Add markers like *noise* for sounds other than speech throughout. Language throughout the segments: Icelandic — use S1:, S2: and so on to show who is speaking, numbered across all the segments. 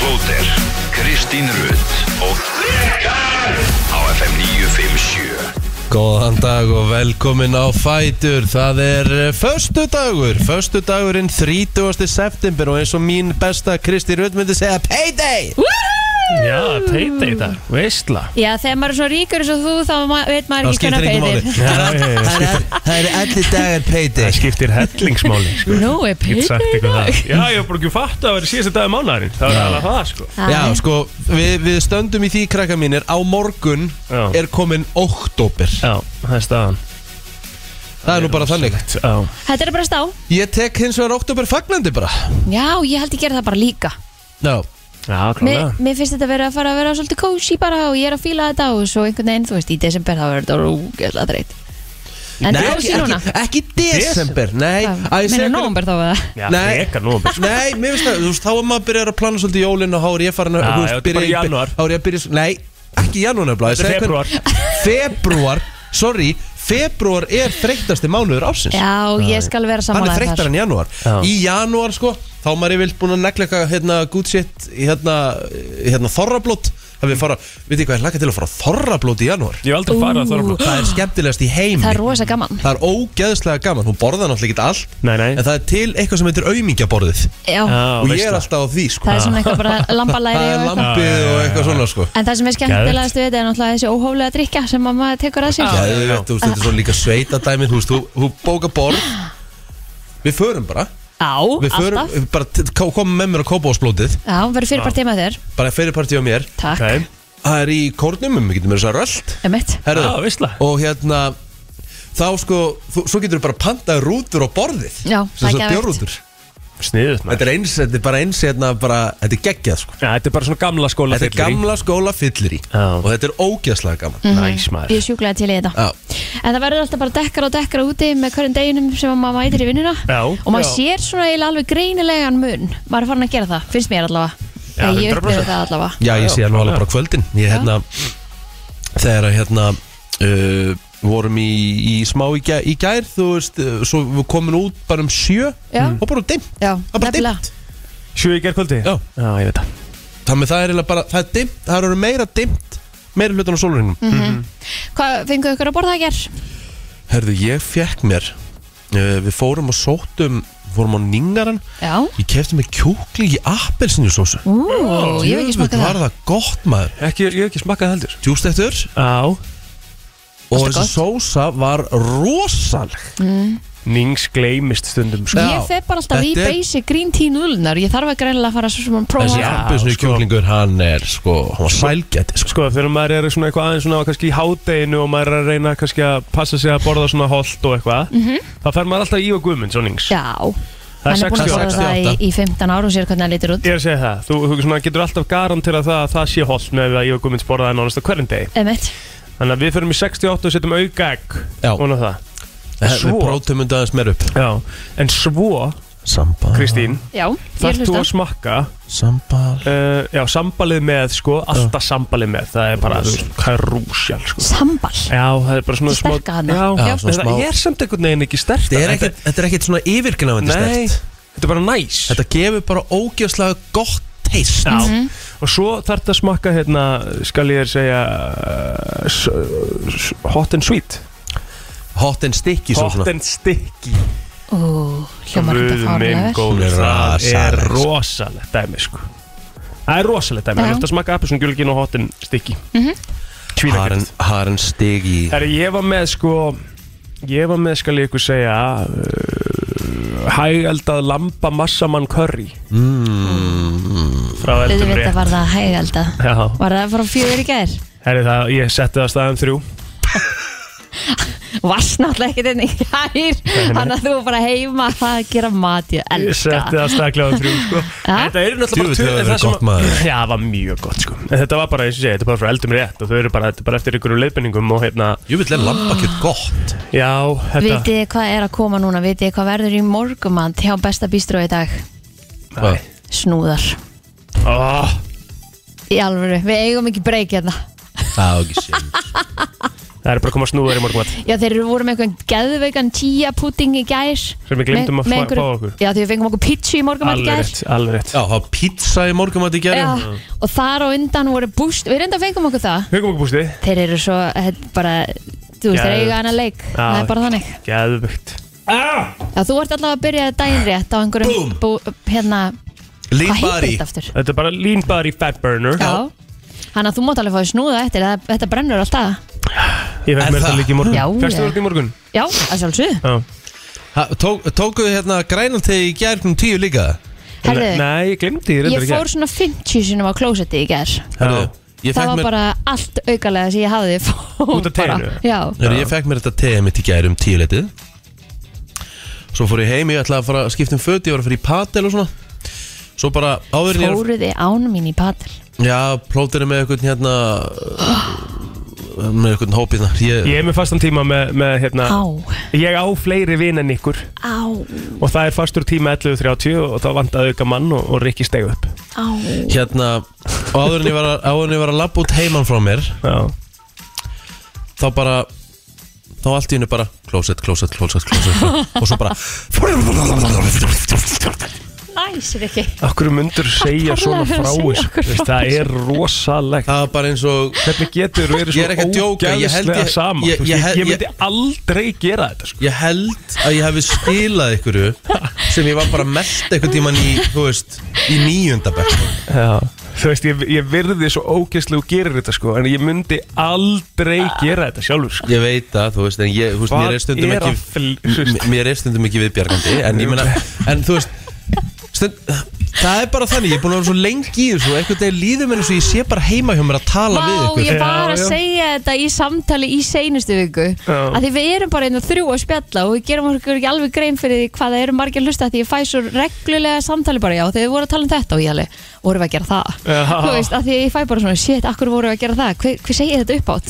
S1: Blóter, Kristín Rutt og Rikar á FM 957
S2: Góðan dag og velkomin á Fætur Það er eh, förstu dagur Förstu dagurinn 30. september og eins og mín besta Kristi Rödd myndi segja Payday
S3: Já, payday það, veistla
S4: Já, þegar maður er svona ríkur eins og þú þá ma veit maður
S2: Það
S4: ekki
S2: skiptir
S4: hvernig
S2: ekki máli
S4: peitir.
S2: Það er- það er- það eru allir dagar
S3: Það
S2: Payday
S3: skiptir hellingsmáli sko.
S4: *laughs* Nú er
S3: Get sagt
S4: peitir
S3: ykkur það Já, ég hef bara ekki fatt að vera síðasta dag mánuðarinn Það er alveg það, sko
S2: Já, sko, við, við stöndum í því krakka mínir Á morgun
S3: Já.
S2: er komin oktober
S3: Já, það er staðan
S2: Það er nú bara þannig
S3: Já,
S4: Þetta er bara stá
S2: Ég tek hins vegar oktober fagnandi bara
S4: Já, ég held ég gera það bara líka
S2: Já,
S3: já klálega
S4: Mér, mér finnst þetta verið að fara að vera svolítið kósi bara og ég er að fíla þetta og svo einhvern veginn, þú veist, í desember þá verður þetta rúgjöðslega dreitt En
S2: Nei,
S4: þetta er
S2: ekki,
S4: kósi núna
S2: ekki, ekki desember Nei, að ég
S4: Mér
S2: segi
S4: er
S2: hvernig-
S4: nógumber þá við það
S3: Já,
S2: Nei.
S3: frekar nú sko.
S2: Nei, mér finnst það, þú veist, þá er maður að byrja að plana svolítið jólinn og þá er ég farin að,
S3: Já,
S2: þú
S3: já,
S2: veist,
S3: þetta er bara í janúar.
S2: Þá er ég að byrja, nei, ekki í janúar nefnilega ég
S3: Þetta er
S2: segi hvernig- Febrúar, sorry, febrúar er þreyttasti mánuður ásins
S4: Já, ég skal vera
S2: Hann er
S4: samanlega
S2: þreyttar en janúar
S3: Já.
S2: Í janúar, sko, þá er maður yfirlt búin að negla eitthvað, hérna, good shit, í hérna, í hérna, þorrablót Það við fara, veit ég hvað, ég laka til að fara á þorrablót í janúar
S3: Ég hef aldrei farið að þorra
S2: Það er skemmtilegast í heimi
S4: Það er rosa gaman
S2: Það er ógeðslega gaman, hún borðar náttúrulega ekki allt
S3: Nei, nei.
S2: En það er til eitthvað sem heitir aumingjaborðið
S4: Já,
S3: Já,
S2: Og ég
S3: veistla
S2: er alltaf á því sko
S4: það er svona
S2: *laughs*
S4: eitthvað bara lambalæri
S2: Það er
S4: og eitthvað
S2: lampið og eitthvað svona sko
S4: En það sem er skemmtilegast við þetta er náttúrulega þessi óhóflega drikja sem að maður tekur að sér
S2: Já, þú veist, þú veist, þetta er svo líka sveitadæmið Þú veist, þú- þú bóka borð Við förum bara
S4: Á,
S2: Við förum,
S4: alltaf
S2: bara t- k- komum með mér á kópáðsblótið
S4: Já, verður fyrir bara tíma þér
S2: Bara fyrirpartið á mér
S4: Takk,
S3: Ok.
S2: Það er í kórnum, við getum verið svo rölt
S4: emitt
S2: Herðu,
S3: Já, veistla.
S2: Og hérna Þá sko, þú, svo getur við bara pantað rútur á borðið
S4: Já,
S2: Sem
S4: það er
S2: svo
S4: geðveikt.
S2: bjórrútur sko.
S3: Sniðugt, maður
S2: Þetta er eins, þetta er bara eins hérna bara Þetta er geggjað sko
S3: Já, þetta er bara svona gamla skóla
S2: Þetta er gamla skóla fyllir í
S3: Já.
S2: Og þetta er ógeðslega gaman
S3: Næs, maður
S4: Mhm. Ég er sjúklega til í þetta
S2: Já,
S4: En það verður alltaf bara dekkar og dekkar úti með hverjum deginum sem að maður mætir í vinnuna
S3: Já.
S4: Og maður
S3: Já.
S4: sér svona eiginlega alveg greinilegan mun Maður er farin að gera það, finnst mér allavega
S3: Já,
S4: Eða Ég
S3: 100%.
S4: upplifa það allavega
S2: Já, ég sé það nú alveg bara á kvöldin Ég hérna Þegar að hérna uh, Vorum í, í smá í, gær, í gær Þú veist, uh, svo við komin út bara um sjö
S4: Já.
S2: Og bara dimmt
S4: Já,
S2: Það er bara
S4: nefnilega.
S2: dimmt
S3: Sjö í gerkvöldi?
S2: Já.
S3: Já, ég veit það
S2: Þannig það er eiginlega bara, það er dimmt Það eru meira dimmt Meira hlutan á sólurinnum
S3: Mhm.
S4: Mhm. Hvað fenguðu ykkur að borða að ger?
S2: Herðu, ég fekk mér uh, Við fórum og sóttum Fórum á Ningaran
S4: Já
S2: Ég kefti mig kjúkling í appelsinsósu
S4: Ú, ég hef ekki smakað
S2: Var
S4: það
S2: það gott maður
S3: ekki, Ég hef ekki smakkað heldur
S2: Djúst eftir
S3: Já
S2: Og
S4: Alltaf
S2: þessi sósa var rosaleg
S3: Nings gleymist stundum, sko
S2: Já.
S4: Ég feg bara alltaf í
S2: Þetta er-
S4: basic green tea núðlunar Ég þarf að greinilega að fara svo sem að prófa
S2: Þessi
S3: Já,
S2: ambisnu
S3: sko.
S2: kjúklingur, hann er sko, hann var sælgæti sko.
S3: Sko þegar maður er svona eitthvað aðeins svona kannski í hádeginu og maður er að reyna kannski að passa sig að borða svona holdt og eitthvað þá fer maður alltaf í og guðmund svo nings
S4: Mhm. Já,
S3: Það er
S4: hann er búin að
S3: 68.
S4: borða það í, í 15 árum sér hvernig hann lítur út
S3: Ég er að segja það, þú, þú svona, getur alltaf garantera það að það sé holdt með að ég og guðmund borða það nánast á hverjum degi
S4: Emmett
S3: Þannig að við förum í 68 og setjum auka egg
S2: Já.
S3: ofan á það
S2: Við
S3: Svo-
S2: prótum undan aðeins meir upp
S3: Já. En svo,
S2: Sambal
S3: Kristín,
S4: Já, ég er
S3: þarf þú
S4: hlusta
S3: að smakka
S2: Sambal
S3: uh, Já, sambalið með, sko, alltaf sambalið með Það er bara, þú veist, hvað er rúsjál, sko
S4: Sambal
S3: Já, það er bara svona smá
S4: Sterka hana.
S3: Já,
S2: Já,
S3: já,
S2: svona
S3: þetta
S2: smá-
S3: er samt einhvern veginn ekki sterkt
S2: Þetta er ekkert, þetta er ekkert svona yfirgnafandi
S3: Nei,
S2: stert
S3: þetta er bara næs
S2: Þetta gefur bara ógjöfslega gott teist
S3: Já,
S4: Mhm.
S3: og svo þarf þetta að smakka hérna, skal ég þér segja uh, s- s- Hot and sweet
S2: Hot and sticky svo
S3: Hot
S2: svona
S3: and sticky
S4: Ó, hljómar þetta
S3: Guð minn
S4: fárlega vel
S3: góður,
S2: Hún er
S3: það er
S2: rosaleg, sko.
S3: rosalegt dæmi sko Það er rosalegt dæmi,
S4: Já. Mhm.
S3: það er að smakka appisungjulgin og hotin stikki
S2: Haren,
S3: Tvínakert
S2: haren sticky
S3: Þegar ég var með sko Ég var með skal ég ykkur segja uh, Hægeldað lamba massamann curry mm. Frá eldum
S4: Auðvitað
S3: rétt
S4: var það hægælda
S3: Já,
S4: Var það frá fjögur í gær?
S3: herri það, ég setti það að staðum þrjú
S4: Varst náttúrulega ekkert enn í gær Þannig að þú var bara heima það að gera mat Ég
S3: Ég setti
S4: elska
S3: það að staðum kláðum þrjú sko.
S4: Já.
S3: Þetta eru náttúrulega
S2: *laughs* Djöfull,
S3: bara en
S2: það hefur verið
S3: sem
S2: gott,
S3: að-
S2: maður.
S3: Já, það var mjög gott sko En Þetta var bara, eins og ég segi, þetta er bara frá eldum rétt Og þau eru bara, þetta er bara eftir ykkur leiðbendingum Og hérna,
S2: Jú vil er lambakjöt gott
S3: Já, þetta
S4: Vitið þið hvað er að koma núna? Vitið þið hvað verður í morgumand hjá besta bístró í dag?
S3: Nei.
S4: Snúðar
S3: Ó,
S4: Í alvöru, við eigum ekki breyk hérna
S2: Það er ekki sér
S3: Það er bara að koma snúðar í morgumat
S4: Já, þeir eru voru með einhvern geðveikan tíja pudding í gær
S3: Sem við gleymdum
S4: Með- með
S3: að fá-
S4: einhverju-
S3: fá okkur.
S4: Já, því við fengum okkur pizza í morgumat í
S3: Alveg
S4: gær
S3: rétt, alveg rétt
S2: Já, það var pizza í morgumat í
S4: Já,
S2: gerðum
S4: og þar á undan voru búst Við reynda fengum okkur það
S3: Hugum okkur bústi
S4: Þeir eru svo, þetta er bara Þú veist, þeir
S3: Geðveikt.
S4: eiga hana leik Það er bara þannig
S3: Geðvögt
S4: Já, þú ert allavega að byrja daginn rétt á einhverjum bú, hérna, hvað heitir
S2: Limbari
S4: þetta aftur?
S3: Þetta er bara lean body fat burner
S4: Já, hann að þú mátt alveg fá að snúða eftir það, þetta brennur alltaf
S3: Ég fekk
S2: Er
S3: mér þetta
S2: það?
S3: líka í morgun
S4: Já,
S3: Fyrstu
S4: já.
S3: orðin í morgun
S4: Já, að sjálfsög
S3: Já.
S2: Tók, Tókuðu hérna grænantegi í gerðum tíu líka
S4: Herðu,
S3: Nei, ég glemdi því
S4: ég fór svona 50 sinum á klósetti í ger
S2: Herðu, ég
S4: Það
S2: fekk
S4: var
S2: mér,
S4: bara allt aukalega sem ég hafði fór
S3: Út af
S4: bara.
S3: teinu?
S4: Já,
S2: Herðu, ég fekk mér þetta tegið mitt í gerðum tíu letið Svo fór ég heim, ég ætlaði að fara að skipta um föt Ég var að fara í patel og svona Svo bara áður en ég er að
S4: fóruði ánum mín í patel
S2: Já, plótir er með eitthvað hérna uh, með eitthvað hópið þar ég,
S3: Ég er með fastan tíma með, með hérna
S4: Á,
S3: Ég á fleiri vin en ykkur
S4: á,
S3: Og það er fastur tíma 11.30 Og þá vantaði auka mann og, og Rikki steg upp
S4: á
S2: hérna, og áður en ég var að, áður en ég var að labba út heiman frá mér
S3: Já
S2: þá bara þá allt í hennu bara closet, closet, closet,
S4: *laughs*
S2: closet og svo bara
S4: Næs, Rikki
S3: Akkur mundur segja
S4: Hvað
S3: svona
S4: talaðu um að
S3: frá
S4: segja
S3: þessu?
S4: okkur frá
S3: Veist, Það er rosalegt
S2: það var bara eins og
S3: Hvernig getur verið
S2: Ég er ekki að
S3: svona
S2: djóka, ég held
S3: ógæðislega
S2: ég-
S3: sama
S2: ég-
S3: Þú veist,
S2: ég
S3: Ég
S2: held-
S3: ég myndi aldrei gera þetta sko.
S2: ég held að ég hefði skilað ykkur sem ég var bara mest eitthvað tíman í, þú veist, í nýjöndabæk
S3: Þú veist, ég, ég virði svo ógæðslega og gerir þetta sko, En ég myndi aldrei
S2: Ah.
S3: gera þetta sjálfur sko.
S2: ég veit að, þú veist, en ég, þú veist,
S3: Hvað
S2: mér er stundum
S3: er
S2: ekki
S3: að fl- þú veist?
S2: m- mér er stundum ekki viðbjargandi en ég meina, en þú veist stund, það er bara þannig, ég er búin að vera svo lengi í þessu og einhvern veginn líður mér eins og ég sé bara heima hjá mér að tala við
S4: Vá,
S2: ykkur
S4: ég var
S3: Já,
S4: að
S3: já.
S4: segja þetta í samtali í seinustu viku
S3: Já.
S4: að því við erum bara einn og þrjú að spjalla og við gerum okkur ekki alveg grein fyrir því hvað það eru margir að hlusta því ég fæ svo reglulega samtali bara já þegar við vorum að tala um þetta og ég alveg vorum við að gera það
S3: Já.
S4: þú veist að því ég fæ bara svona shit, akkur vorum við að gera það, hver, hver segir þetta upp átt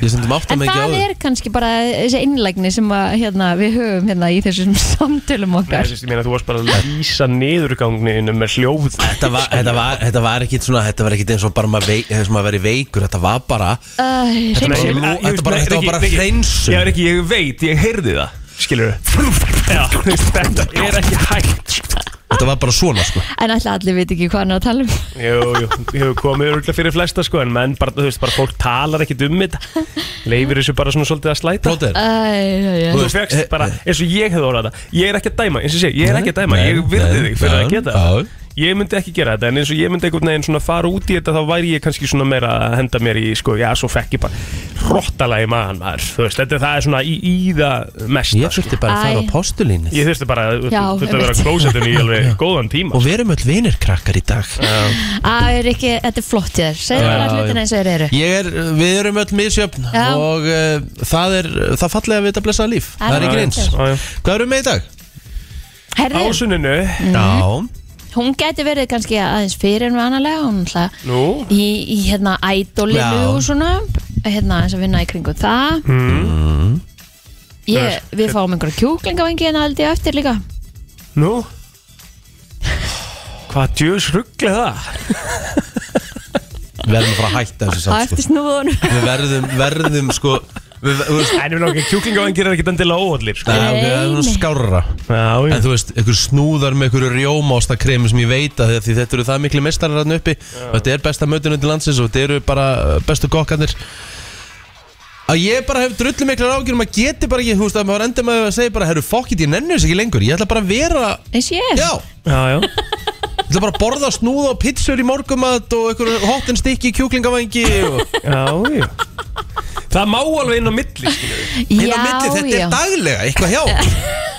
S2: ég stundum átt að
S4: en
S2: mig ekki á
S4: það
S2: þau
S4: er kannski bara þessi innlegni sem að, hérna, við höfum hérna í þessum *laughs* samtölum
S3: Nei,
S4: okkar
S3: þú veist, ég meina, þú varst bara að lýsa niðurgangninu með hljóð
S2: Þetta var, þetta, var, þetta var ekkit svona, þetta var ekkit eins og bara maður veik, eins og maður verið veikur, þetta var bara
S4: Æ,
S2: Þetta
S4: hreins-
S2: er
S3: Ég-
S2: bara-
S3: ég-
S2: þetta bara-
S3: nei,
S2: þetta var
S3: Rikki,
S2: bara
S3: Rikki,
S2: hreinsun.
S3: Já, er ekki, ég veit, ég heyrði það
S2: *laughs*
S3: Skilur við Þetta er ekki hægt sko.
S2: Þetta var bara svona sko
S4: en alltaf allir veit ekki hvað hann er að tala um
S3: Jú, jú, ég hefur komið örgulega fyrir flesta sko En menn, bara, þú veist, bara fólk talar ekkit um þetta Leifir þessu bara svona svolítið að slæta
S2: Plóter,
S4: Æ, já, já.
S2: Þú
S3: Þú
S2: veist, eh,
S3: fegst bara, eins og ég hefði orðað þetta Ég er ekki að dæma, eins og sé, ég er
S2: Nei,
S3: ekki að dæma Ég
S2: nei,
S3: virði
S2: nei,
S3: þig fyrir að
S2: já,
S3: geta það
S2: já.
S3: Ég myndi ekki gera þetta, en eins og ég myndi einhvern veginn svona fara út í þetta Þá væri ég kannski svona meira að henda mér í, sko, já, svo fekk ég bara Rottalega í maðan maður, þú veist, þetta það er svona í, í það mesta sko.
S2: ég þurfti bara að fara á
S4: Æ.
S2: postulínið
S3: Ég þurfti bara, þú
S4: Já,
S3: þurfti að
S4: einmitt.
S3: vera klósetun
S2: *laughs*
S3: í alveg góðan tíma sko.
S2: og við erum öll vinir krakkar í dag
S4: Æ, Rikki, þetta er flott hjá þér segðu
S2: Já,
S4: bara
S2: já.
S4: hlutina eins og þeir eru
S2: Ég er, við erum öll misjöfn
S4: Já.
S2: og uh, það er, það fallega við þetta blessaða líf
S4: Það
S2: Það
S4: er
S2: er ekki
S4: rétt.
S2: eins
S3: Já, já.
S2: Hvað erum við með í dag?
S4: Herðu,
S3: Ásuninu,
S4: Mhm.
S2: Já,
S4: hún geti verið kannski aðeins fyrir en vanalega hún ætla
S3: nú
S4: í, í hérna ædolinu
S2: Já.
S4: og svona hérna eins að vinna í kringu það
S3: Hmm.
S2: Mm.
S4: ég, við fáum einhverja kjúklingavengi hérna held ég á eftir líka
S3: Nú Hvað djöðs ruggli það?
S2: við verðum að fara að hætta þessu
S4: á
S2: samt
S4: eftir
S2: sko.
S4: snúðunum
S2: Við verðum, verðum sko Við, við, við,
S3: En við langar kjúklingavangir er ekkit endilega óallir sko.
S2: Nei, við verðum
S4: nei.
S2: skárra
S3: Já, já.
S2: En þú veist, einhver snúðar með einhverju rjómástakremi sem ég veit að því þetta eru það miklu mestarar hann uppi og þetta er besta mötunum til landsins og þetta eru bara uh, bestu kokkarnir að ég bara hef drullu miklar ágjur um að geti bara ekki, þú veist, að maður endur maður að segja bara herru, fuck it, ég nennu þess ekki lengur, ég ætla bara að vera
S4: *laughs* eins ég er
S2: já,
S3: já, já
S2: ég ætla bara að borða snúða og pizzur í morgumat og einhverju hot and sticky kjúklingavængi og
S3: Já, já Það má alveg inn á milli skilur við.
S2: inn á milli, þetta
S4: já.
S2: er daglega, eitthvað
S4: *laughs*
S2: hjá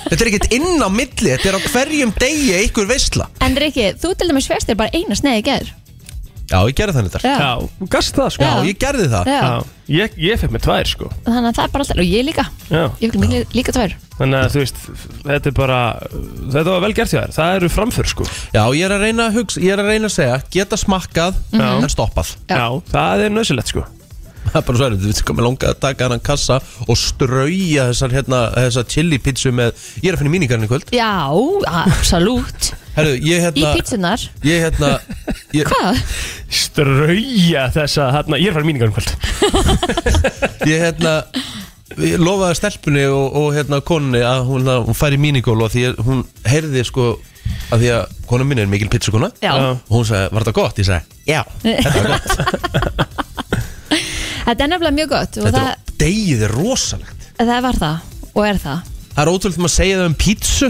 S2: þetta er ekkert inn á milli, þetta er á hverjum degi einhver veisla
S4: en Rikki, þú til dæmis festir bara eina sneið í gerð
S2: já, ég gerði þannig þetta,
S4: já.
S3: Já, þú gast það sko
S2: já, ég gerði það
S4: Já.
S3: Ég, ég fekk með tvær sko
S4: þannig að það er bara alltaf, og ég líka
S3: Já.
S4: ég vil líka, líka tvær
S3: Þannig að þú veist, þetta er bara Þetta var vel gert hjá þér, það eru framför sko
S2: Já, ég er að reyna að hugsa, ég er að reyna að segja Geta smakkað, en stoppað
S4: Já.
S3: Mhm. það er nöðsilegt sko
S2: Það er bara svo erum, þú veit komið langað að taka hann kassa Og strauja þessar, hérna, þessar chili pizzu með Ég er að finna mínikarinn í kvöld
S4: já, absolutt
S2: Herru,
S4: í
S2: ég hérna
S4: pítsunar
S2: Ég hérna ég,
S4: hvað?
S3: Strauja þessa, hérna, ég er farið míningar um kvöld
S2: *laughs* Ég hérna ég lofaði stelpunni og, og hérna konni að hún, að hún fær í mínigól og því að hún heyrði sko að því að kona mín er mikil pizzukona
S4: Já.
S3: Já.
S2: og hún sagði, var þetta gott? Ég sagði, já, þetta var gott
S4: *laughs* Þetta er nefnilega mjög gott og
S2: Þetta
S4: það,
S2: er degið er rosalegt
S4: það var það og er það
S2: Það er ótrúlega maður að segja það um pizzu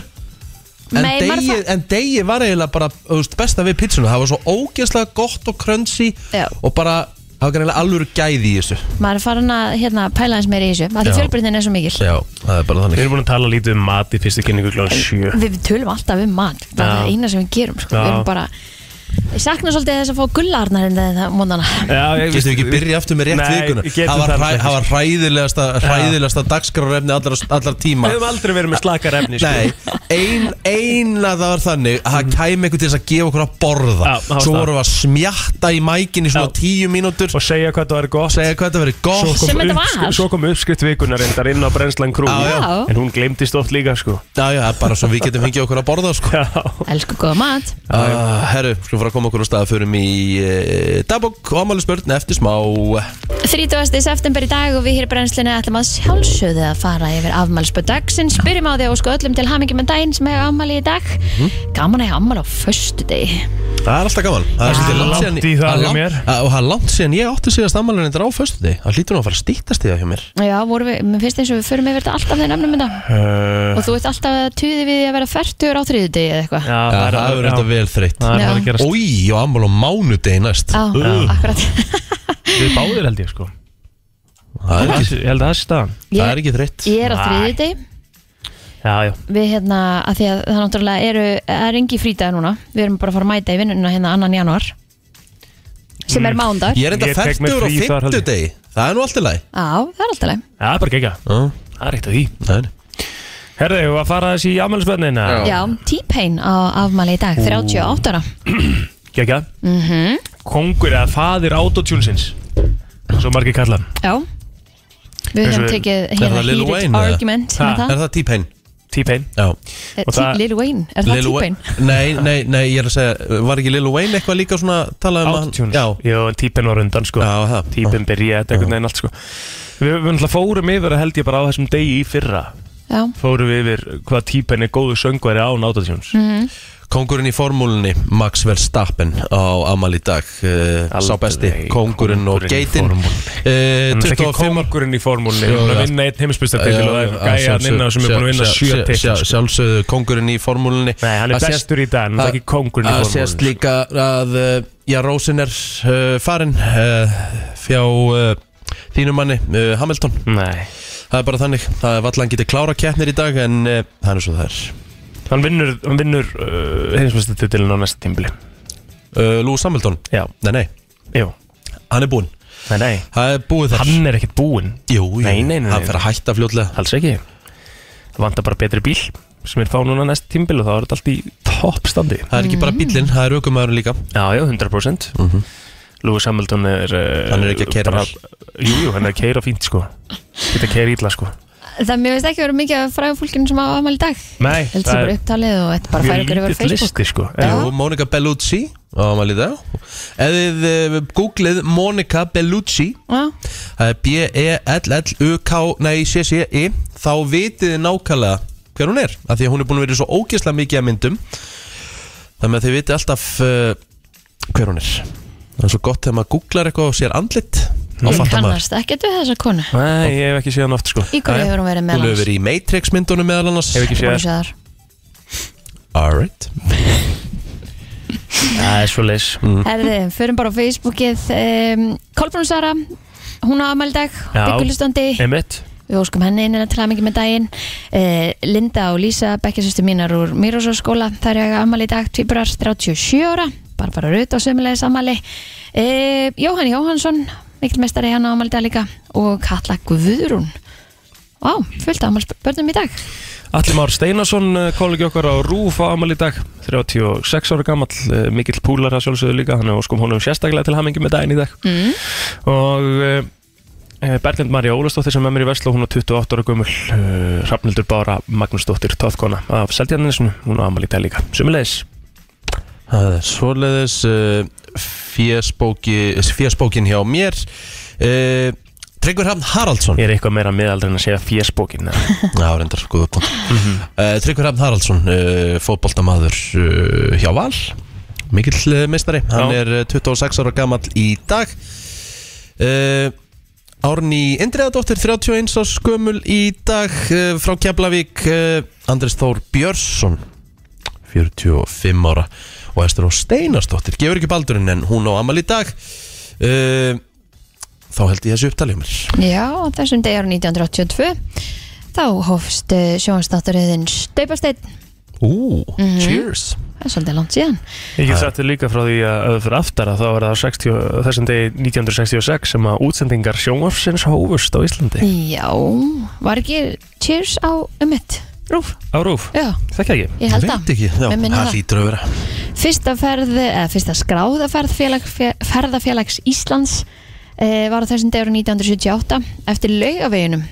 S4: Nei,
S2: en
S4: maður
S2: degið, en degið var eiginlega bara þú veist, besta við pizzuna, það var svo ógeðslega gott og krönsi
S4: Já.
S2: og bara það var greinlega alvöru gæði í þessu
S4: maður er farin að hérna, pæla eins meira í þessu að
S2: Já.
S4: því fjölbreytin er svo mikil
S2: Já, það er bara
S3: Við
S2: þannig
S3: erum búin að tala lítið um mat í fyrstu kynningu klón 7
S4: við tölum alltaf um mat það er
S3: Já.
S4: það eina sem við gerum sko.
S3: Já.
S4: við erum bara ég sakna svolítið þess að fá gullarnar hérna en það mónana
S2: Getum við ekki byrja aftur með rétt vikuna Það var, hræ, það var hræðilegasta, hræðilegasta dagskrárefni allar, allar tíma
S3: Við höfum aldrei verið með slakar efni sko.
S2: Nei, ein, eina það var þannig að það kæmi einhvern til þess að gefa okkur að borða
S3: Já, það var
S2: Svo
S3: það.
S2: vorum við að smjatta í mækin í svona
S3: Já.
S2: tíu mínútur
S3: Og segja hvað það var gott
S2: Segja hvað þetta verið gott
S4: Sem þetta var.
S3: uppsk- Svo kom uppskrift vikunar reyndar inn á brennslan krú
S2: Já,
S4: já.
S3: En hún glemdist oft líka sko
S2: Já, já, bara svo við getum fengið okkur að borða sko.
S3: Já,
S4: elsku góða mat
S2: uh, Herru, skulum fara að koma okkur á stað Förum í uh, dagbók og amáli spörn eftir smá
S4: 30. september í dag og við hér í brennslinu ætlum að sjálfsögðu að fara yfir afmælspöð dagsins, byrjum á því og sko öllum til hamingi með daginn sem hefur afmæli í dag
S3: Mhm.
S4: gaman að hafa afmæli á föstu degi
S2: Það er alltaf gaman Það er svolítið
S3: Langt
S2: langt síðan
S3: í það hjá
S2: langt-
S3: mér.
S2: að- Og það er langt síðan ég átti síðast ammálinu þetta á föstu þig Það hlýtur nú að fara að stýttast í það hjá mér
S4: já, vorum við, mér finnst eins og við förum yfir þetta alltaf þegar nefnum þetta
S3: uh,
S4: og þú ert alltaf að tuði við því að vera færtur á þriðu degi eða eitthvað
S3: já
S2: Já, það er verið þetta vel þreytt
S3: Það er
S4: Já. Ah.
S3: að gera
S2: Ói, og ammál á mánudegi næst
S4: á, akkurat
S3: Við báðir held ég sko
S2: Það er ekki,
S3: Ég held að það sé staðan
S2: það er ekki þreytt
S4: ég er á
S3: Nei.
S4: þriðu degi
S3: Já, já
S4: við hérna, að því að það náttúrulega eru, er engi frítaði núna, við erum bara að fara að mæta í vinnununa hérna annan januar sem er mándar
S2: Ég er
S3: Mm.
S2: enda
S3: Ég tek mér
S2: færtur á
S3: frí þar, held ég.
S2: fimmtudegi Það er nú allt í lagi
S4: á, það er alltaf leið
S3: Já, það er bara gegja
S2: Já,
S3: Það er eitt af því
S2: það er
S3: Herðu, eigum við að fara þessi í afmælisbönnina
S4: já, T-Pain á afmæli í dag 38 ára, Mhm.
S3: Gegja Kongur eða faðir autotjúlsins Svo margir kalla hann.
S4: já við
S3: Eins og
S4: höfum
S3: við-
S4: tekið
S2: það
S4: hérna
S2: Lil
S4: heated
S2: Wayne, eða?
S4: argument
S3: Ha,
S4: með það,
S2: Er það T-Pain?
S3: T-Pain
S2: Já
S4: Eh,
S3: og
S4: T-
S3: það-
S4: Lil Wayne, er það
S2: Lil
S4: T-Pain?
S2: Wayne- Nei, nei, nei, ég er að segja Var ekki Lil Wayne eitthvað líka svona talað um að-
S3: Autotunes
S2: Já,
S3: Jú, en T-Pain var undan sko
S2: Já, það.
S3: T-Pain byrjaði þetta einhvern veginn allt sko Við, við náttúrulega fórum yfir að held ég bara á þessum degi í fyrra
S4: já,
S3: Fórum við yfir hvað T-Pain er góðu söngveri án autotjúns mm.
S4: Mhm.
S2: Kongurinn í formúlunni Max Verstappen á amal í dag uh, Sá besti, kóngurinn og
S3: kóngurinn í
S2: geitin
S3: formúlunni.
S2: uh,
S3: Þannig ekki
S2: 25 ára
S3: kongurinn í formúlunni
S2: Jú,
S3: Við erum að
S2: já.
S3: vinna einn heimsbyrstatil og það er
S2: Já,
S3: gæjan
S2: sjálfsögðu,
S3: inna sem er búin að vinna
S2: sjálf-
S3: sjö
S2: sjálf-
S3: titla
S2: sjálf-
S3: sko.
S2: Sjálfsögðu kongurinn í formúlunni
S3: Nei, hann er
S2: Það
S3: bestur í dag, en hann er ekki kóngurinn í
S2: Það
S3: formúlunni.
S2: sést líka að uh, Já, Rósin er uh, farin uh, Fjá uh, Þínum manni, uh, Hamilton
S3: Nei,
S2: Það er bara þannig, það er vallan getið klára keppnir í dag En uh, það er svo það er
S3: hann vinnur, hann vinnur uh, heimsbyrstatilin á næsta tímbili
S2: uh, Lúi Hamilton,
S3: Já,
S2: nei nei,
S3: jú,
S2: hann er búinn
S3: nei, nei
S2: Það er búið þar
S3: Hann er ekkert búinn,
S2: Jú, jú,
S3: Nei, nei, nei, nei.
S2: hann fer að hætta fljótlega
S3: alls ekki Það vantar bara betri bíl sem er fá núna næsta tímbil og þá er þetta allt í toppstandi
S2: Það er ekki bara bíllinn, það er aukumæður líka Mhm.
S3: Já, já, 100% mm -hmm. Lewis Hamilton er uh,
S2: Hann er ekki að keyra
S3: bara-
S2: vel.
S3: Jú, jú, hann er að keira fínt sko Þetta keira illa sko
S4: það mér veist ekki vera mikið að fræða fólkinu sem á afmæli í dag
S3: Nei,
S4: held sér bara upptalið og þetta bara færa
S3: mjög
S4: ykkur yfir á
S3: lítill
S4: Facebook
S3: listi sko
S4: Já.
S2: Jú, Monica Bellucci á maður líta Ef þið uh, googlið Monica Bellucci
S4: já,
S2: Það er E B-E-L-L-U-K Nei, C-C-I Þá vitið þið nákvæmlega hver hún er af Því að hún er búin að vera í svo ógeðslega mikið að myndum Þannig að þið vitið alltaf uh, hver hún er Það er svo gott þegar maður googlar eitthvað og sér andlit Þá
S4: ég
S2: fattar maður
S4: kannast ekkert við þessa konu
S3: Nei, ég hef ekki séð hann oft sko
S4: í hverju
S2: Jæja.
S4: hefur hún verið með
S2: Hún hefur
S4: hans
S2: verið í Matrix myndunum meðal annars
S3: Hef ekki séð hann
S4: Sér.
S2: Alright
S3: Það er svo leis
S2: Mhm.
S4: Herði, förum bara á Facebookið um, Kolbrún Sara hún á afmæli í dag,
S3: Já.
S4: byggulustandi
S3: Emmett
S4: við óskum henni innilega til að mikið með daginn uh, Linda og Lísa, bekkjasýstu mínar úr Mýrósaskóla, það er afmæli í dag tvíburar 37 ára, Barbara Rut á sömulegis afmæli uh, Jóhann Jóhannsson, mikil mestari hann á afmæli í dag líka og Katla Guðrún Vá, fullt afmælis börnum í dag
S3: Allir Már Steinarsson, eh, kollegi okkar á Rúf á amal í dag, 36 ára gammal, mikill púlar að sjálfsögðu líka, hann er óskum honum sérstaklega til hamingi með daginn í dag.
S4: mm.
S3: Og eh, Berglind Marja Ólastóttir sem er með mér í Vestló, hún er 28 ára gömul, eh, Rafnildur Bára Magnúsdóttir, tóðkona af Seldjarninsinu, hún á amal í dag líka. Sumulegis,
S2: Það er eh, svoleiðis uh, fjesbóki, fjesbókin hjá mér uh, Tryggvi Hrafn Haraldsson
S3: Ég er eitthvað meira miðaldri en að segja Mhm. fjesbókin
S2: *laughs* Já, reyndar, góða punkt uh, Tryggvi Hrafn Haraldsson, uh, fótboltamaður uh, hjá Val Mikill uh, meistari, hann
S3: Já.
S2: er uh, 26 ára gamall í dag uh, Árni Indriðadóttir, 31 árs gömul í dag uh, frá Keflavík uh, Andrés Þór Björnsson 45 ára og Estur og Steinarsdóttir gefur ekki baldurinn en hún á amal í dag uh, þá held ég þessu upptalið mér
S4: Já, á þessum degi árið 1982 þá hófst sjónastátturriðin Staupasteinn, Mhm.
S2: Ú, cheers
S4: það er svolítið langt síðan
S3: Ég get sagt þér líka frá því að öður fyrir aftara þá var það á 60, þessum degi 1966 sem að útsendingar sjónvarsins hófust á Íslandi
S4: Já, var ekki Cheers á um mitt, rúf
S3: Á Rúf,
S4: Já,
S3: þekki ekki
S4: ég held að
S2: veit ekki, já,
S4: Mig minnir
S2: það
S4: það.
S2: lítur að vera
S4: Fyrsta ferð, eða fyrsta skráðaferð félag, fe- ferðafélags Íslands e, var á þessum degur 1978 eftir laugaveginum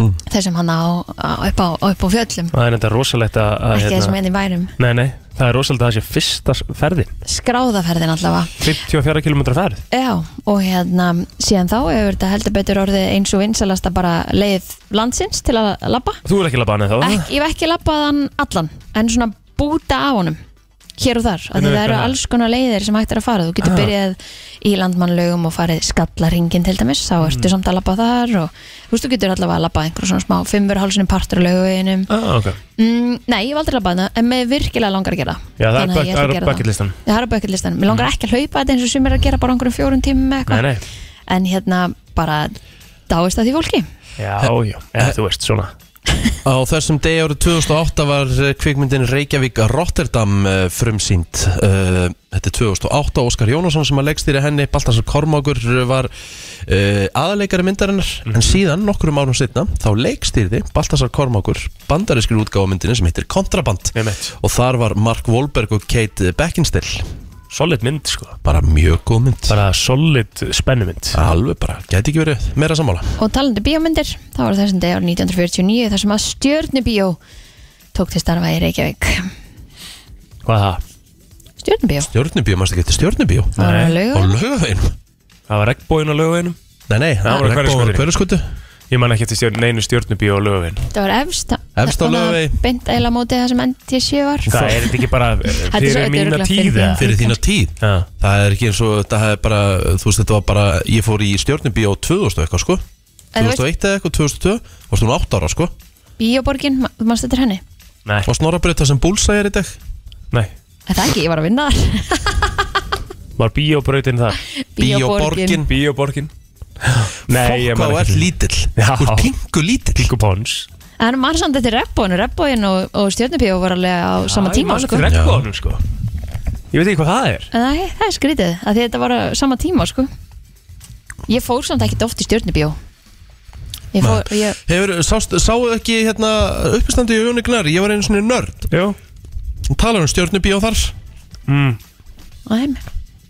S2: Mm.
S4: þessum hann á, á, upp, á, upp á fjöllum
S3: Það er þetta rosalegt að, að hérna-
S4: ekki
S2: hérna.
S4: þessum enn í værum
S3: Nei, nei, það er rosalegt að það sé fyrsta s- ferðin
S4: skráðaferðin allavega
S3: 54 km ferð
S4: Já, og hérna síðan þá hefur þetta heldur betur orðið eins og vinsalasta bara leið landsins til að labba
S3: Þú er ekki labbaðan eða þá
S4: Ek, Ég hef ekki labbað hann allan en svona búta á honum hér og þar, af því
S3: Hvernig
S4: það
S3: virkar
S4: eru
S3: það?
S4: alls konar leiðir sem hægt er að fara þú getur
S3: Ah.
S4: byrjað í landmannlaugum og farið skallaringin til dæmis, þá ertu
S3: Mm.
S4: samt að labba þar og þú veist, þú getur allavega að labba einhver svona smá fimmurhálsinu partur á laugaveginum
S3: ah, okay.
S4: mm, Nei, ég hef aldrei labbað það, en mér virkilega langar að gera
S3: Já, það er
S4: Þannig að
S3: buck-
S4: ég ætla að
S3: það er
S4: gera Já,
S3: bucketlistan
S4: það er á bucketlistanum. Mér langar ekki að hlaupa þetta eins og sem er að gera bara á einhverjum fjórum tímum eða eitthvað.
S3: Nei, nei,
S4: En hérna bara dáist að því fólki.
S3: já, já, eða, þú veist svona
S2: Á þessum degi árið 2008 var eh, kvikmyndin Reykjavík Rotterdam eh, frumsýnd Eh, Þetta er 2008, Óskar Jónasson sem að leggstýri henni Baltasar Kormákur var eh, aðaleikari myndarinnar
S3: Mhm.
S2: En síðan, nokkrum árum setna, þá leggstýrði Baltasar Kormákur bandarískir útgáfamyndinu sem heitir Kontraband
S3: Með mitt
S2: Og þar var Mark Wahlberg og Kate Beckinsdale
S3: Solid mynd, sko
S2: Bara mjög góð mynd
S3: Bara solid spennumynd
S2: Alveg bara, gæti ekki verið meira sammála
S4: Og talandi bíómyndir, þá var þessum dag árið 1949 þar sem að stjörnubíó tók til starfa í Reykjavík.
S3: Hvað er það?
S4: Stjörnubíó.
S2: Stjórnubíó, mannstu ekki, þetta er stjórnubíó
S4: Það var að
S2: Á
S4: lauga.
S2: lögveginum
S3: Það var regnbóin á lögveginum
S2: Nei, nei,
S3: Það var á Hverfisgötunni.
S2: hverjaskutu
S3: Ég man ekki eftir stjórn, neinu stjórnubíu á lögvegin
S4: Þetta var efst.
S2: Efst á Laugavegi.
S4: Beint eila mótið það sem NTC var.
S3: Það er þetta ekki bara eh,
S4: er svo- þetta
S3: fyrir
S4: er
S3: mína
S4: örugglega fyrir
S3: tíð eða?
S4: þína.
S2: Fyrir þína tíð
S3: Já,
S2: Það er ekki eins og þetta hefði bara Þú veist þetta var bara Ég fór í stjórnubíó 2000 og eitthvað sko
S4: En þú
S2: 2001 eða eitthvað 2002 Varst hún 8 ára sko
S4: Bíóborgin, ma- þú mannst þetta henni?
S3: nei,
S2: Og snorabrið það sem búlsæjar í dag
S3: nei
S4: Er Það ekki, ég var að vinna þar.
S3: Var bíóbrautin þar?
S2: Bíóborgin
S3: Bíóborgin? *gasps* Nei, ég man
S2: Fokk á all
S3: ekki
S2: lítill
S3: Já.
S2: Úr pingu lítill
S3: Píku Pons
S4: En mann samt þetta er rebbóin, rebbóin og, og stjörnubíó var alveg á sama tíma, sko.
S3: Ég man eftir regnbóinum, sko Ég veit ekki hvað það er
S4: En það, það er skrítið, að því þetta var á sama tíma sko. Ég fór samt ekki oft í stjórnibjó Ég fór, ég,
S2: Hefur, sást, sáu ekki hérna uppistandi í Jónignar, ég var einu svona nörd
S3: Jú
S2: Hún talar um stjórnubíó þar
S3: mm,
S4: næm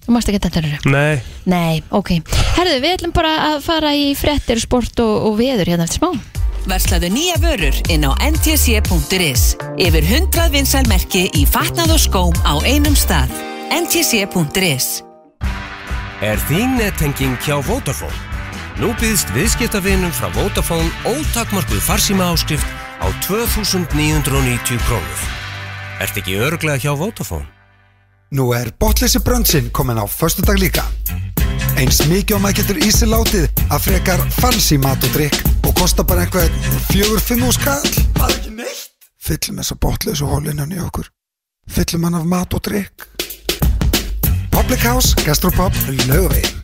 S4: Þú mást ekki þetta eru
S3: Nei
S4: Nei, ok Herðu, við ætlum bara að fara í frettir, sport og, og veður hérna eftir smá
S5: Verslaðu nýja vörur inn á ntc.is. Yfir 100 vinsalmerki í fatnað og skóm á einum stað. ntc.is.
S6: Er þín nettenging hjá Vodafone? Nú býðst viðskiptafinum frá Vodafone ótakmarkuð farsíma áskrift á 2.990 krónur. Ert ekki örglega hjá Vodafone?
S7: Nú er botleysi bröndsinn komin á föstudag líka. Eins mikið og maður getur í sig látið að frekar fancy mat og drikk og kosta bara einhver fjögur fimm úr skall. Bara ekki neitt. Fyllum þessa botleysu hólinan í okkur. Fyllum hann af mat og drikk. Public House, Gastropub, Laugavegin.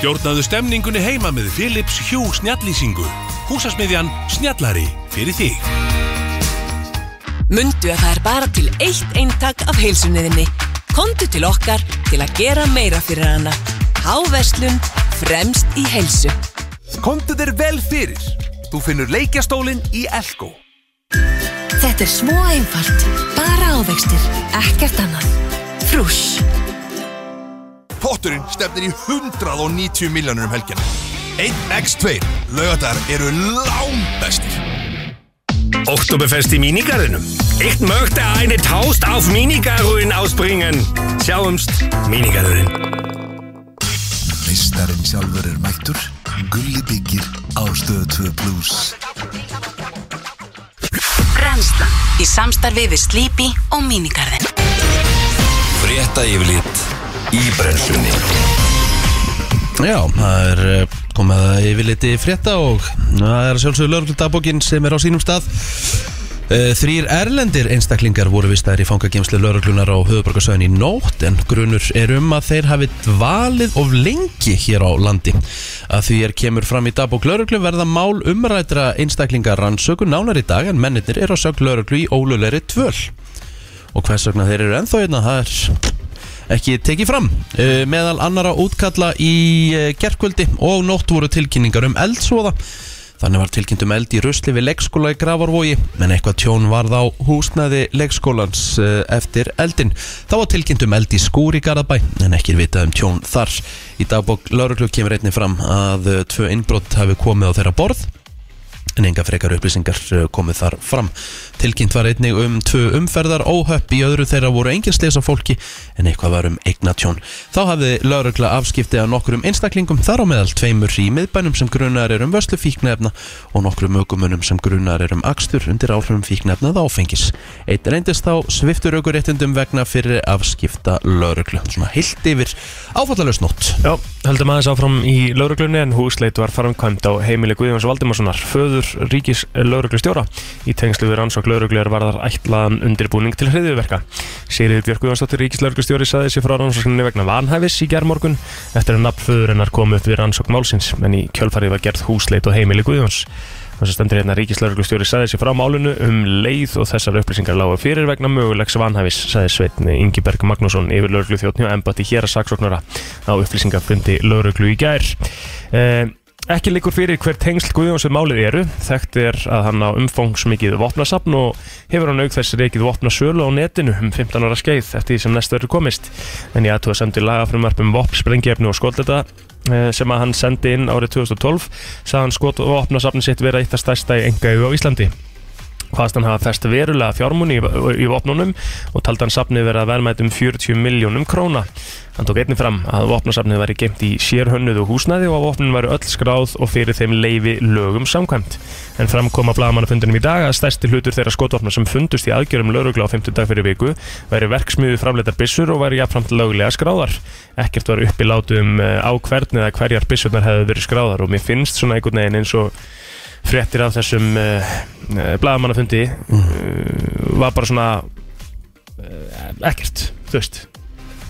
S8: Stjórnaðu stemningunni heima með Philips Hjú snjallýsingu. Húsasmiðjan Snjallari fyrir þig.
S5: Mundu að það er bara til eitt eintak af heilsunniðinni. Komdu til okkar til að gera meira fyrir hana. Háverslun fremst í heilsu.
S9: Komdu þér vel fyrir. Þú finnur leikjastólinn í Elko.
S10: Þetta er smó einfalt, bara ávextir, ekkert annað. Frúss.
S8: Potturinn stefnir í 190 miljónur um helgina. 1x2 lögadar eru lámbestir.
S11: Oktoberfest í Minigarðinum. Ich möchte eine Taust auf Minigarðin ausbringen. Sjáumst, Minigarðurinn.
S12: Meistarinn sjálfur er mættur Gulli byggir á stöðu 2 plus
S13: Brenslan í samstarfi við Sleepy og Minigarðin
S1: Frétta yfirlit í brennslunni
S2: Já, það er eh, komið að yfirliti frétta og það er að sjálfsögðu laurugludagbókin sem er á sínum stað Eh, Þrír erlendir einstaklingar voru vistaðir í fangagemslu lauruglunar á höfuborgarsöðin í nótt en grunur er um að þeir hafi dvalið of lengi hér á landi. Að því er kemur fram í dagbók lauruglu verða mál umrætra einstaklingar rannsöku nánar í dag en mennir eru að sög lauruglu í ólulegri tvöl og hvers vegna þeir eru ennþá hérna það er ekki tekið fram Eh, meðal annara útkalla í gerkvöldi og nótt voru tilkynningar um eldsvoða þannig var tilkynnt um eld í rusli við leikskóla í Gravarvogi en eitthvað tjón varð á húsnaði leikskólans eh, eftir eldin þá var tilkynnt um eld í skúr í Garabæ en ekki er vitað um tjón þar í dagbók lauruglu kemur einnig fram að eh, tvö innbrott hafi komið á þeirra borð en enga frekar upplýsingar uh, komið þar fram. Tilkynnt var einnig um tvö umferðar óhöpp í öðru þeirra voru engin slis á fólki en eitthvað var um eignatjón. Þá hafði laurugla afskipti að nokkrum einstaklingum þar á meðal tveimur í miðbænum sem grunar er um vöslu fíknefna og nokkrum aukumunum sem grunar er um akstur undir áhrifum fíknefnað áfengis. Eitt reyndist þá sviftur aukuréttundum vegna fyrir afskipta laurugla. Svona heilt yfir áfallalöst nótt.
S3: Já, höldum aðeins áfram í lauruglunni en húsleit var framkvæmt á heimili Guðjóns Valdimarssonar, föður ríkis lauruglustjóra. Í tengslu við rannsók lauruglu er varðar ætlaðan undirbúning til hriðuverka. Sigriður Björk Guðjónsdóttir ríkis lauruglustjóri saði sér frá rannsókninni vegna vanhæfis í gerðmorgun eftir að nafn föður hennar kom upp við rannsók málsins, en í kjölfarið var gerð húsleit á heimili Guðjóns. Þannig stendur hérna ríkislauruglustjóri saði sér frá málinu um leið og þessar upplýsingar lágu fyrir vegna mögulegs vanhæfis, saði Sveitn Ingiberg Magnússon yfir lauruglu þjóttni og embati hér að saksóknara á upplýsingafundi lauruglu í gær. Eh, ekki líkur fyrir hver tengsl Guðjóns við málið eru, þekkt er að hann á umfangsmikið vopnasafn og hefur hann auk þess reikið vopnasölu á netinu um 15 ára skeið eftir því sem næst verður komist. En ég aðtóða sendi lagafrumvarp um vopn, sprengjefni og skoldeta eh, sem að hann sendi inn árið 2012 sagði hann skot og vopnasafn sitt vera eitt af stærsta í engaðu á Íslandi hvaðast hann hafa fest verulega fjármunni í, í vopnunum og taldi hann safnið verið að verðmætt um 40 miljónum króna. Hann tók einnig fram að vopnasafnið væri geimt í sérhönnuðu húsnæði og að vopnin væri öll skráð og fyrir þeim leifi lögum samkvæmt. En fram kom að blagamannafundunum í dag að stærsti hlutur þeirra skotvopna sem fundust í aðgjörum laurugla á 50 dag fyrir viku væri verksmiðu framleitar byssur og væri jafnframt löglega skráðar. Ekkert var uppi látum á hvern eða hverjar byssurnar hefðu verið skráðar og mér finnst svona einhvern veginn eins og fréttir af þessum uh, uh, bladamannafundi uh, var bara svona uh, ekkert, þú veist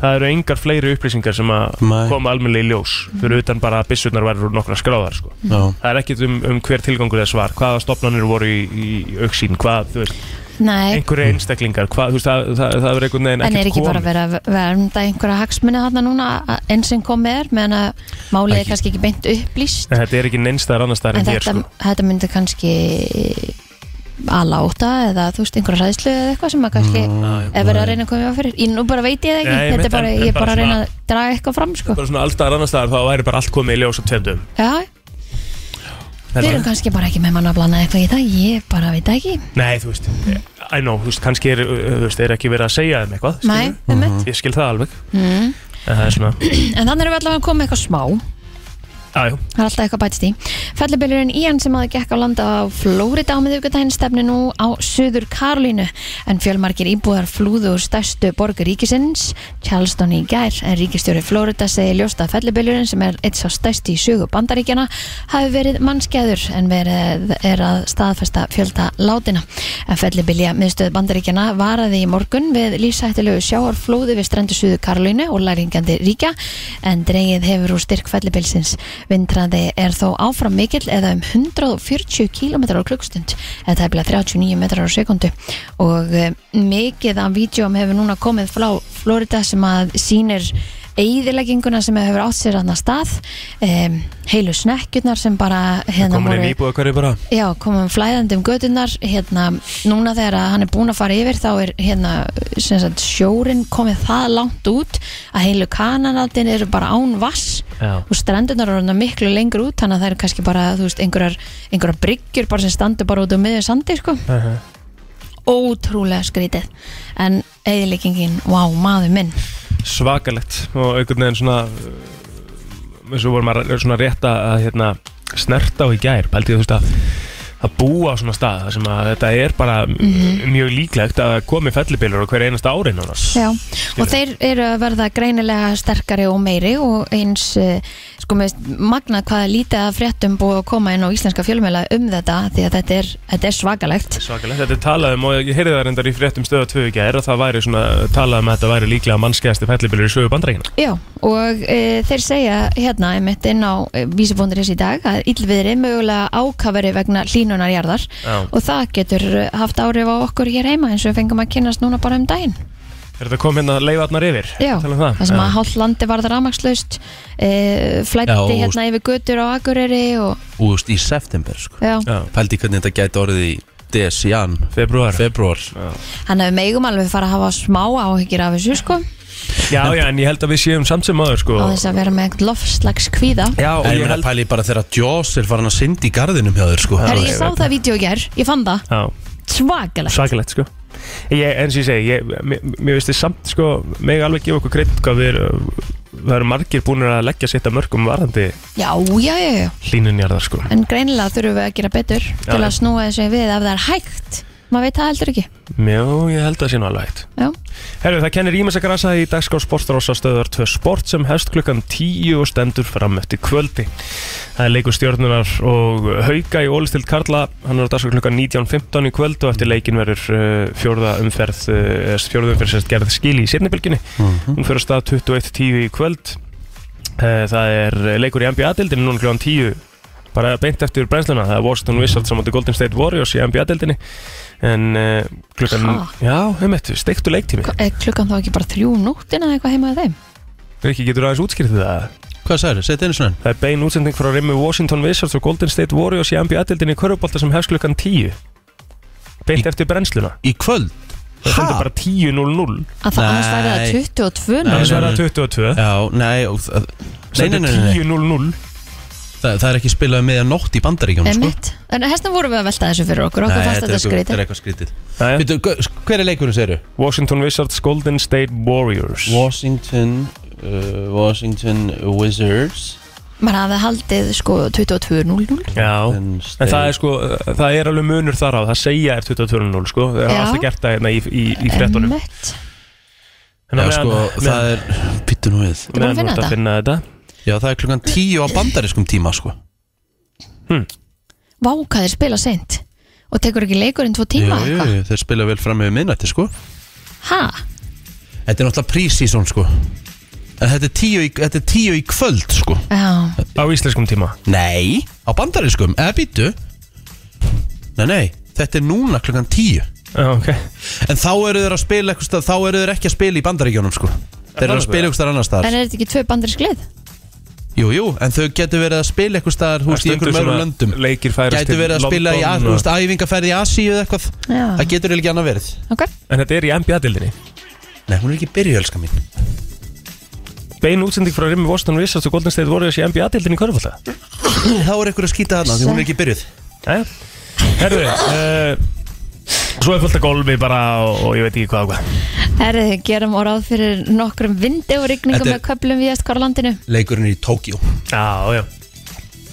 S3: það eru engar fleiri upplýsingar sem að
S2: Nei. Mhm.
S3: koma almennilega í ljós fyrir utan bara að byssurnar verður nokkra skráðar sko.
S2: Já.
S3: það er ekkert um, um hver tilgangur þess var hvaða stopnarnir voru í, í auksín hvað, þú veist
S4: Nei,
S3: einhverju
S2: Mhm.
S3: einstaklingar, hvað, þú veist, það, það, það er einhvern veginn
S4: en er
S3: ekkert
S4: ekki bara
S3: komið
S4: verið að vernda einhverja hagsmunni þarna núna að- enn sem komið er meðan að málið er kannski ekki beint upplýst
S3: en þetta er ekki neinstæðar annars staðar
S4: en
S3: en hér
S4: þetta,
S3: sko.
S4: þetta myndi kannski aláta eða þú veist einhverja ræðslu eða eitthvað sem að kannski
S3: Mm,
S4: er verið að reyna að koma hjá fyrir ég nú bara veit ég það ekki,
S3: Nei, ég
S4: þetta
S3: veit,
S4: er bara,
S3: en- en
S4: ég er
S3: bara
S4: bara að reyna
S3: svona-
S4: að draga eitthvað fram sko.
S3: bara svona allstaðar annars staðar þá væri bara allt komið í ljós á tveimdum
S4: já, við erum kannski bara ekki með manna að blana eitthvað í það, ég bara veit það ekki
S3: Nei, þú veist, I know, þú veist, kannski er, uh, þú veist, er ekki verið að segja þeim eitthvað
S4: Nei,
S3: skilurðu? Ég skil það alveg
S4: mm.
S3: En það er
S4: *clears throat*
S3: svona,
S4: en þannig erum við allavega að koma með eitthvað smá
S3: aðjó
S4: Það er alltaf eitthvað bætist í. Fellibillurinn Ian sem aðeins gekk á landa á Flórida á miðvíkudaginn stefni nú á Suður Karolínu en fjölmarkir íbúðar flúðu úr stærstu borgur ríkisins, Charleston í gær, en ríkistjóri Flórida segi ljóst að fellibillurinn sem er eitt sá stærsti í sögu bandaríkjana hafi verið mannskeður en verið er að staðfesta fjölda látina. En fellibilja miðstöð bandaríkjana varaði í morgun við lífsættilegu sjáarflóði við strendu Suður Karolínu og læringandi ríkja en dreigið hefur úr styrk fellibilsins. Vindraði er þó áfram mikill eða um 140 km á klukkstund eða tæplega 39 metrar á sekundu og eh, mikið af vídjum hefur núna komið frá Florida sem að sýnir eigðilegginguna sem hefur átt sér annað stað um, heilu snekkjurnar sem bara hérna
S3: komin inn í íbúða hverju bara
S4: Já, komum flæðandi um gödunar hérna, núna þegar að hann er búinn að fara yfir þá er hérna, sem sagt, sjórin komið það langt út að heilu kananaldin eru bara án vass
S3: Já.
S4: og strandunar eru orðnar miklu lengur út þannig að það eru kannski bara, þú veist, einhverjar einhverjar bryggjur bara sem standur bara út um miður sandi, sko, ótrúlega skrítið en eðileggingin, vá, maður minn
S3: Svakalegt og einhvern veginn svona uh, eins og vorum að svona rétt að að, hérna, snerta á í gær pældi þú veist að að búa á svona stað þar sem að þetta er bara
S4: Mhm.
S3: mjög líklegt að komi fellibillur á hver einasta ári nánast
S4: Já, og þeir eru að verða greinilega sterkari og meiri og eins eh, sko með magna hvaða lítið að fréttum búið að koma inn á íslenska fjölmjöla um þetta því að þetta er, þetta er svakalegt
S3: Svakalegt, þetta er talað um og ég heyrði það reyndar í fréttum stöða 2 í gær og það væri svona talað um að þetta væri líklega mannskæðasti fellibillur í sögu bandrækina
S4: Já, og e, þeir segja hérna einmitt inn á e, vísifónduris í dag að illviðri mögulega ákafari vegna hlínunarjarðar
S3: Já.
S4: og það getur eh, haft áhrif á okkur hér heima eins og við fengum að kynast núna bara um daginn
S3: Er þetta komið hérna leifarnar yfir?
S4: Ah, Já,
S3: Tala um það
S4: það sem
S3: Já.
S4: að hálft landi varð ramagslaust e, flætti
S2: Já, og-
S4: hérna yfir götur á Akureyri og
S2: úst í september sko.
S4: Já. Já.
S2: pældi hvernig þetta gæti orðið í desjan,
S3: februar,
S2: februar.
S4: Þannig að við megum alveg fara að hafa smá áhyggjur af þessu sko á
S3: Já, já, en ég held að við séum samt sem aður sko
S4: þess að vera með eitthvað lofslags kvíða
S3: Já,
S2: og ég held pæli bara þegar Jaws er farin að syndi í garðinum hjá þér sko.
S4: Herri, ég sá það vídeo í ger, ég fann það
S3: Já,
S4: Svakalegt
S3: svakalegt sko ég, eins og ég segi, ég, mér, mér veist þið samt sko, mig alveg gefa okkur kreitt hvað við erum það eru margir búin að leggja sitt að mörgum varðandi
S4: Já, já, já, já
S3: hlínunjarðar sko
S4: En greinilega þurfum við að gera betur til
S3: já.
S4: að snúa þessu við ef það er hægt Maður veit það heldur ekki
S3: Mjó, ég held að það sé nú alveg hægt
S4: Já.
S3: Herru, það kennir ímessa grasa í dagskrá sportrósa stöðar 2 sport sem hefst klukkan 10 og stendur fram eftir kvöldi Það er leikur stjórnunar og hauka í Ólistild Karla hann er á dagskrá klukkan 19.15 í kvöld og eftir leikin verður uh, fjórða umferð uh, fjórða umferð sem sagt gerð skil í sérnibylginni
S2: Mhm.
S3: hún fyrir að stað 21.10 í kvöld Eh, Það er leikur í NBA-dildinu núna kljóðan 10 bara beint eftir brennsluna það er Washington Wizards á móti Golden State Warriors í NBA-dildinni en uh, klukkan
S4: Ha?
S3: já, um eitt, steiktu leiktími
S4: Er klukkan þá ekki bara þrjú um nóttina eða eitthvað heima að þeim?
S3: Rikki, getur aðeins útskýrðið það?
S2: Hvað sagður, setja einu svona
S3: Það er bein útsending frá rimmu Washington Wizards og Golden State Warriors í NBA-dildinni í Körubólta sem hefst klukkan 10 beint eftir brennsluna
S2: í kvöld?
S3: það stendur bara 10.00
S4: Að það annars væri það 22 núna.
S3: Annars væri það 22
S2: Já, nei, og það- nei, nei,
S3: Stendur
S2: nei, nei.
S3: 10.00
S2: Þa, Það er ekki spilað með að nótt í bandaríkjónu sko.
S4: Einmitt. En hestum vorum við að velta þessu fyrir okkur Okkur fannst þetta
S2: Þetta er
S4: skrítið
S2: eitthvað skrítið
S3: Veitu,
S2: Hver er leikurinn, segir þú?
S3: Washington Wizards, Golden State Warriors
S2: Washington uh, Washington Wizards
S4: Maður hafði haldið sko 22.00
S3: Já, en það er sko það er alveg munur þar á, það segja er 22.0 sko, það er
S4: Já.
S3: alltaf gert það hérna í, í, í frettunum
S4: Einmitt.
S2: Já, sko, það er Pittu nú við
S4: búin að finna þetta?
S3: finna þetta
S2: Já, það er klukkan 10 á bandarískum tíma sko
S4: Vá, hvað þeir spila seint Og tekur ekki leikurinn tvo tíma
S2: Jú, jú,
S4: eitthvað?
S2: jú, þeir spila vel fram með minnætti sko
S4: Ha?
S2: Þetta er náttúrulega prísísón sko En þetta er 10 í, þetta er 10 í kvöld sko
S4: Já
S3: Á íslenskum tíma?
S2: Nei, á bandarískum, eða býtu Nei, nei, þetta er núna klukkan 10
S3: okay.
S2: En þá eru þeir að spila eitthvað, stað- þá eru þeir ekki að spila í bandaríkjónum sko Þeir eru að spila eitthvað staðar
S4: En
S2: annars staðar
S4: er þetta ekki tvö bandarísk lið?
S2: Jú, jú, en þau getur verið að spila eitthvað staðar, hú veist, í einhverjum öðrum löndum
S3: leikir færast
S2: Gætu verið að spila í
S3: London
S2: þú veist, æfingarferð í Asíu eða eitthvað
S4: Já.
S2: Það getur eiginlega ekki annað verið
S4: Ok
S3: En þetta er í NBA-dildinni
S2: Nei, hún er ekki byrjuð, elska mín
S3: Bein útsending frá Rimmi Washington Wizards og Golden State Warriors í NBA-dildinni í Körfólta
S2: Þá er eitthvað að skýta þarna, því hún er ekki byrjuð
S3: Jæja. Herðu uh, Svo er fullt af golfi bara og, og ég veit ekki hvað og hvað
S4: Herri, þið gerum og ráð fyrir nokkrum vindi og rigningum
S2: Þetta
S4: með
S2: er-
S4: köplum við hvar á landinu
S2: Leikurinn er í Tókjó
S3: Já, já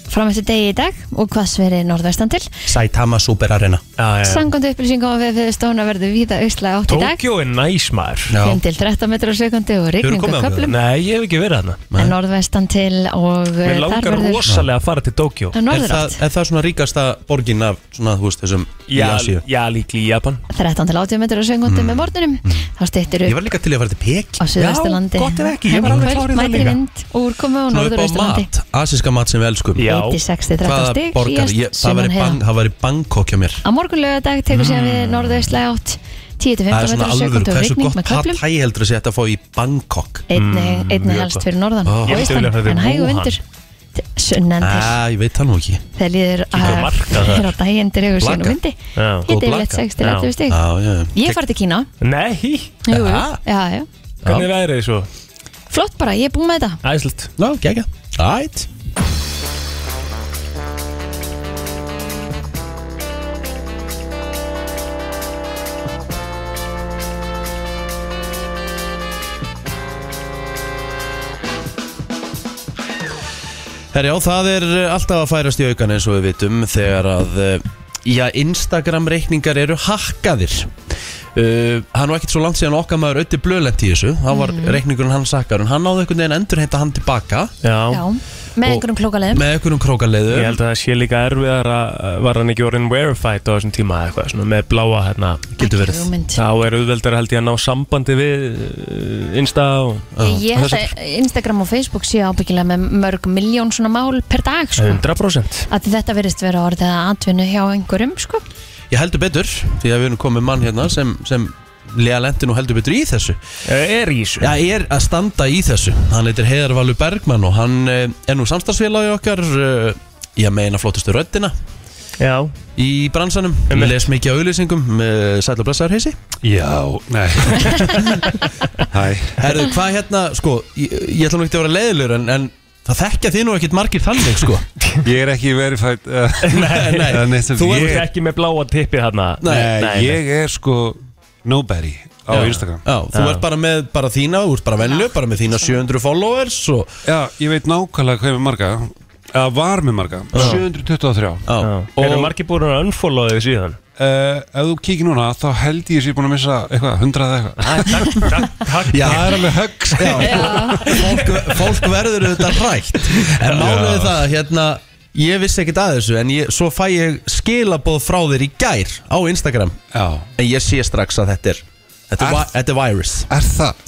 S4: fram eftir degi í dag og hvað sveri norðvestan til.
S2: Saitama Super Arena
S3: Já,
S4: Sangandi upplýsingum á við stóna verður víða auðslega átt í dag.
S3: Tókjó er næs maður
S4: 5 til 13 metrar á sekundi og rigning og köplum.
S3: Nei, ég hef ekki verið hana
S4: En norðvestan til og eh,
S3: Mér langar
S4: þar verður...
S3: rosalega að fara til Tókjó
S4: Það er norðurátt.
S2: Er það svona ríkasta borgin af svona, þú veist, þessum í
S3: Já,
S2: Asíu
S3: já líkli í Japan
S4: 13 til 80 metrar á sekundi
S3: Mm.
S4: með morgunum. Þá stýttir
S2: Ég
S4: upp
S2: var líka til í að fara til Peking
S4: á suðvesturlandi.
S3: Já, gott ef ekki, ég var
S4: En
S3: alveg
S4: kvöld
S3: klár í það
S4: mætir
S3: líka.
S4: vind og úrkomu á
S2: Svona upp á
S4: norðausturlandi.
S2: mat, asíska mat sem við elskum
S4: Já. 86 til 13 stig,
S2: borgar,
S4: hlýjast
S2: ég, það væri
S4: sunnan heiða.
S2: bang, það væri Bangkok hjá mér
S4: Á morgun lögadag tekur síðan við norðaustlæg átt 10-15
S2: Mm. Það er svona
S4: metrar á
S2: alvöru,
S4: sekundu og
S2: hversu
S4: rigning
S2: gott
S4: með
S2: pad
S4: köflum
S2: thai heldur að sé þetta að fá í Bangkok
S3: Mm,
S4: einni, einni helst fyrir norðan
S2: Ó.
S4: og austan en hægur vindur Til- sunnan til
S2: Æ, ég veit það nú ekki
S4: þegar líður
S2: Kíkja á
S4: að
S2: markað þar.
S4: hér á daginn dregur síðan og
S2: Blaka.
S4: vindi
S2: Já.
S4: Hiti yfirleitt 6 til 11 stig ég fari til Kína
S3: Nei,
S4: Jú, jú. já, já.
S3: hvernig væri þið svo?
S4: flott bara, ég er búin með þetta
S3: Æsland
S2: Ná, gegja Ætt Herjá, það er eh, alltaf að færast í aukan eins og við vitum þegar að eh, já, Instagram reikningar eru hakkaðir Uh, hann var ekkert svo langt síðan okkar maður auðvitað blöðlent í þessu þá var
S4: Mhm.
S2: reikningurinn hann sakkar en hann náði einhvern veginn endur heita hann tilbaka
S3: Já,
S4: Já, með einhverjum klókaleðum
S2: með einhverjum krókaleiðu
S3: Ég held að það sé líka erfiðar að var hann ekki orðin verified á þessum tíma eða eitthvað svona með bláa hérna
S4: Getur verið. hugmynd.
S3: Þá er auðveldar held ég að ná sambandi við uh, Insta og
S4: Ég held að Instagram og Facebook séu ábyggilega með mörg miljón svona mál per dag sko.
S3: 100%
S4: að þetta verðist vera orðið að atvinnu hjá einhverjum sko.
S2: Ég heldur betur, því að við erum komið mann hérna sem, sem lega lendi nú heldur betur í þessu
S3: Eh, Er í þessu?
S2: Já, er að standa í þessu Hann heitir Heiðar Valur Bergmann og hann eh, er nú samstagsfélagi okkar eh, Ég meina flottustu röddina
S3: Já
S2: Í bransanum, við les mikið á auðlýsingum með Sæll og blessaður heisi
S14: Já,
S2: *laughs*
S14: nei Hæ
S2: Herðu, hvað hérna, sko, ég, ég ætla nú ekki að vera leiðilegur en, en það þekkja þið nú ekkert margir þannig, sko
S14: Ég er ekki verified uh,
S3: *laughs*
S2: Nei, nei.
S14: *laughs* eða neitt sem-
S3: Þú ert
S14: ég-
S3: ekki með bláa tippið hérna
S14: Nei, ég er sko nobody á Instagram
S2: Já, þú ert bara með bara þína, þú ert bara venlu, bara með þína 700 followers og...
S14: Já, ég veit nákvæmlega hvað er með marga eða var með marga, 723
S2: Já.
S3: Eru margir búin að unfollowa þig síðan?
S14: Uh, ef þú kíkir núna, þá held ég að ég sé búin að missa eitthvað, hundrað eða eitthvað Já, það er alveg *laughs* höggs
S2: fólk, fólk verður auðvitað rætt En málið er það, hérna Ég vissi ekkert að þessu En ég, svo fæ ég skilaboð frá þér í gær Á Instagram
S14: Já.
S2: En ég sé strax að þetta er Þetta er, er, þetta er virus
S14: Er það?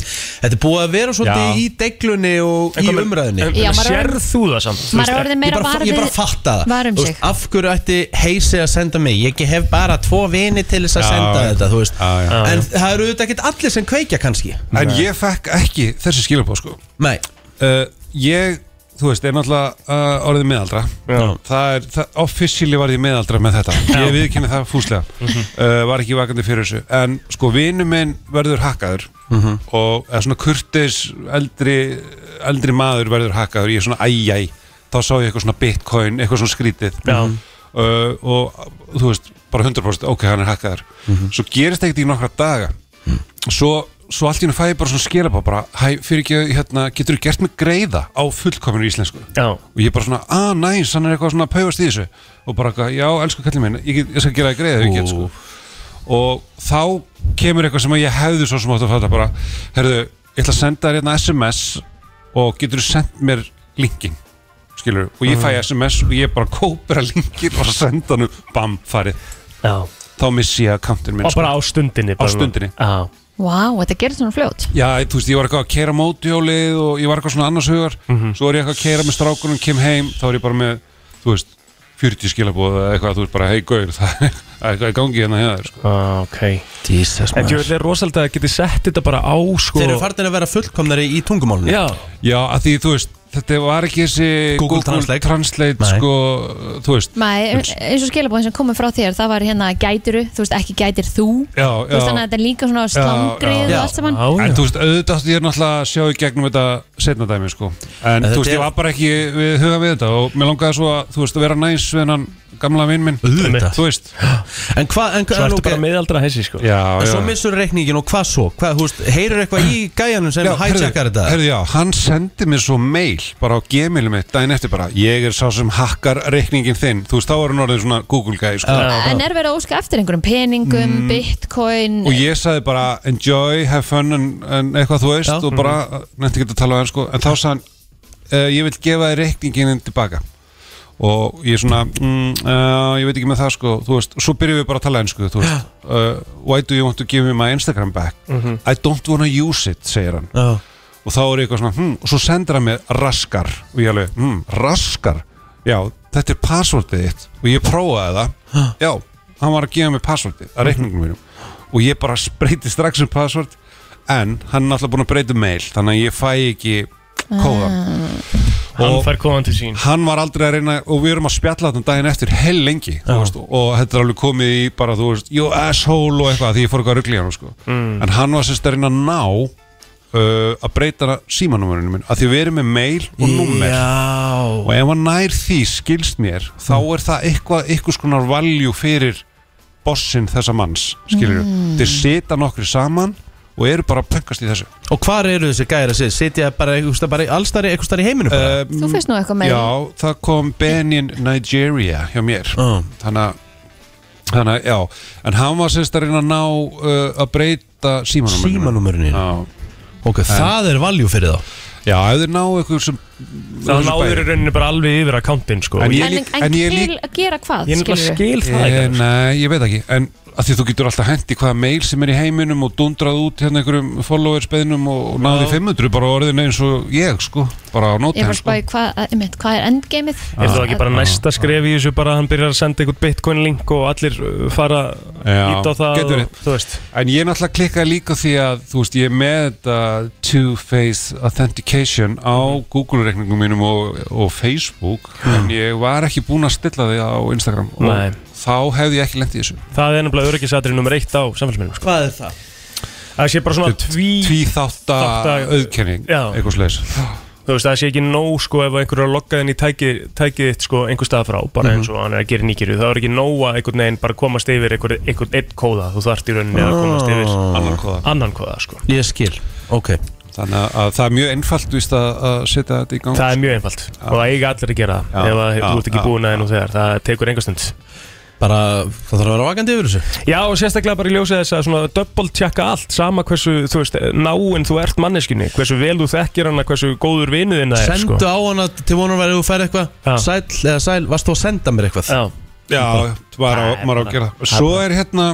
S2: Þetta er búið að vera svolítið
S3: Já.
S2: í deglunni og í umræðinni
S4: Já, maður er
S3: Sérð
S4: orðinn-
S3: þú það samt?
S4: maður er orðin
S2: Ég
S4: meira
S2: bara,
S4: var
S2: ég bara fatta það
S4: var um
S2: Þú
S4: sig.
S2: veist, Af hverju ætti heisi að senda mig Ég hef bara tvo vini til þess að
S14: Já,
S2: senda
S14: já.
S2: þetta þú veist.
S14: já.
S2: En það eru auðvitað ekkert allir sem kveikja kannski
S14: En ég fekk ekki þessi skilabóð sko
S2: Nei
S14: uh, Ég, þú veist, er náttúrulega uh, orðið meðaldra
S2: Já.
S14: Það er, það, officially var ég meðaldra með þetta
S3: Já.
S14: Ég viðkynni það fúslega
S2: Mhm.
S14: uh, Var ekki vakandi fyrir þessu En sko, vinur minn verður hakkaður
S2: Mhm.
S14: Og eða svona kurtis eldri, eldri maður verður hakkaður Ég er svona æjæ Þá sá ég eitthvað svona bitcoin, eitthvað svona skrítið
S3: Já.
S14: uh, Og þú veist, bara 100% Ok, hann er hakkaður
S3: Mhm.
S14: Svo gerist ekkert í nokkra daga svo, svo allt í hennu fæði bara svona skilabá bara, hæ, fyrir ekki, hérna, getur þú gert mig greiða á fullkominu íslensku
S3: já.
S14: og ég bara svona, að næs, hann er eitthvað svona að paufast í þessu og bara, eitthvað, já, elsku kallið minn ég, get- ég skal gera það greiða, ef ég get sko og þá kemur eitthvað sem að ég hefði svo sem átt að fatta bara, herðu, ég ætla að senda þér hérna SMS og getur þú sendt mér linkin skilur, og ég fæ
S3: Ah.
S14: SMS og ég bara kópera linkin og senda hann bam, farið
S3: já.
S14: þá missi ég akkantinn minn sko.
S3: Og bara á stundinni
S14: á stundinni
S3: Já
S4: Vá, þetta gerði svona fljót
S14: Já, þú veist, ég var eitthvað að kera mótjólið og ég var eitthvað svona annars hugar
S2: Mhm.
S14: Svo var ég eitthvað að kera með strákunum, kem heim Þá var ég bara með, þú veist, 40 skilabóð eða eitthvað Þú veist bara, hei gaur, *laughs* það er það er eitthvað í gangi hérna hérna sko.
S3: ah, Ok
S2: Jesus,
S3: En ég vil er rosalega að geti sett þetta bara á sko
S2: Þeir eru farin að vera fullkomnari í tungumálunum
S3: Já
S14: Já, að því, þú veist, þetta var ekki þessi
S2: Google Translate.
S14: Translate,
S2: Nei.
S14: sko, þú veist
S4: Maður, eins og skilabóðin sem komið frá þér það var hérna gætiru, þú veist ekki gætir þú
S14: Já,
S4: þú veist þannig að þetta er líka svona slangrið og allt saman
S14: En þú veist, auðvitað átti ég náttúrulega að sjá í gegnum þetta setna dæmi, sko En
S2: En
S14: þú
S2: þetta
S14: veist, ég
S2: er-
S14: var bara ekki við huga við þetta Og mér langaði svo að, þú veist, að vera næs við hennan gamla vinn minn
S2: Auðvitað.
S14: Þú veist
S2: En hvað, en
S14: Svo
S2: hvað
S14: ertu
S2: ok,
S14: bara
S3: meðaldra hessi sko
S14: Já,
S2: En svo
S14: já.
S2: missur reikningin og hvað svo hvað, húst, Heyrir eitthvað í gæjanum sem
S14: Já,
S2: hijackar
S14: heyrðu,
S2: þetta
S14: heyrðu, já, hann sendi mér svo mail bara á gemilu mitt daginn eftir bara ég er sá sem hakkar reikningin þinn þú veist þá er hann orðið svona Google guy sko.
S4: en er verið að óska eftir einhverjum peningum bitcoin
S14: Mm. og ég sagði bara enjoy, have fun en, en eitthvað þú veist og bara nefndi ekki að tala á hann sko en þá sagði hann uh, ég vil gefa þér reikningin þinn tilbaka og ég svona mm, uh, ég veit ekki með það sko þú veist, svo byrjum við bara að tala ennsku þú veist uh, why do you want to give me my Instagram back
S3: Mhm.
S14: I don't wanna use it segir hann
S2: Já.
S14: og þá er ég eitthvað svona hm, og svo sendir hann mér raskar og ég alveg, hm, raskar já, þetta er passvortið þitt og ég prófaði það já, hann var að gefa mér passvortið að reikningum mínum og ég bara spreyti strax um passvort en hann er náttúrulega búin að breyta um mail þannig að ég fæ ekki kóðan
S15: Ah.
S3: Hann
S14: Og-
S3: fær kóðan til sín
S14: hann var aldrei að reyna og við erum að spjalla þetta daginn eftir hell lengi veist, og þetta er alveg komið í bara þú veist you asshole og eitthvað því ég fór eitthvað að ruggli hann sko.
S3: Mm.
S14: en hann var sérst að reyna að ná uh, að breyta símanúmerinu minn að því við erum með mail og númer
S2: Já. Mm.
S14: og ef hann nær því skilst mér þá er það eitthvað eitthvað skonar valjú fyrir bossin þessa manns skilur
S3: Mm.
S14: þeir sita nokkri saman og eru bara að pöngast í þessu
S2: Og hvar eru þessi gæra sér? Sitja bara, einhvers staðar- bara allstari, einhverstari í heiminum bara?
S14: Um,
S4: Þú finnst nú eitthvað með
S14: Já, það kom Benin Nigeria hjá mér
S2: Ah.
S14: Þannig að Þannig að, já, en hann var semst að reyna að ná uh, að breyta símanúmerinu
S2: Símanúmerinu?
S14: Já
S2: Ok, það er valjú fyrir þá
S14: Já, ef þið ná eitthvað sem
S3: Það náður í rauninni bara alveg yfir að kantin sko
S14: En
S4: En,
S14: ég
S4: en,
S14: lík- en ég
S4: til
S14: lík-
S4: að gera hvað,
S3: Ég er nefnilega skil það
S14: Eh,
S3: ekki alveg,
S14: Nei, ég veit ekki En að því þú getur alltaf hendi hvaða mail sem er í heiminum og dundrað út hérna einhverjum followers beðnum og, og náði
S3: Já.
S14: 500 bara orðin eins og ég sko bara á
S4: Ég
S14: nótum
S4: var
S14: sko
S4: spáði hvað, eh, einmitt, hvað er endgameið
S14: Ah.
S3: Er það ekki bara næsta skref í þessu bara að hann byrjar að senda einhvern bitcoin link og allir uh, fara
S14: Já,
S3: ít á það
S14: getur
S3: og, þú veist
S14: En ég náttúrulega klikkaði líka því að þú veist, ég er með þetta two-phase authentication á Google-reikningum mínum og, og Facebook en ég var ekki búinn að stilla því á Instagram og
S3: Nei.
S14: þá hefði ég ekki lendið þessu
S3: Það er nefnilega öryggisatri nummer eitt á samfélsmiðlum sko.
S2: Hvað er það?
S3: Það sé bara svona tví,
S14: tví þátta auðkenning, eitthvað slags
S3: Þú veist, það sé ekki nóg sko ef einhverju er loggað inn í tæki, tækið þitt sko einhver stað frá bara
S14: Mhm.
S3: eins og hann er að gera nýkjöru Það er ekki nóg að einhvern veginn bara komast yfir einhvern einhvern einn kóða Þú þarft í rauninni að komast yfir
S14: Ah. Annan kóða.
S3: Annan kóða sko
S2: Ég skil, ok
S14: Þannig að það er mjög einfalt víst, að, að setja þetta í gang
S3: Það er mjög einfalt og það eiga allir að gera það
S14: Já,
S3: ef að
S14: já,
S3: þú ert ekki
S14: já.
S3: búin að það nú þegar, það tekur einhver stund
S2: Bara, það þarf að vera vakandi yfir þessu
S3: Já og sérstaklega bara í ljósið þess að svona double tjekka allt sama hversu, þú veist, náinn þú ert manneskinni hversu vel þú þekkir hana, hversu góður vinið þinn það er sko.
S2: Sendu á hana til vonum að þú fær eitthvað Sæl eða sæl, varst þú að senda mér eitthvað?
S3: Já,
S14: Já, var á, maður á að gera það Svo er hérna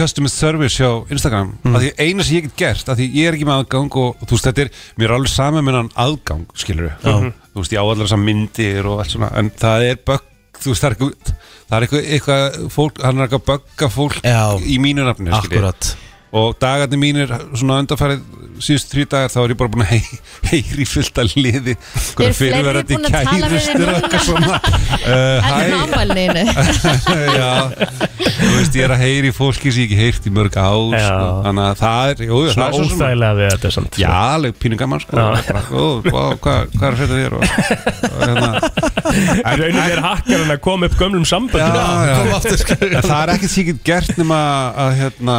S14: customer service hjá Instagram mm. að því eina sem ég get gert, að því ég er ekki með aðgang og, og þú veist þetta er, mér er alveg saman með hann aðgang, skilur við
S2: Já.
S14: þú veist ég á allar þessar myndir og allt svona en það er bögg, þú veist það er eitthvað það er eitthvað, eitthvað fólk, hann er eitthvað að bögga fólk Já. í mínu nafni skilur við.
S2: Akkurat.
S14: og dagarnir mínir svona undanfærið síðust þrjú dagar þá er ég bara búin að hei, heyri fullt að liði
S4: Eru fleiri
S14: fyrirverandi
S4: búin að tala við þig
S14: kærustur og
S4: núna?
S14: eitthvað *laughs* svona uh, hæ,
S4: Enn ámælniðinu
S14: *laughs* já, þú veist, ég er að heyri fólki sem ég ekki heyrt í mörg ár sko. þannig að það er, jú,
S3: Svona
S14: það er svo sem-
S3: óþægilega við þetta samt sko.
S14: Já, alveg pínu gaman sko Bara, Ó, vá, hvað hvað er þetta þér og, og hérna
S3: *laughs* Í rauninni er hakkarinn að koma upp gömlum samböndum
S14: Já, já.
S3: sko.
S14: En það er ekkert sem ég get gert nema að hérna,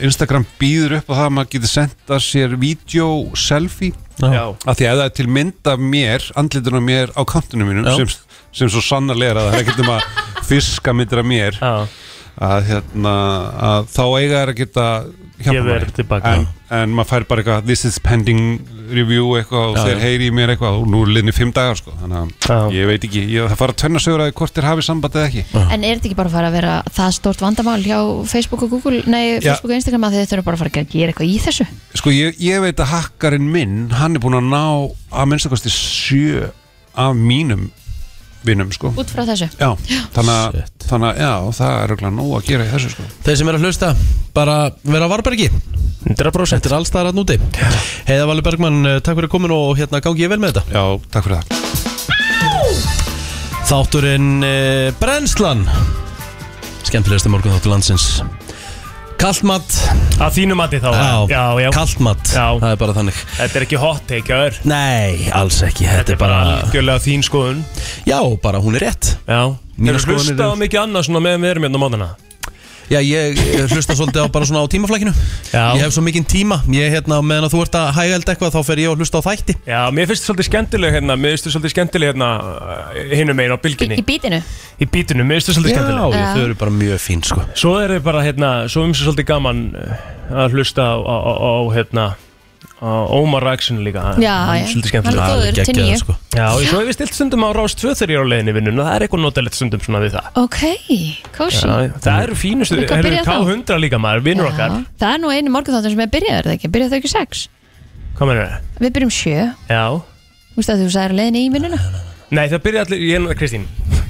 S14: Instagram býður upp á það að maður getur senda sér vídeo selfie
S3: Já.
S14: að því að það er til mynd af mér andlitunum mér á kantinu mínum
S3: Já.
S14: sem, sem svo sannarlega að það er ekkert nema fiska myndir af mér að, hérna, að þá eiga þær að geta hjálpa
S3: Gefið
S14: manni.
S3: þér tilbaka.
S14: en, en maður fær bara eitthvað this is pending review eitthvað og
S3: Já,
S14: þeir
S3: já.
S14: heyri í mér eitthvað og nú er liðni fimm dagar sko þannig að ég veit ekki, ég, það fara tvenna sögur að hvort þér hafi samband eða ekki
S4: En er þetta ekki bara að fara að vera það stort vandamál hjá Facebook og Google, nei,
S14: Já.
S4: Facebook og Instagram að þið þurfa bara að fara að gera eitthvað í þessu
S14: Sko ég, ég veit að hakkarinn minn hann er búinn að ná að minnstakosti sjö af mínum vinnum sko
S4: út frá þessu
S14: Já, þannig að, þannig að já, það er auðvitað nóg að gera í þessu sko
S2: Þeir sem eru að hlusta, bara vera á varbergi
S3: 100%
S2: Þetta er allstaðar að núti Heiða Valur Bergmann, eh, takk fyrir komin og hérna gangi ég vel með þetta
S14: Já, takk fyrir það
S2: Þátturinn eh, Brennslan Skemmtilegasti morgun þáttur landsins Kaltmatt
S3: Að þínu mati þá
S2: Já,
S3: já, já.
S2: Kaltmatt, það er bara þannig
S3: Þetta er ekki hot take, það er
S2: Nei, alls ekki Þetta, er bara
S3: algjörlega þín skoðun
S2: Já, bara hún er rétt
S3: Já,
S2: Mínar
S3: Þeir
S2: skoðanir
S3: hlusta á
S2: eru-
S3: mikið annað svona meðan við erum hérna á mótana
S2: Já, ég eh, hlusta svolítið á bara svona á tímaflækinu Já. Ég hef svo mikinn tíma Ég, hérna, meðan að þú ert að hægælda eitthvað Þá fer ég að hlusta á þætti
S3: Já, mér finnst þetta svolítið skemmtileg hérna Mér finnst þetta svolítið skemmtileg hérna Hinnum megin á bylginni
S4: Í bítinu
S3: Í bítinu, mér finnst þetta svolítið
S2: Já,
S3: skemmtileg
S2: já, þau eru bara mjög fín sko
S3: Svo er þau bara hérna Svo um sig svolítið gaman uh, að hlusta á, á, á, á hérna á Ómar Ræksson líka hann-
S4: Já,
S3: hann er
S4: já.
S3: Svolítið skemmtileg
S4: Hann er góður, til níu.
S2: sko.
S3: Já, og svo hef ég stilt stundum á Rás 2 þegar ég er á leiðinni í vinnuna Það er eitthvað notalegt stundum svona við það
S4: Ok, kósi
S3: Já, já. Það eru fínustu,
S4: Líka að
S3: það
S4: byrja þá.
S3: K100 líka maður, vinnur okkar
S4: Það er nú einu morgunþáttur sem er byrjaður, er það ekki? Byrjaðu þau ekki sex?
S3: Hvað meður það?
S4: Við byrjum sjö,
S3: Já,
S4: þú veist að þú sagðir á leiðinni í vinnuna
S3: Nei, það byrja allir, ég er, Kristín *laughs*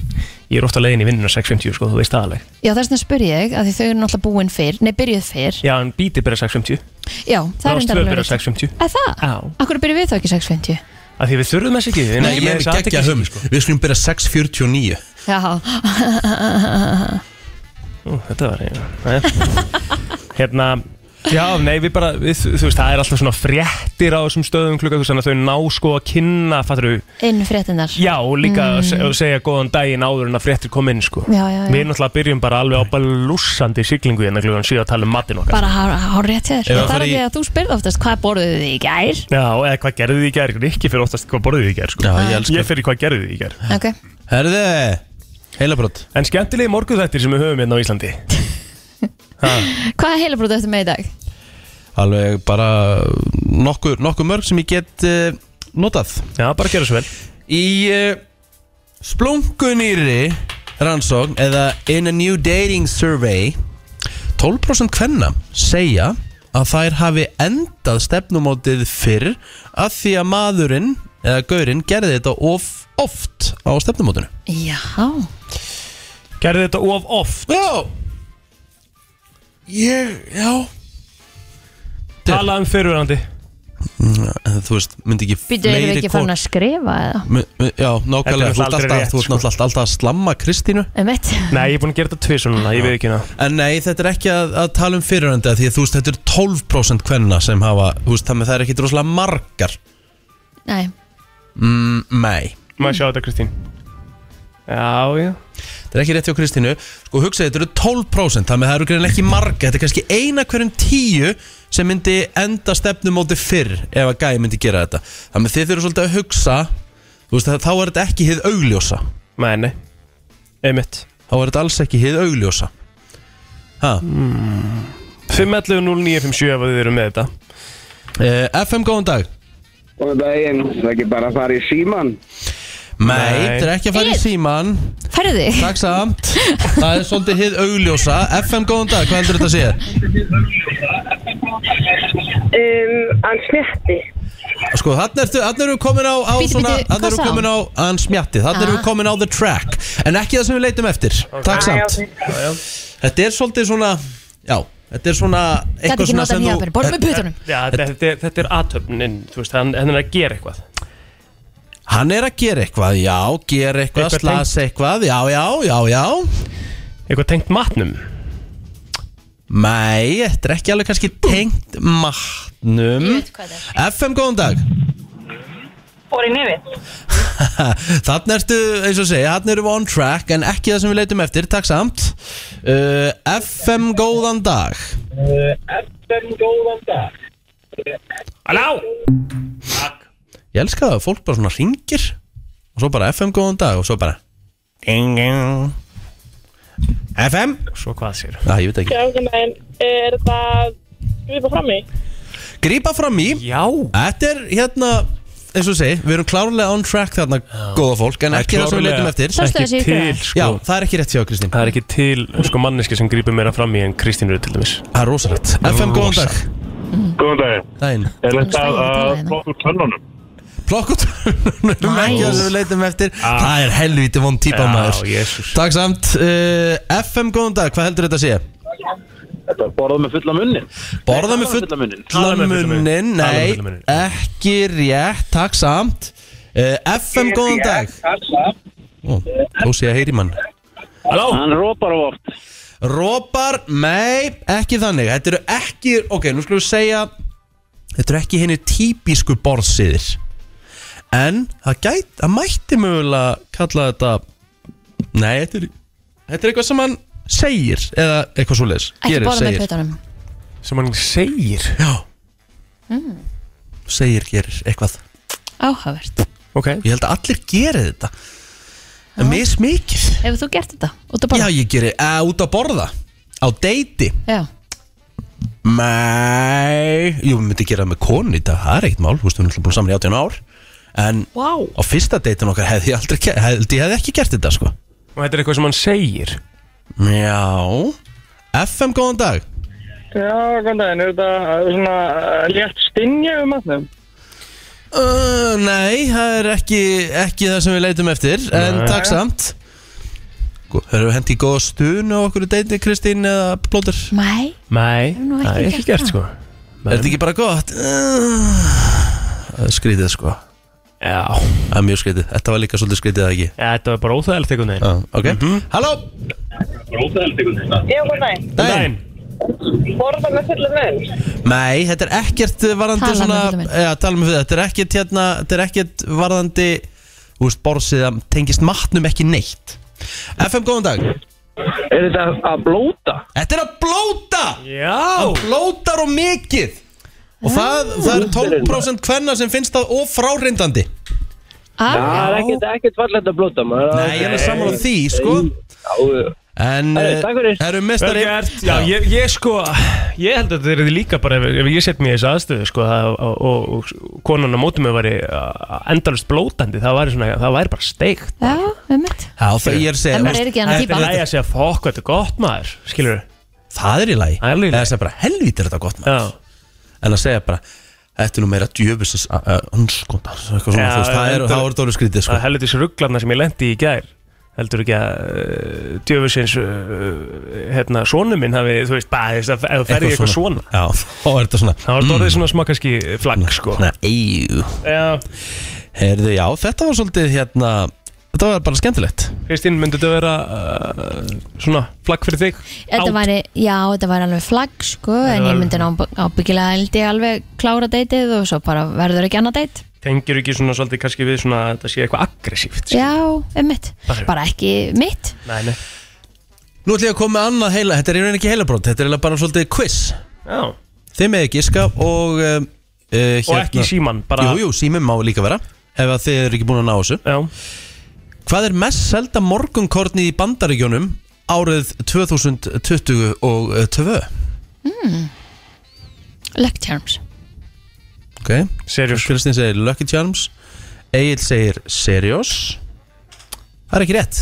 S3: Ég er ofta leiðin í vinnuna 6.50, sko, þú veist það alveg
S4: Já, þess vegna spyr ég, að því þau eru náttúrulega búin fyrr, nei, byrjuð fyrr
S3: Já, en bítið byrja 6.50
S4: Já, það er
S3: Rás
S4: enda
S3: 2
S4: alveg
S3: byrja
S4: rétt.
S3: 6.50
S4: Að það?
S3: Já
S4: Akkur byrjuð við þá ekki 6.50?
S3: Af því við þurfum þess ekki við erum
S2: Nei,
S3: ekki
S2: ég
S3: með
S2: er
S3: þessa
S2: geggja
S3: athygli-
S2: hum sko. Við skulum byrja 6.49
S4: Já *laughs*
S3: Ú, Þetta var, já Jæja. Hérna, Já, nei, við bara, við, þú veist, það er alltaf svona fréttir á þessum stöðum klukka, þú veist, þannig að þau ná sko að kynna, fattur þú,
S4: inn fréttinnar
S3: já, og líka
S4: Mm.
S3: að se- að segja góðan daginn áður en að fréttir kom inn, sko.
S4: Já, já, já.
S3: Við náttúrulega byrjum bara alveg á balúsandi siglingu hérna klukkan síðan að tala um matinn okkar.
S4: bara hár rétt hjá
S3: Ef
S4: þér
S3: að
S4: það er
S3: fara í-
S4: því að þú spyrð oftast hvað borðuðu þið í gær
S3: Já, eða hvað gerðu þið í gær, Rikki fyrir oftast hvað borðuð þið í gær, sko.
S2: Já, ég elska
S3: Ég fyrir hvað gerðu þið í gær.
S4: ok,
S2: Herði, heilabrott.
S3: En skemmtilegi morguðættir sem við höfum hérna á Íslandi.
S4: hvað er heilabrótu eftir með í dag?
S2: Alveg bara nokkur, nokkur mörg sem ég get uh, notað
S3: Já, bara gera svo vel
S2: Í uh, splunkunýri rannsókn eða In a New Dating Survey 12% hvenna segja að þær hafi endað stefnumótið fyrr að því að maðurinn eða gaurinn gerði þetta of oft á stefnumótinu
S4: já,
S3: Gerði þetta of oft?
S2: Já Ég, já
S3: Talaðum fyrirverandi
S2: Mm, En Þú veist, myndi ekki
S4: býtu erum við
S2: fleiri
S4: ekki farin
S2: kon-
S4: að skrifa eða?
S2: Mu- mu- Já, nákvæmlega,
S3: náttúrulega
S2: þú ert
S3: aldrei
S2: alltaf,
S3: rétt, sko.
S2: þú ert náttúrulega alltaf að slamma Kristínu
S4: Einmitt.
S3: *laughs* Nei, ég er búin að gera þetta tvið svona, ég veit ekki hérna
S2: En nei, þetta er ekki að, að tala um fyrirönda Því að þú veist, þetta er 12% kvenna sem hafa Þú veist, þannig að það er ekki droslega margar
S4: Nei.
S2: mm, Nei
S3: Má ég sjá þetta, Kristín? Já, já
S2: Þetta er ekki rétt hjá Kristínu Sko, hugsaði, þetta eru 12% Þannig að það eru greinilega ekki margar Þetta er kannski eina hverjum tíu Sem myndi enda stefnumóti fyrr Ef að gæði myndi gera þetta Þannig að þið þurfum svolítið að hugsa Þú veist, þá er þetta ekki hið augljósa
S3: Nei, nei Einmitt
S2: Þá er þetta alls ekki hið augljósa Ha?
S3: Hmm.
S2: Mm.
S3: 511-0957 ef þið eru með þetta
S2: uh, FM, góðan dag
S16: Góðan daginn, það er ekki bara að fara í síman
S2: Nei, þetta er ekki að fara í síman
S4: Herði
S2: Takk samt Það er svolítið hið augljósa FM góðan dag, hvað heldur þetta að segja?
S17: Um, hann smjætti.
S2: Sko, þannig ertu, þannig erum við komin á, á
S17: Bíddu,
S2: svona,
S17: bíddu,
S2: Þannig erum
S17: hvað
S2: við
S17: sagði
S2: komin á Hann smjatti, þannig erum við
S17: Ah.
S2: komin á the track En ekki það sem við leitum eftir Takk samt Þetta er svolítið svona Já, þetta er svona
S4: Gat ekki
S2: svona
S4: notað nýja ábyrgð, borðum með putunum.
S3: Já, þetta, þetta, er- þetta er aðtöfnin, þú veist, hann, hann er að gera eitthvað
S2: Hann er að gera eitthvað, já, gera eitthvað,
S3: Eitthvað
S2: slasa eitthvað, já, já, já, já
S3: Eitthvað tengt matnum?
S2: Nei, þetta er ekki alveg kannski tengt matnum FM, góðan dag *laughs*
S17: Fór í nefið.
S2: Þannig ertu, eins og segja, þannig erum við on track En ekki það sem við leitum eftir, takk samt uh, FM góðan dag
S17: FM Eh, góðan dag. Eh,
S3: Halló!
S2: Ég elska það, að fólk bara svona ringir Og svo bara FM góðan dag Og svo bara ding, ding. FM
S3: Svo hvað sér
S2: Já, ég veit ekki
S17: Góðan daginn, er það grípa fram í?
S2: Grípa fram í
S3: Já
S2: Þetta er hérna, eins og segja, við erum klárlega on track þarna sko. Góða fólk, en
S3: Það er
S2: ekki það sem við
S3: klárlega
S2: leitum eftir
S3: Sástu þessi Ekki í til, fyrra? sko.
S2: Já, það er ekki rétt hjá Kristín
S3: Það er ekki til sko manneski sem grýpur meira fram í en Kristín Rúð til dæmis
S2: Það er rosalegt FM góðan dag
S18: Mm. Góðan daginn.
S2: Daginn
S18: Er þetta að plokka úr tönnunum?
S2: Plokk út Nú ekki það sem við leitum eftir Það er helviti von típa
S18: Ah. Já,
S2: maður
S18: Jesus.
S2: Takk samt uh, FM góðan dag, hvað heldur þetta að segja?
S18: Borða með fulla munni.
S2: Borða með
S18: fulla munni.
S2: Lammunin,
S18: Tala með
S2: nei,
S18: fulla munnin.
S2: ekki rétt, takk samt uh, FM góðan dag Ó, Þó sé að heyri mann
S3: Halló
S18: Hann rópar of oft.
S2: Rópar, nei, ekki þannig Þetta eru ekki, ok, nú skulum við segja Þetta eru ekki henni típisku borðsiðir En það gæt, það mætti mögulega kalla þetta Nei, þetta er, þetta er eitthvað sem hann segir Eða eitthvað svoleiðis
S4: ekki
S2: gerir,
S4: borða með
S2: segir.
S4: putunum
S3: Sem hann segir?
S2: Já,
S4: mm,
S2: segir, gerir, eitthvað
S4: áhugavert
S3: Ok
S2: Ég held að allir geri þetta En mis mikið
S4: hefur þú gert þetta? út að
S2: Já,
S4: borða?
S2: ég geri, að út að borða Á deiti
S4: já,
S2: Nei Jú, við myndum gera það með konu í dag, það er ekkert mál Þú veist, við erum náttúrulega búin saman í 18 ár En
S3: Vá.
S2: á fyrsta deitin okkar hefði ég aldrei ge- held Ég hefði ekki gert þetta, sko
S3: Og þetta er eitthvað sem hann segir
S2: Já FM, góðan dag
S17: Já, góðan daginn, er þetta uh, svona uh, létt stinja um matnum?
S2: uh, Nei, það er ekki, ekki það sem við leitum eftir En
S17: Nei.
S2: takk samt Gó- Höfum við hendi í góða stunu á okkur deiti, Kristín eða Plóter?
S4: Nei,
S3: Nei,
S4: nú ekki
S3: það er ekki
S4: gert
S3: gert sko
S4: það.
S2: Er þetta ekki bara gott? Það er skrítið, sko
S3: Já
S2: Það er mjög skrítið, þetta var líka svolítið skrítið, eða ekki?
S3: Ja, þetta var bara Mhm. óþægilegt einhvern veginn
S2: Ok, halló
S17: Já, góðan daginn.
S2: Dæin
S19: Borða með fulla munn.
S2: Nei, þetta er ekkert varðandi
S19: Tala með fulla
S2: svona,
S19: mynd.
S2: ja, tala með fyrir þetta er ekkert hérna, þetta er ekkert varðandi úst, borsið að tengist matnum ekki neitt FM, góðan dag Er þetta að blóta? Þetta er að blóta! Já! Hann blótar og mikið og það, það er 12% hvenna sem finnst það of frárindandi
S19: Það
S20: er ekkert, ekkert fallegt að blóta maður
S2: Nei, ég er alveg sammála því, sko En
S20: Herru,
S2: eh,
S20: takk fyrir.
S2: eru mestari
S20: Vel gert.
S3: Já, ég, ég sko, ég held að þetta er líka bara ef, ef ég set mér í þessu aðstöðu sko, það, og, og, og konan á móti mig væri endalust blótandi, það væri, svona, það væri bara steikt.
S4: Já, um mitt
S2: Já, það ég er að segja
S4: En maður er ekki annað
S3: Það
S4: týpa.
S3: er að segja, fokk, þetta er gott maður, skilur
S2: Það er í lagi Það er í lagi Það er bara helvítið er þetta gott maður Sko, En að segja bara Þetta er nú meira djöfus Önskondar Eitthvað svona þú veist Það er það er dóru skrítið sko
S3: Það heldur þessi rugglarna sem ég lendi í gær heldur ekki að uh, djöfusins uh, hérna, sonu minn hafi, þú veist, bara, þess að ef þú ferði eitthvað svona
S2: Já *laughs* Þá er þetta svona Mm.
S3: þá er þetta orðið svona smá kannski flagg sko
S2: Svona eyjú
S3: Já
S2: Herðu já Þetta var svolítið hérna Þetta var bara skemmtilegt
S3: Kristín, myndi þetta vera uh, svona flagg fyrir þig?
S4: Þetta væri, já, þetta væri alveg flagg sko, en ég
S3: væri-
S4: myndi ná- ábyggilega held ég alveg klára deytið og svo bara verður ekki annað deyt
S3: Tengir ekki svona svolítið kannski við svona að þetta sé eitthvað aggressíft? sko.
S4: Já, um mitt, bara ekki mitt
S3: Nei, nei
S2: Nú ætlum ég að koma með annað heila Þetta er í rauninni ekki heilabrót Þetta er eiginlega bara svolítið quiz
S3: Já
S2: Þið með giska og uh, hérna,
S3: ekki símann, bara-
S2: Jú, jú, síman má líka vera Ef að þið eru ekki búin að ná þessu
S3: Já
S2: Hvað er mest selda morgunkornið í bandaríkjónum árið 2022?
S4: mm. Luck charms
S2: Ok Seriós Kristín segir Lucky Charms Egil segir Seriós Það er ekki rétt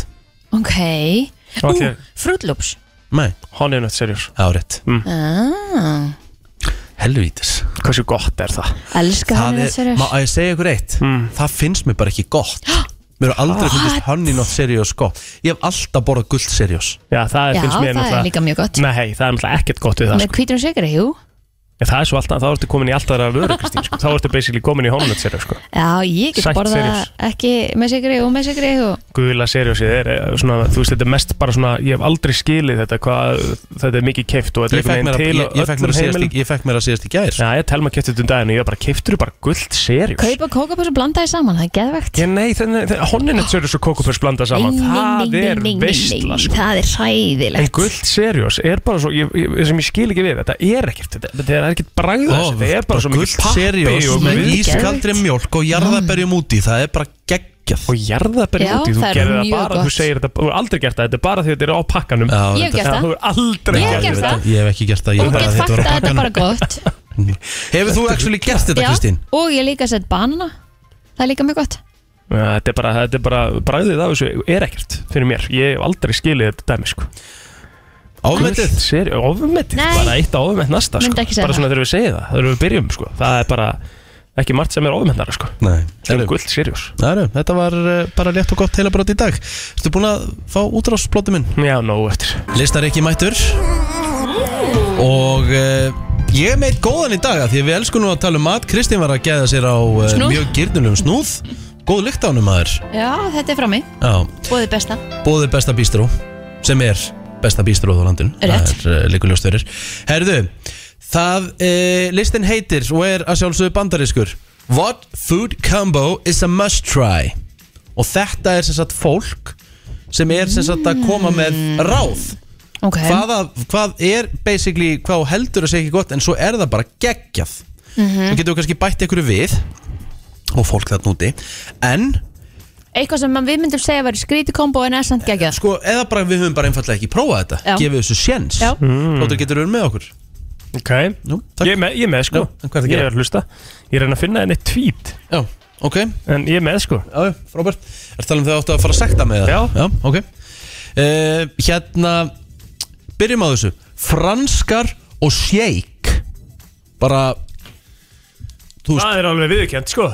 S4: Ok,
S2: Ok.
S4: ú, Fruit Loops
S2: Nei
S3: Honey Nut Seriós
S2: Það er rétt
S3: mm.
S4: ah,
S2: Helvítis
S3: Hversu gott er það?
S4: Elska Honey Nut Serious
S2: Má að ég segja ykkur eitt
S3: Mm.
S2: Það finnst mér bara ekki gott Mér hefur aldrei
S4: What?
S2: finnst Honey Not Serious gott Ég hef alltaf borðað gullt Seriós
S3: Já, það
S4: Já,
S3: finnst mér
S4: það er líka mjög gott
S3: Nei, það er náttúrulega ekkert gott við það
S4: Með hvítur og sigri, jú
S3: Ef það er svo alltaf, þá ertu komin í alltaf aðra vöru, Kristín, sko. Þá ertu basically komin í honum þetta sko.
S4: Já, ég get
S3: Sætt
S4: borða
S3: seriós.
S4: ekki með sigri og með sigri og
S3: Gula seriósið er, eh, svona, þú veist, þetta er mest bara svona, ég hef aldrei skilið þetta, hvað, þetta er mikið keift og þetta
S2: Ég
S3: er
S2: fekk mér að-
S3: einhvern
S2: ég-
S3: veginn
S2: ég fekk
S3: til á öllum
S2: mér að síðast í-
S3: heimilum.
S2: Ég fekk mér að síðast í gæðir.
S3: Já, ég telma kæfti þetta um daginn og ég var bara, keiftur bara gullt seriós?
S4: kaupa kókabús og blanda því saman, það er geðvegt
S3: Ég, nei, honninett seriós og kókupörs blanda saman, það er veistla, sko.
S4: Það er
S3: En
S4: sæðilegt
S3: gullt seriós er bara svo, ég, ég, sem ég skil ekki við, þetta er ekkert, þetta, þetta er ekkert bragða,
S2: Ó,
S3: þetta er bara svo mikið
S2: gult Seriós
S3: og
S2: með
S3: við-
S2: ískaldri mjólk og jarðaberjum úti Það er bara geggjað
S3: Og jarðaberjum
S4: Já,
S3: úti, þú
S4: það er
S3: gerir það
S4: mjög
S3: bara, þú
S4: gott.
S3: segir þetta, þú hefur aldrei gert það, þetta er bara því að þetta er á pakkanum
S2: Já, Ég hef þetta- gert
S3: Þú
S4: það.
S3: hefur aldrei
S4: Ég hef gert það.
S2: Ég hef ekki gert það ég
S4: Þú
S2: bara-
S4: get
S2: þetta var
S4: fakta að
S2: á
S4: þetta er
S2: pakkanum.
S4: bara gott
S2: Hefur þú actually gert þetta,
S4: Já,
S2: Kristín?
S4: Og ég líka sett banana Það er líka mjög gott
S3: Já, Þetta er bara, þetta er bara, bragðið af þessu er ekkert fyrir mér, ég hef aldrei skilið þetta dæmi, sko
S2: Ofmetið?
S3: Seri, ofmetið,
S4: Nei.
S3: bara eitt ofmet næsta, sko
S4: Myndi ekki segja
S3: Bara svona
S4: það.
S3: þegar við segja það, þegar við byrjum, sko Það er bara ekki margt sem er ofmetnara, sko
S2: Nei
S3: Sem gullt seriós
S2: Næru, þetta var eh, bara létt og gott heilabrót í dag Ertu búin að fá útráðsplóti minn?
S3: Já, nóg eftir
S2: Listar ekki mættur Og uh, ég er meitt góðan í dag af Því að við elskum nú að tala um mat Kristín var að geða sér á uh,
S4: Snúð.
S2: mjög gyrnulegum snúð Góð lykt á honum maður
S4: Já, þetta er frá mig,
S2: Já,
S4: bóðið besta
S2: bóðið besta bístró Sem er besta bístróð á landinu
S4: Rétt.
S2: Það er uh, líkuljóst verir Herðu, það uh, listin heitir og er að sjálfsögðu bandarískur What food combo is a must try Og þetta er sem sagt fólk sem er sem sagt að koma með ráð
S4: Mm. Ok
S2: hvaða, hvað er basically hvað þú heldur að segja ekki gott en svo er það bara geggjað
S4: Mhm.
S2: svo getur við kannski bætt einhverju við og fólk þarna úti en
S4: Eitthvað sem við myndum segja verið skríti kombo en essant geggjað
S2: sko, eða bara við höfum bara einfallega ekki prófað þetta
S4: Já.
S2: gefið þessu sjens
S4: Já.
S3: Mm.
S2: þóttur getur við með okkur
S3: Ok, Nú, ég, er með, ég er með sko
S2: Já, en hvað ertu að
S3: Ég
S2: gera?
S3: er að hlusta Ég reyna að finna henni tweet
S2: Já, ok
S3: En ég er með sko
S2: Já, Robert, er talað um þau áttu að fara að sekta með það? Já, ok uh, Hérna, byrjum á þessu Franskar og shake Bara
S3: Það er alveg viðurkjönt sko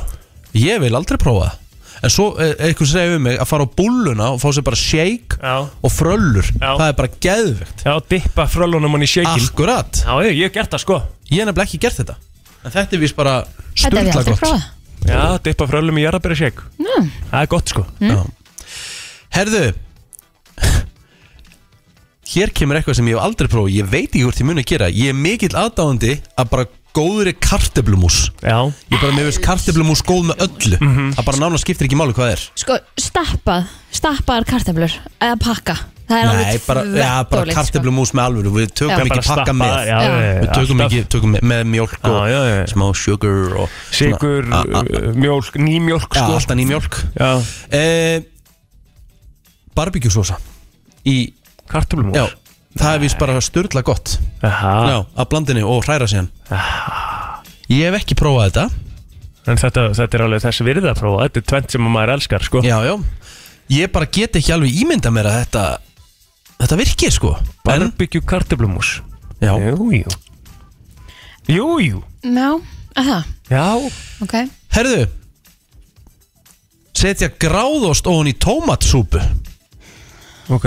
S2: Ég vil aldrei prófa það En svo eh, einhver segir við mig að fara á búlluna og fá sér bara shake
S3: Já.
S2: og fröllur Það er bara geðvegt
S3: Já, dippa frölunum hann í shakein
S2: Akkurat
S3: Já, ég, ég hef gert það sko
S2: Ég hef nefnilega ekki gert þetta En þetta er vist bara
S4: Þetta hef ég
S2: sturla
S4: aldrei
S2: gott
S4: prófað
S3: Já, dippa frölum í jarðabæri shake
S4: Mm.
S3: Það er gott sko
S2: Herðu hér kemur eitthvað sem ég hef aldrei prófað Ég veit ekki hvort ég muni að gera Ég er mikill aðdáandi að bara góðri kartöblumús
S3: Já
S2: Ég bara, mér veist kartöblumús góð með öllu
S4: Mhm.
S2: Það bara nána skiptir ekki máli hvað er
S4: Sko, stappað, stappaðar kartaflur eða pakka Það er
S2: Nei, bara,
S4: alveg
S2: ja, bara
S4: þvertólið, sko.
S2: kartöblumús með alvöru Við
S4: Já.
S2: tökum
S4: Bara
S2: ekki pakka
S4: stappa,
S2: með
S4: já, já, já,
S2: Við tökum
S3: alltaf.
S2: ekki tökum með, með mjólk og smá sugar og
S3: Sykur,
S4: uh,
S3: mjólk, nýmjólk
S2: sko. Alltaf nýmjólk eh, Barbíkjusósa Í
S3: Kartöblumús
S2: Já, það er vist bara styrla gott
S3: Aha.
S2: Já, að blandinni og hræra síðan Ég hef ekki prófað þetta
S3: En þetta, þetta er alveg þessi virði að prófa Þetta er tvent sem maður elskar sko
S2: Já, já Ég bara get ekki alveg ímynda mér að þetta Þetta virkir sko
S3: Barbecue kartöblumús
S2: Já
S3: Jú, jú Jú, jú
S4: sko. Já, að það,
S3: Já
S4: ok
S2: Herðu Setja gráðost ofan í tómatsúpu
S3: Ok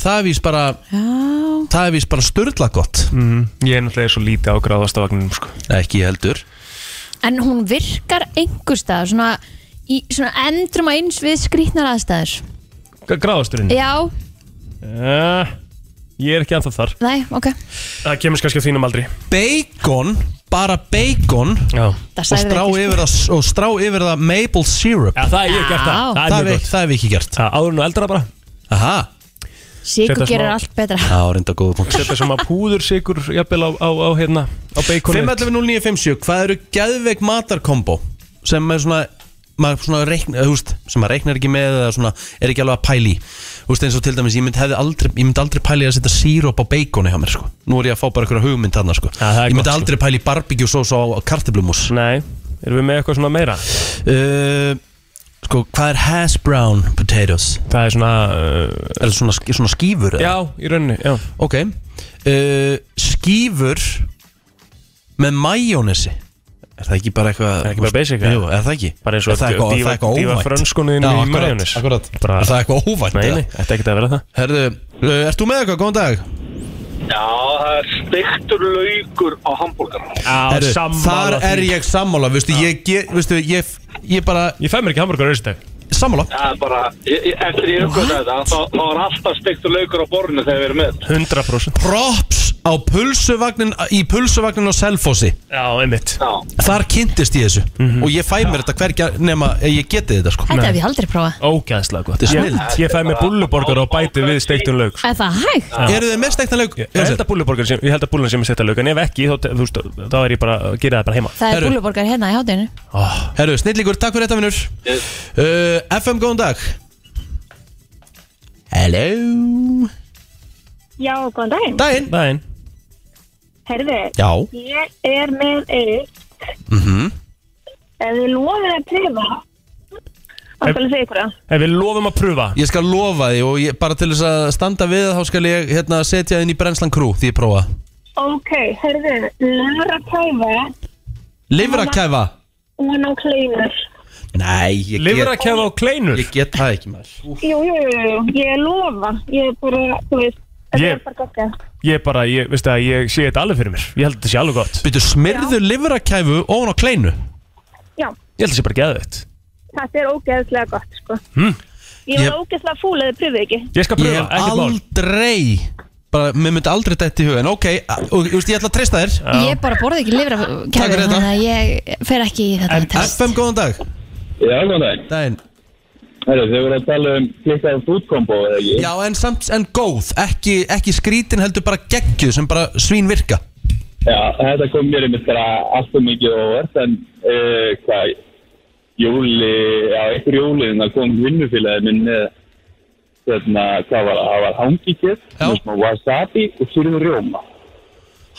S2: Það er vist bara
S4: Já
S2: Það er vist bara styrla gott
S3: mm, Ég er náttúrulega svo lítið á gráðastavagnum sko.
S2: Ekki heldur
S4: En hún virkar einhverstað svona, í, svona endrum að eins við skrýtnar aðstæður
S3: Gráðasturinn
S4: Já,
S3: Já, Eh, Ég er ekki anþá þar
S4: nei, ok
S3: Það kemur kannski á þínum aldri
S2: Bacon, bara bacon
S3: Já.
S2: og
S4: Það sagði
S2: strá,
S4: ekki, sko.
S2: yfir það, og strá yfir það maple syrup
S3: Já, það hef ég gert það. Það er mjög
S2: hef
S3: gott.
S2: ekki- Það hef ég ekki gert
S3: Áður nú eldra bara
S2: Aha
S4: Sigur
S3: Setja smá-
S4: gerir allt betra
S2: Það var reynda góða punkt
S3: Setja sem að púður sigur Jafnvel á, á, á hérna Á beikonið
S2: 511957, hvað eru geðveik matarkombo sem er svona maður svona reikna, þú veist, sem maður reiknar ekki með eða svona, er ekki alveg að pæli þú veist eins og til dæmis, ég myndi aldrei, ég mynd aldrei pæli að setja síróp á beikoni hjá mér sko nú er ég að fá bara einhverja hugmynd þarna sko ég myndi aldrei pæli barbecue sós á, á kartiblumús
S3: Nei, erum við með eitthvað svona meira?
S2: Uh, sko, hvað er hash brown potatoes?
S3: Það er svona
S2: Er það svona, sk- svona skýfur? eða?
S3: Já, í rauninni, já
S2: Ok uh, Skýfur með majónesi Er það ekki bara eitthvað Er
S3: ekki bara basic,
S2: Jú,
S3: eða?
S2: er það ekki
S3: Bara eins og
S2: Er það
S3: að
S2: eitthvað- er
S3: dýfa-
S2: það eitthvað
S3: dýfa
S2: óvænt?
S3: frönskunni inn
S2: Já,
S3: í
S2: akkurat,
S3: majónes.
S2: Akkurat
S3: Bara-
S2: Er það eitthvað óvænt?
S3: Nei,
S2: eða?
S3: nei, þetta er ekkert að vera það
S2: Herðu, uh, ert þú með eitthvað? Góðan dag
S18: Já, það er steiktur laukur á hambúrgarann.
S2: Herðu, Þar er ég sammála Vistu, ég, ég, vistu, ég, ég bara
S3: Ég fæ mér ekki hamburgur þessi dag
S2: Sammála
S18: Það er bara, ég, ég, eftir ég uppgötta þetta, þá, þá er alltaf steiktur laukur á borðinu þegar við erum með.
S3: 100%
S2: Props á pulsuvagnin Í pulsuvagnin á Selfossi
S3: Já, einmitt Mhm.
S2: Þar kynntist ég þessu Og ég fæ mér þetta hverja nema að ég geti þetta sko
S4: Þetta hef ég aldrei prófað
S3: Ógæðslega gott
S2: Þetta er
S3: Ég,
S2: snilld.
S3: ég fæ mér búlluborgar og bæti við steiktun um lauk sko.
S4: Er það hægt?
S2: Eru þið með steiktan lauk?
S3: Ég held að búlluborgar sem, ég held að búllunar sem er steiktan lauk En ef ekki, þá, þú veist, þá er ég bara að gera það bara heima
S4: Það er búluborgar hérna í hátinu
S2: oh. Herru, snillíkur, takk fyrir þetta vinnur uh, FM, góðan dag Hello
S19: Já, góðan daginn.
S2: Daginn
S3: Daginn
S19: Herðu,
S2: Já.
S19: ég er með eitt,
S2: mm -hmm.
S19: ef þið lofið að pröfa, þá
S2: Ef-
S19: skal ég segja ykkur um? það.
S3: Ef við lofum að pröfa
S2: Ég skal lofa því og ég, bara til þess að standa við það, þá skal ég hérna, setja það inn í brennslan krú því ég prófa
S19: Ok, herðu, lofið að pröfa,
S2: Livrakæfa
S19: hún á kleinur.
S2: Nei, ég
S3: Lifrakæfa á kleinur
S2: Ég get það ekki maður
S19: Jú, jú, jú, jú, ég lofa, ég er bara, þú veist, þetta
S3: Ég-
S19: er bara gott.
S3: Ég bara, ég, veistu að ég sé þetta alveg fyrir mér Ég held að þetta sé alveg gott
S2: Byttu smyrðu livrakæfu ofan á kleinu
S19: Já,
S3: Ég held að þetta sé bara geðveitt
S19: þetta er ógeðslega gott, sko.
S3: hm.
S19: Ég var
S2: Ég-
S19: ógeðslega fúl að þið pröfið ekki.
S3: Ég skal pröfa,
S2: Ég hef
S3: ekkert mál.
S2: aldrei bara, mér myndi aldrei dætt í huga en ok, og, og, ég ætla að treysta þér
S4: Ég bara borði ekki lifra
S2: Takk
S4: kæfi
S2: fyrir þetta.
S4: Þannig að ég fer ekki í þetta test
S2: FM, góðan dag
S21: Já, góðan dag.
S2: Daginn.
S21: Herru, þau voru að tala um klikkaðum fútkombo, eða ekki?
S2: Já, en samt, en góð, ekki, ekki skrítin heldur bara geggju sem bara svín virka
S21: Já, þetta kom mér einmitt bara allt og mikið óvart, en uh, hvað, júli, já, einhver júli, þannig kom vinnufélagið minn með, þarna, hvað var, það var hangikjöf, með smá wasabi og sýrðu rjóma.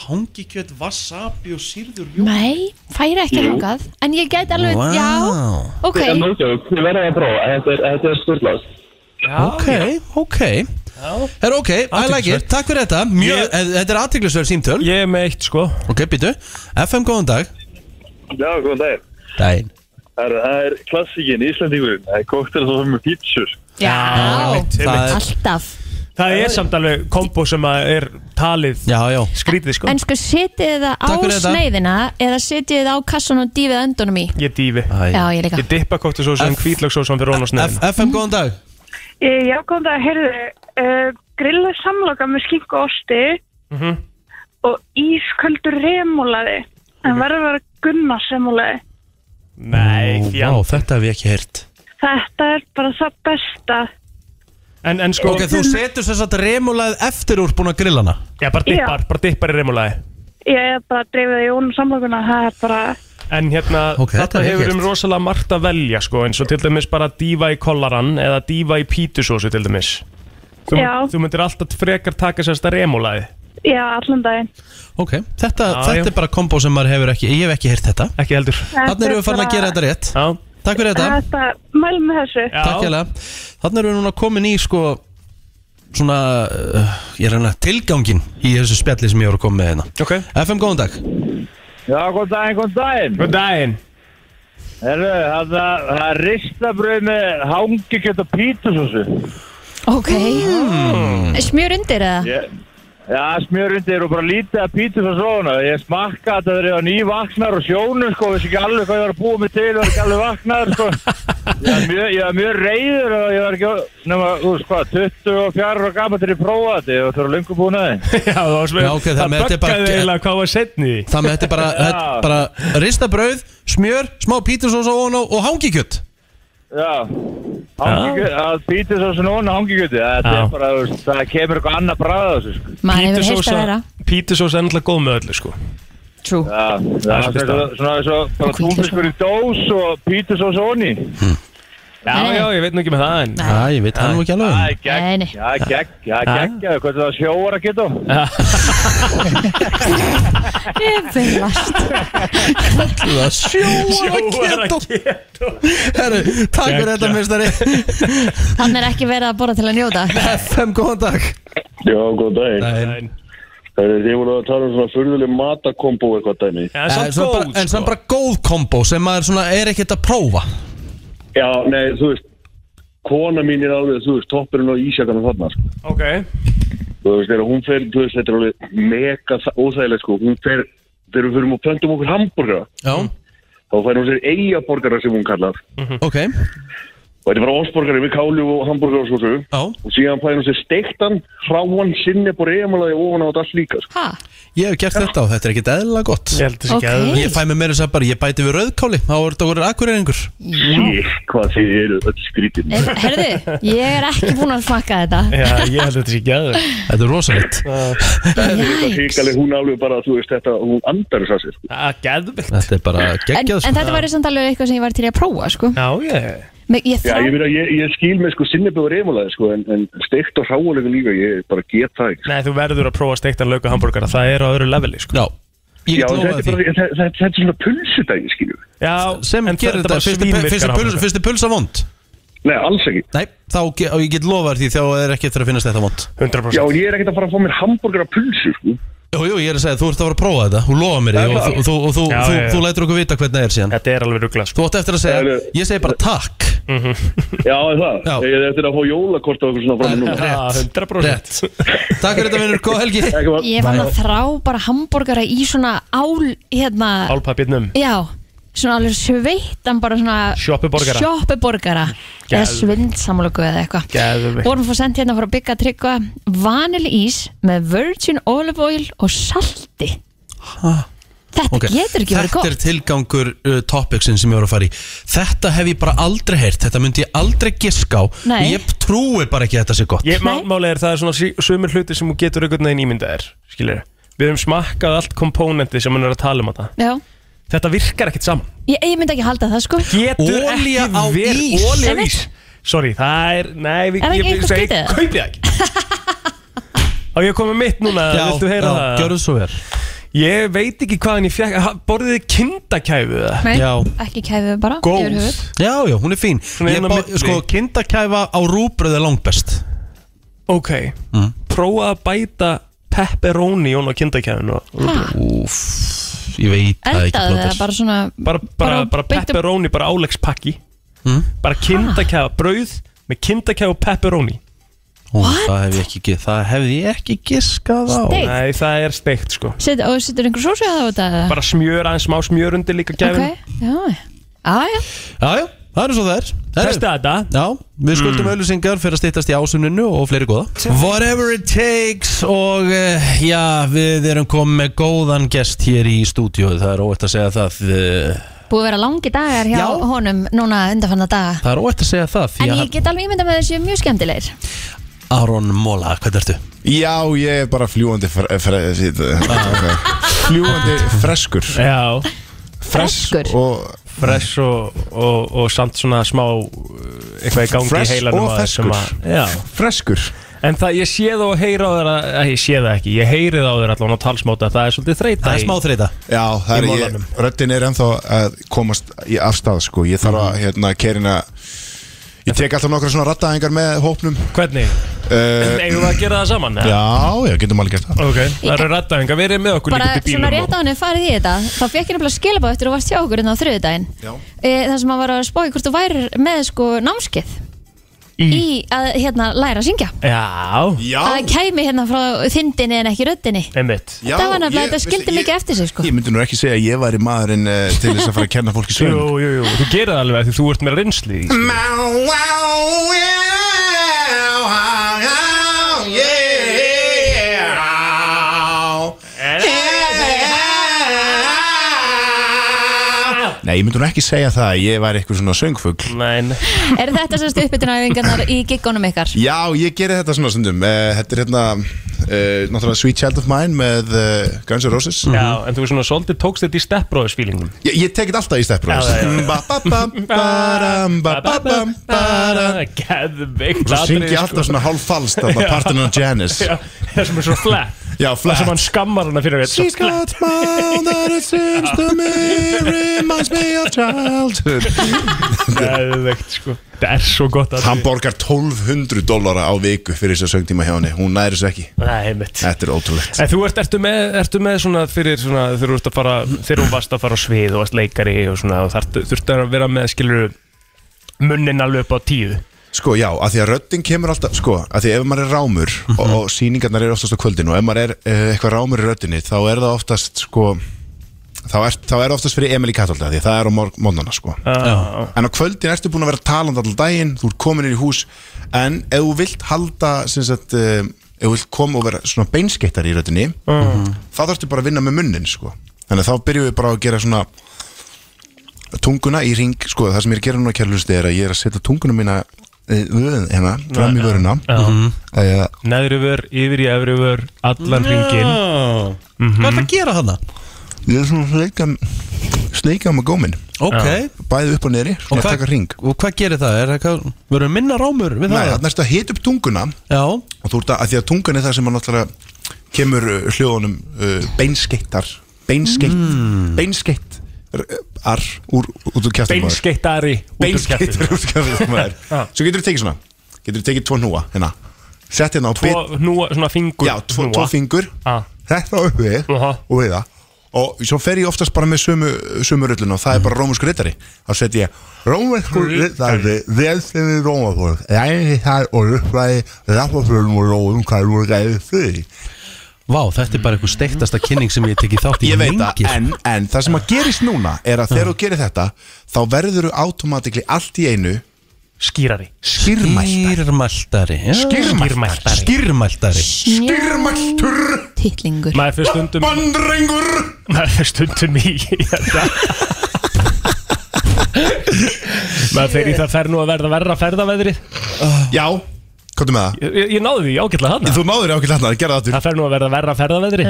S2: Hangikjöt, wasabi og sírður
S4: Nei, færi ekki
S21: Jú.
S4: hangað En ég get alveg, já ok.
S21: Þetta er nótjók, þið verða að prófa, þetta er, þetta er styrlast.
S2: Ok, ok Er ok, I like it, takk fyrir þetta Mjög, eh, Þetta er aðtiklisverð símtöl
S3: Ég er með eitt sko
S2: Ok, býtu, FM góðan dag
S22: Já, góðan daginn.
S2: Dæn
S22: Það er- það er klassíkin, Íslandingurinn. Það er kóktel sem það með pítsur.
S4: Já,
S3: einmitt, einmitt.
S4: alltaf
S3: Það er samt alveg kombo sem að er talið
S2: já, já.
S3: skrítið sko
S4: En sko, setið það á
S3: Takk fyrir þetta.
S4: sneiðina Eða setið það á kassan og dýfið öndunum í
S3: Ég dýfi
S4: Já, ég líka.
S3: Ég dippa kóktisósu en hvítlöksósu fyrir ón og sneðin
S2: FM góðan dag
S19: Ég já, kom það, heyrðu, uh, grilla samloka með skink og osti
S3: Mhm.
S19: og ísköldur remúlaði, en verður að vera gunna semúlaði.
S3: Nei,
S2: já Þetta hef ég ekki heyrt
S19: Þetta er bara það besta.
S3: En, en sko
S2: Ok, þú setur þess að remulað eftir úr búin að grilla hana
S3: Já, bara
S19: Já.
S3: dippar, bara dippar í reymulagi
S19: Ég er bara að dreifið í ónum samlokuna, það er bara,
S3: En hérna,
S2: Ok, þetta
S3: þetta
S2: er
S3: hefur
S2: ekkert.
S3: um rosalega margt að velja sko, eins og til dæmis bara dífa í kollaran eða dífa í pítusósu til dæmis Þú,
S19: Já.
S3: þú myndir alltaf frekar taka sérst að remulaði
S19: já, allan daginn.
S2: Ok, þetta,
S3: Já,
S2: þetta
S3: já.
S2: er bara kombo sem maður hefur ekki Ég hef ekki heyrt þetta
S3: Ekki heldur
S2: Þannig erum við farin að
S19: bara-
S2: gera þetta rétt
S3: já.
S2: Takk fyrir þetta
S19: Þetta, mælum með þessu.
S2: Takk hérlega Þannig erum við núna komin í sko Svona, uh, ég er hérna tilgangin Í þessu spjalli sem ég voru að koma með hérna
S3: okay.
S2: FM, góðan dag
S6: Já, góð daginn, góð daginn.
S3: Góð daginn.
S6: Herru, það er- það er ristabröð með hangikjöt og pítusósu.
S4: Ok Smjör undir eða?
S6: Ég- Já, smjör undir og bara lítið að pítusósu ofna. Ég smakka þetta þegar ég var nývaknar og sjónu, sko, vissi ekki alveg hvað ég var að búa mig til, var ekki alveg vaknar, sko. Ég var mjög, ég var mjög reyður og ég var ekki, nema, þú veist hvað, 24 og gaman til ég prófa þetta, ég var fyrir löngu búin að þið.
S3: Já, það var
S2: Já, ok, það með þetta er bara
S3: böggaði eiginlega hvað var setni
S2: Það með þetta er bara,
S3: *laughs*
S2: þetta er bara Rista brauð, smjör, smá pítursósa og, og hangikjött
S6: Já, Hangikjöt- að pítusósu núna hangikjöti, þetta
S3: Já.
S6: er bara, þú veist, það kemur eitthvað annað bræða þessu, sko.
S4: Maður hefur heyrt að vera
S3: Pítusósa er náttúrulega góð með öllu sko
S4: Trú
S6: Já, það er
S3: svolítið
S6: svona-
S3: staðan.
S6: svona eins og bara túnfiskur í dós og pítusós onni
S3: Já, já, ég veit nú ekki með það en
S2: Já, ég veit það nú ekki alveg.
S6: Það er gegn, það er gegn, það er
S2: Já.
S6: gegn Hvað er það sjóar að geta?
S4: Ég verðast
S2: Það
S4: Sjóar
S2: sjóar
S4: að
S2: að geta Herru, takk fyrir þetta, mistari
S4: Hann er ekki verið að borða til að njóta
S2: *laughs* FM, góðan dag
S15: Já, góð daginn Það er því voru að tala um svona furðuleg matakombo eitthvað dæmi
S2: En samt Eh, bara- En
S15: sko.
S2: samt bara góð kombo sem maður svona er ekkert að prófa
S15: Já, nei, þú veist Kona mín er alveg, þú veist, toppurinn á ísjakanum þarna sko.
S3: *laughs* Ok
S15: Þú veist, þegar hún fer, þú veist, þetta er alveg mega þa- óþægilegt, sko Hún fer, þegar við fyrum og pöntum okkur hambúrgara
S2: Já
S15: Þá fær hún sér eigaborgara sem hún kallar
S2: Ok
S15: Og þetta er bara osborgari með kálu og hambúrgara og svo svo
S2: Já
S15: Og síðan fær hún sér steiktan, hráan, sinni, bara eigamalaði ofan á þetta allt líka, sko
S4: Ha?
S2: Ég hef gert þetta og þetta er ekkert eðla gott Ég
S3: held
S15: sé ekki Ok. eðlilega.
S2: Ég fæ mig meira þess að bara, ég bæti við rauðkáli Þá er þetta okkur akkurreiningur
S15: Ég, hvað þið eru öll skrítin
S4: Herðu, ég er ekki búin að smakka þetta
S15: ég held þetta sé gæður
S2: Þetta er rosalegt
S15: Þetta er eitthvað híkalið, hún alveg bara, þú veist þetta, hún andar þess að sér sko.
S3: Gæðvikt
S2: Þetta er bara sko.
S4: En, en þetta væri samt alveg eitthvað sem ég var til í að prófa sko.
S3: sko. Já, ég
S4: Men, ég
S15: Já,
S4: þrá,
S15: ég, meina, ég, ég skil með sko sinnebu og reymulaði sko, en, en steikt og hráulega líka, ég bara get það ekki. sko.
S3: Nei, þú verður að prófa steiktan lauka hambúrgara Það er á öðru leveli sko
S2: Já,
S15: Já, þetta er, bara, þetta, þetta, þetta er svona pulsudagi, skilur við.
S3: Já,
S2: sem
S3: en þetta
S2: gerir þetta
S3: bara svínvirkar hamborgara.
S2: Fyrst er pulsa vond?
S15: Nei, alls ekki
S2: Nei, þá, ge- og ég get lofað þér því þá er ekki eftir að finnast þetta vond 100%
S15: Já, ég er ekkert að fara að fá mér hambúrgar að pulsu, sko.
S2: Jú, jú, ég er að segja, þú ert að fara að prófa þetta Þú lofa mér því og, þú- og, þú- og þú,
S15: Já,
S2: þú,
S15: já, já.
S2: þú lætur okkur vita hvernig það er síðan
S3: Þetta er alveg sko. ruggla
S2: Þú átt eftir að segja,
S15: Þetta-
S2: ég segi bara takk
S3: Mhm.
S15: Já, er það. Ég er eftir að fá jólakort og eitthvað svona fram með núna.
S2: Rétt, rétt Ah, Takk fyrir þetta, vinnur, góð helgi
S4: ég fann að þrá bara hambúrgara í svona ál hérna,
S3: Álpapinnum
S4: já svona alveg sveittan bara svona
S3: Sjoppuborgara.
S4: sjoppuborgara. eða
S3: Geðveikt.
S4: svindsamlöku eða eitthvað
S3: Gæðvikt
S4: vorum fór sendt hérna frá Bygga Tryggva vanilís með virgin olive oil og salti Þetta
S2: Ok.
S4: getur ekki verið
S2: Þetta
S4: gott
S2: er tilgangur uh, topicsin sem ég voru að fara í Þetta hef ég bara aldrei heyrt Þetta myndi ég aldrei giska á
S4: Nei.
S2: Ég trúi bara ekki að þetta sé gott
S3: Ég, má, málega er það er svona sí- sumir hluti sem þú getur einhvern veginn ímyndaðir Skilir Við höfum smakkað allt komponenti sem hann er að tala um þetta
S4: Já,
S3: Þetta virkar ekkert saman
S4: ég, ég myndi ekki halda það sko
S3: Getur ekki verið Ólja á ís Sorry, það er Nei,
S4: Er
S3: við,
S4: það ekki
S3: ég-
S4: eitthvað
S3: segi,
S4: skrítið?
S3: Kaupi
S4: *laughs*
S3: það ekki Á ég að koma með mitt núna
S2: Já,
S3: Viltu heyra
S2: já,
S3: það?
S2: gjörðu svo vel
S3: Ég veit ekki hvaðan ég fekk ha- Borðið þið kindakæfu það?
S4: Nei, ekki kæfið bara yfir höfuð.
S2: Já, já, hún er fín Ég
S3: inn á
S2: bá,
S3: milli.
S2: Sko, kindakæfa á rúbröð er langbest Mm.
S3: Ok, prófa að bæta pepperoni ón á kindakæfinu
S4: Ha?
S2: Úf, ég veit það ekki
S4: Eldaðu það
S2: plóter.
S4: bara svona
S3: bara, bara,
S4: Bara
S3: bara
S4: beintum-
S3: pepperoni, bara álegspakki
S2: Hmm?
S3: bara kindakæfa brauð með kindakæfa og pepperoni
S2: Ó, Það hef ég ekki, gi- það hef ég ekki giskað á
S4: Steikt?
S3: Nei, það er steikt sko
S4: Set, og setur einhver sósu að það út að
S3: bara smjör, aðeins smá smjör undir líka
S4: Ok, já,
S3: gæfin
S4: já, já,
S2: Já, já, Það er svo það er Herru.
S3: Testa þetta
S2: Já, Við skuldum mm. fyrir að styttast í ásuninu og fleiri góða Whatever it takes og eh, já, við erum komið með góðan gest hér í stúdíu Það er óvægt að segja það eh,
S4: Búið að vera langi dagar hjá honum núna undanfanna daga
S2: Það er óvægt að segja það því
S4: En
S2: að
S4: ég get alveg ímynda með þessu mjög skemmtilegir
S2: Aron Móla, hvernig ertu?
S5: Já, ég er bara fljúandi fre, fre, eh, sí, Fljúandi freskur
S3: Já
S5: Fresh og
S3: Fresh og, og, og samt svona smá uh, eitthvað í gangi
S5: Fresh
S3: í heilanum
S5: og
S3: á þér sem
S5: ferskur.
S3: að- Já
S5: Freskur
S3: En það, ég sé það og heyri á þér að, eh, ég sé það ekki, ég heyri það á þér allan á talsmáta að það er svolítið þreita í-
S5: Já, það er ég,
S3: í málanum.
S5: röddin er ennþá að komast í afstað sko Ég þarf að hérna kerina Ég tek alltaf nokkra svona rattaðingar með hópnum
S3: Hvernig?
S5: Uh,
S3: Eigum við að gera það saman? eða?
S5: Já, já, getum alveg gert það
S3: Ok, það eru rættaðingar, verið með okkur
S4: Bara
S3: líka upp í
S4: svona
S3: bílum
S4: rétt á henni farið í þetta Þá fekk ég nefnilega skilabá eftir að þú varst hjá okkur innan á þriðudaginn
S5: Já.
S4: e, Það sem að var að spói hvort þú væri með sko námskeið Í að hérna læra að syngja
S3: Já
S5: Já
S4: Að það kæmi hérna frá þindinni en ekki röddinni
S3: Einmitt
S5: Já,
S4: Það var nefnilega
S5: ég-
S4: þetta skildi mikið eftir sig sko
S5: Ég myndi nú ekki segja að ég væri maðurinn uh, til þess að fara að kenna
S3: *laughs*
S5: fólki sögum
S3: Jú, jú, jú, þú gerir það alveg af því þú ert með reynsli í því.
S5: Nei, ég myndi nú ekki segja það að ég væri eitthvað svona söngfugl
S3: Nein
S4: Er þetta semst uppbytunaræfingarnar í giggunum ykkar?
S5: Já, ég geri þetta svona stundum uh, Þetta er hérna uh, Náttúrulega Sweet Child of Mine með uh, Guns N' Roses Mhm.
S3: Já, en þú er svona svolítið tókst þetta í steppbróðis fílingum
S5: Ég, ég tekit alltaf í Step Brothers
S3: Já, já, já.
S5: Ba, ba, ba, ba-dam, ba, ba, ba, ba-dam.
S3: Geðveikt
S5: Og svo
S3: atriði, sko.
S5: syngi ég alltaf svona hálf falskt Þarna
S3: *laughs* Já.
S5: partin á Janis
S3: Já, Það sem er svo
S5: *laughs*
S3: flat
S5: Já,
S3: Það
S5: flat
S3: sem hann skammar hana fyrir þetta
S5: She's got smile that it seems to me Reminds me of childhood
S3: *laughs* Geðveikt sko Það er svo gott að
S5: Hann borgar 1200 dólara á viku fyrir þess að söngtíma hjá henni Hún næri þessu ekki
S3: Nei, mitt
S5: Þetta er ótrúlegt
S3: En þú ert, ertu með, ertu með svona fyrir svona þegar þú ert að fara, þegar þú varst að fara á svið og varst leikari og svona og þarftu- þurftu að vera með skilur munnin alveg upp á tíu
S5: Sko já, að því að röddin kemur alltaf Sko, að því ef maður er rámur og, og sýningarnar eru oftast á kvöldin Og ef maður er uh, eitthvað rámur í röddinni Þá er það oftast, sko Þá er, þá er oftast fyrir Emil í Katolda Því að það er á mor- morgnana, sko
S3: Já.
S5: En á kvöldin ertu búin að vera talandi allan daginn Þú ert komin inn í hús En ef þú vilt halda, sem sagt uh, Ef þú vilt koma og vera svona beinskeittar í röddinni
S3: Mhm.
S5: Þá þarftu bara að vinna með munnin, sko Þannig að þá byrjum við bara að gera svona tunguna í ring sko, það sem ég er að gera núna kærlusti er að ég er að setja tunguna mína eh, vöðin hérna, fram í
S3: Já,
S5: vöruna
S3: já. Mhm.
S5: Eh,
S3: Neðri vör, yfir í efri vör, allan Mhm.
S5: Já.
S3: ringin
S5: Hvað ertu að
S2: gera hana?
S5: ég er svona að sleika sleika með gómin
S2: Ok.
S5: bæði upp og neri, svona
S2: Og
S5: að
S2: hvað-
S5: taka ring
S2: Og hvað gerir það? Er það verður minna rámur við
S5: Nei,
S2: það?
S5: það næstu að hita upp tunguna
S2: Já.
S5: og þú ert að, að því að tungan er það sem að náttúrulega kemur uh, hljóðunum uh, beinskeittar beinskeitt mm. beinskeitt r- ar úr út úr kjæftum
S3: Beinskeittari út úr
S5: beinskeittari út
S3: kjaftinum.
S5: úr kjæftum
S3: Já.
S5: svo getur þú tekið svona getur þú tekið tvo núa hérna sett hérna á bit-
S3: *laughs* Tvo núa, svona fingur
S5: Já, tvo, tvo fingur
S2: Ah.
S5: Þetta upp við og við það Og svo fer ég oftast bara með sömu, sömu rullun og það
S2: Mhm.
S5: er bara rómusku rittari Þá set ég rómusku rittari vel sem við rómafólk Ræði þar og rullaði rafafölum og róum um hvað þú ræði fyrir
S2: Vá, þetta er bara einhver steiktasta kynning sem ég hef tekið þátt í
S5: Ég veit það,
S2: lengi, sko.
S5: en, en það sem að gerist núna er að þegar þú gerir þetta þá verður þú automátikli allt í einu
S3: Skýrari
S2: Skýrmæltari já.
S3: Skýrmæltari.
S2: Skýrmæltari
S5: Skýrmæltur
S4: Tittlingur
S3: Maður fyrir stundum
S5: Bandrengur
S3: Maður fyrir stundum í *laughs* hérna. í þetta Maður fyrir í það fer nú að verða verra ferðaveðri
S5: Já, komdu með það
S3: Ég, ég náði því ágætlega hann
S5: Þú náður ákveð hérna, gerða það
S3: Það fer nú að verða verra ferðaveðri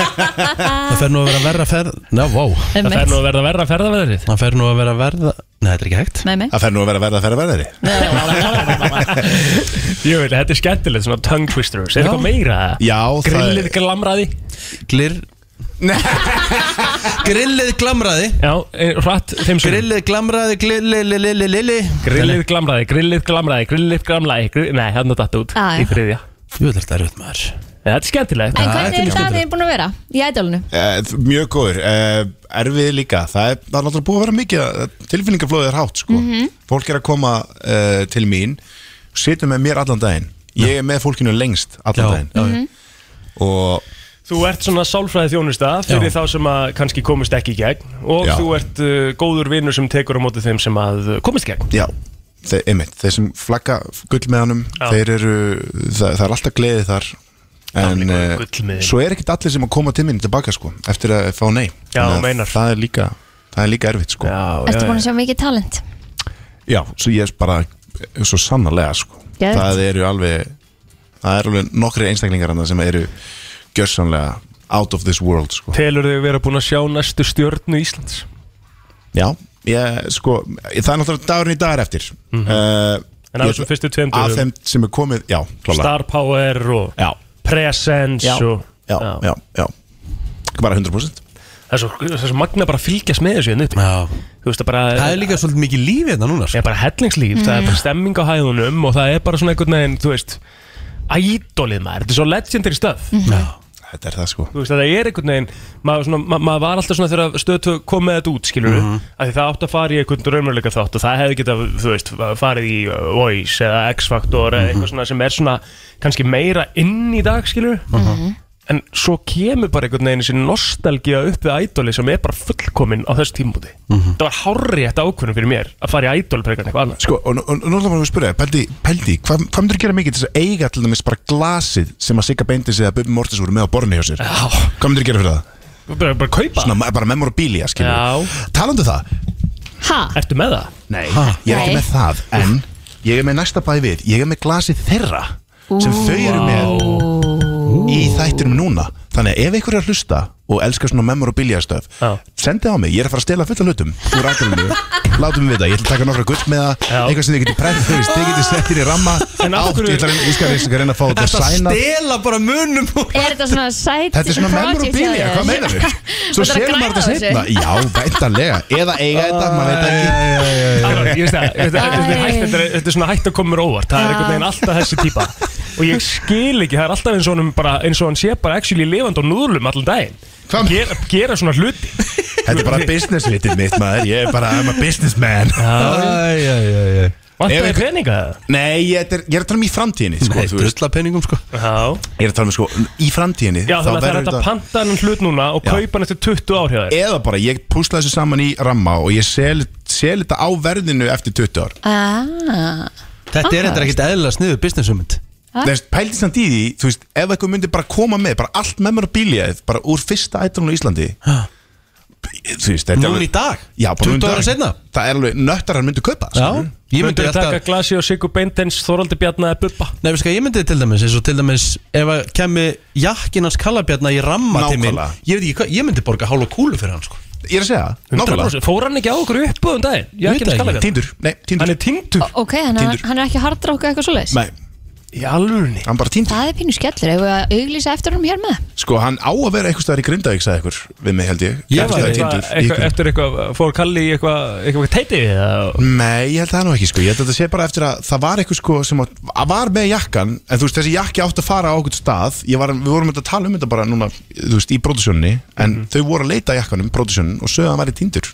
S4: Ah.
S2: Það fer nú að vera verra ferð Ná, vá
S3: Það fer nú að verða verra ferðaveðrið
S2: Það fer nú að vera verða Nei, þetta er ekki hægt
S4: Nei, nei
S5: Það fer nú að vera verða ferða verðari
S4: *laughs*
S3: Jú, þetta er skemmtilegt, svona tongue twisters
S5: Já.
S3: Er eitthvað meira það?
S5: Já,
S3: Grillið glamraði
S2: Glir Grillið glamraði
S3: Já, eh, hratt þeim sem
S2: Grillið glamraði Grillililililili
S3: Grillið glamraði, grillið glamraði, grillið glamraði grill... Nei, hann er datt út
S4: Já, já.
S3: í þriðja
S2: Jú, þetta er auðvitað maður
S3: Þetta er skemmtilegt
S4: En hvernig er það þið búin að vera? Í ædólinu?
S5: Eh, Mjög góður, eh, erfið líka Það er, það er náttúrulega búið að vera mikið Tilfinningaflóðið er hátt sko
S4: Mhm.
S5: Fólk er að koma uh, til mín
S4: Mhm.
S5: Situr með mér allan daginn Ég er með fólkinu lengst allan daginn
S2: já, já.
S5: Og
S3: Þú ert svona sálfræði þjónusta fyrir þá sem að kannski komist ekki í gegn og
S5: Já.
S3: þú ert uh, góður vinnur sem tekur á móti þeim sem að uh, komist í gegn
S5: Já, þeir, einmitt, þeir sem flagga gull með hannum
S3: Já.
S5: þeir eru, það, það er alltaf gleði þar en eh,
S3: gullmiðin.
S5: svo er ekkert allir sem að koma til minni tilbaka sko, eftir að fá nei
S3: Já,
S5: Þannig að
S3: meinar.
S5: það er líka, það er líka erfitt sko.
S3: já,
S4: Ertu búin að sjá mikið talent?
S5: Já, svo ég er bara svo sannarlega sko.
S4: Geðveikt.
S5: það eru alveg það eru alveg nokkri einstaklingar þarna sem eru gjörsanlega out of this world sko.
S3: Telur þau vera búin að sjá næstu stjórnu Íslands?
S5: Já, ég, sko, það er náttúrulega dagurinn í dagar eftir mm
S3: Mhm. En af þessum fyrstu tveim dögum?
S5: Af þeim sem er komið, já, klálega
S3: Star Power og
S5: Já.
S3: Presence
S5: Já.
S3: og
S5: já, já, já, bara 100%
S3: Það er svo, það er svo magna bara að fylgjast með þessu hérna uppi Þú veist að bara
S2: Það er líka svolítið mikið líf hérna núna
S3: Það er bara hellingslíf, það er bara stemming á hæðunum og það er bara svona einhvern veginn, þú veist Ædolið maður, þetta er svo legendary stuff
S5: Já, þetta er það sko
S3: Þú veist að það er einhvern veginn maður, svona, ma maður var alltaf svona þegar stöðtu kom með þetta út skilur við,
S2: Mhm.
S3: að það átt að fara í einhvern raunveruleika þátt og það hefði geta, þú veist, farið í uh, Voice eða X-Factor eða
S5: Mhm.
S3: eitthvað svona sem er svona kannski meira inn í dag skilur við,
S5: Mhm.
S3: en svo kemur bara einhvern veginn þessi nostalgía upp við ædoli sem er bara fullkomin á þessu tímúti
S5: Mhm.
S3: það var hárrétt ákvörðum fyrir mér að fara í ædol frekar en eitthvað annað
S5: Sko, og nú- og nú ætlaðum við að spyrja, þig, pældi, pældi hvað, hvað myndir þú gera mikið til þess að eiga til dæmis bara glasið sem að Sigga Beindis eða Bubi Mortis voru með á borðinu hjá sér Já. Hvað myndir þú gera fyrir það?
S3: Bara, bara kaupa
S5: Svona, ma- bara memorabilia, skilur Já. Talandu það,
S4: Ha?
S3: Ertu með það?
S5: Nei, ég er ekki með það, en ég er með næsta bæði við, ég er með glasið þeirra sem þau eru með í þættinum núna þannig að ef einhver er að hlusta og elskar svona memorabilia stöf sendið á mig, ég er að fara að stela fulla hlutum úr aðdælunum, látum við vita, ég ætla að taka nokkra gull með það, eitthvað sem þið getið prent þú veist, þið getið settir í ramma
S2: En af
S5: átt,
S2: hverju-
S5: ég ætla að- ég skal ég skal reyna að fá þetta
S2: Þetta
S5: að sæna
S2: stela bara munum
S4: Er þetta svona sæt
S5: Þetta er svona memorabilia, hvað
S4: *laughs*
S5: meinar við? Svo séum maður þetta setna Já, væntanlega, eða eiga þetta, maður veit ekki
S3: Alveg, ég veist það, ég veist það, þetta er hægt- þetta er- þetta er svona hægt að koma mér óvart Það er einhvern veginn alltaf þessi típa Og ég skil ekki, það er alltaf eins og, honum bara, eins og hann sé bara actually lifandi og núðlum allan daginn gera, gera svona hluti
S5: Þetta er
S3: *laughs*
S5: bara business litið mitt maður Ég er bara, I'm a businessman
S3: Æ,
S2: æ, æ, æ
S3: Vantar þig peninga?
S5: Nei, ég, þetta er, ég er að tala um í framtíðinni sko,
S2: Nei, drulla peningum sko
S3: Já
S5: Ég er að tala um sko, í framtíðinni
S3: Já,
S5: þá
S3: þannig að um það er
S5: verður
S3: hægt að panta hann hlut núna og
S5: Já.
S3: kaupa hann eftir 20 ár hjá þér
S5: Eða bara, ég púsla þessu saman í ramma og ég sel, sel þetta á verðinu eftir 20 ár
S4: Ah, Þetta
S3: Ah.
S5: eðlilega sniðu businessumund
S4: Ha?
S5: Þú veist, pældi samt í því, þú veist, ef eitthvað myndi bara koma með, bara allt memorabiliaðið, bara úr fyrsta ætlunum í Íslandi Þú veist, þetta er
S2: Núna
S5: alveg-
S2: í dag?
S5: Já, bara
S2: 20 árum seinna?
S5: Það er alveg nöttar hann myndi kaupa skilurðu.
S2: Ég myndi
S3: Myndu
S2: alltaf-
S3: taka glasi og Sigur Beintens, Þoraldi Bjarna eða Bubba
S2: Nei, veist hvað, ég myndi til dæmis eins og til dæmis ef að kemmi jakkinans kallabjarna í ramma til minn
S5: Nákvæmlega.
S2: ég veit ekki hvað, ég myndi borga hálfa kúlu fyrir hann sko
S5: Ég er að segja,
S3: 100%. Fór hann ekki á okkur upp um daginn?
S2: Ég veit
S3: Jakkinans
S2: það
S3: Kallabjarn?
S2: ekki. Týndur.
S5: Nei, týndur
S3: Hann er týndur
S4: Ok, hann,
S3: Tindur.
S4: hann er ekki hardráka eitthvað svoleiðis
S5: Nei
S3: Í alvörunni
S5: Hann bara týndur
S4: Það er pínu skellur, ef við að auglýsa eftir honum hér með
S5: Sko, hann á að vera eitthvað staðar í Grindavík, sagði ykkur við mig, held ég
S3: Ég
S5: Einhvers
S3: var
S5: staðar
S3: eitthvað,
S5: týndur í
S3: eitthvað,
S5: Grindavík.
S3: eftir eitthvað, fór Kalli í eitthvað, eitthvað teiti eða-
S5: Nei, ég held það nú ekki sko Ég held að þetta sé bara eftir að það var eitthvað sko sem að, að var með jakkan En þú veist, þessi jakki átti að fara á okkur stað Ég var, Við vorum að tala um þetta bara núna Þú veist, í pródusjóninni En þau voru að leita að jakkanum, pródusjónin Og sögðu að hann væri tindur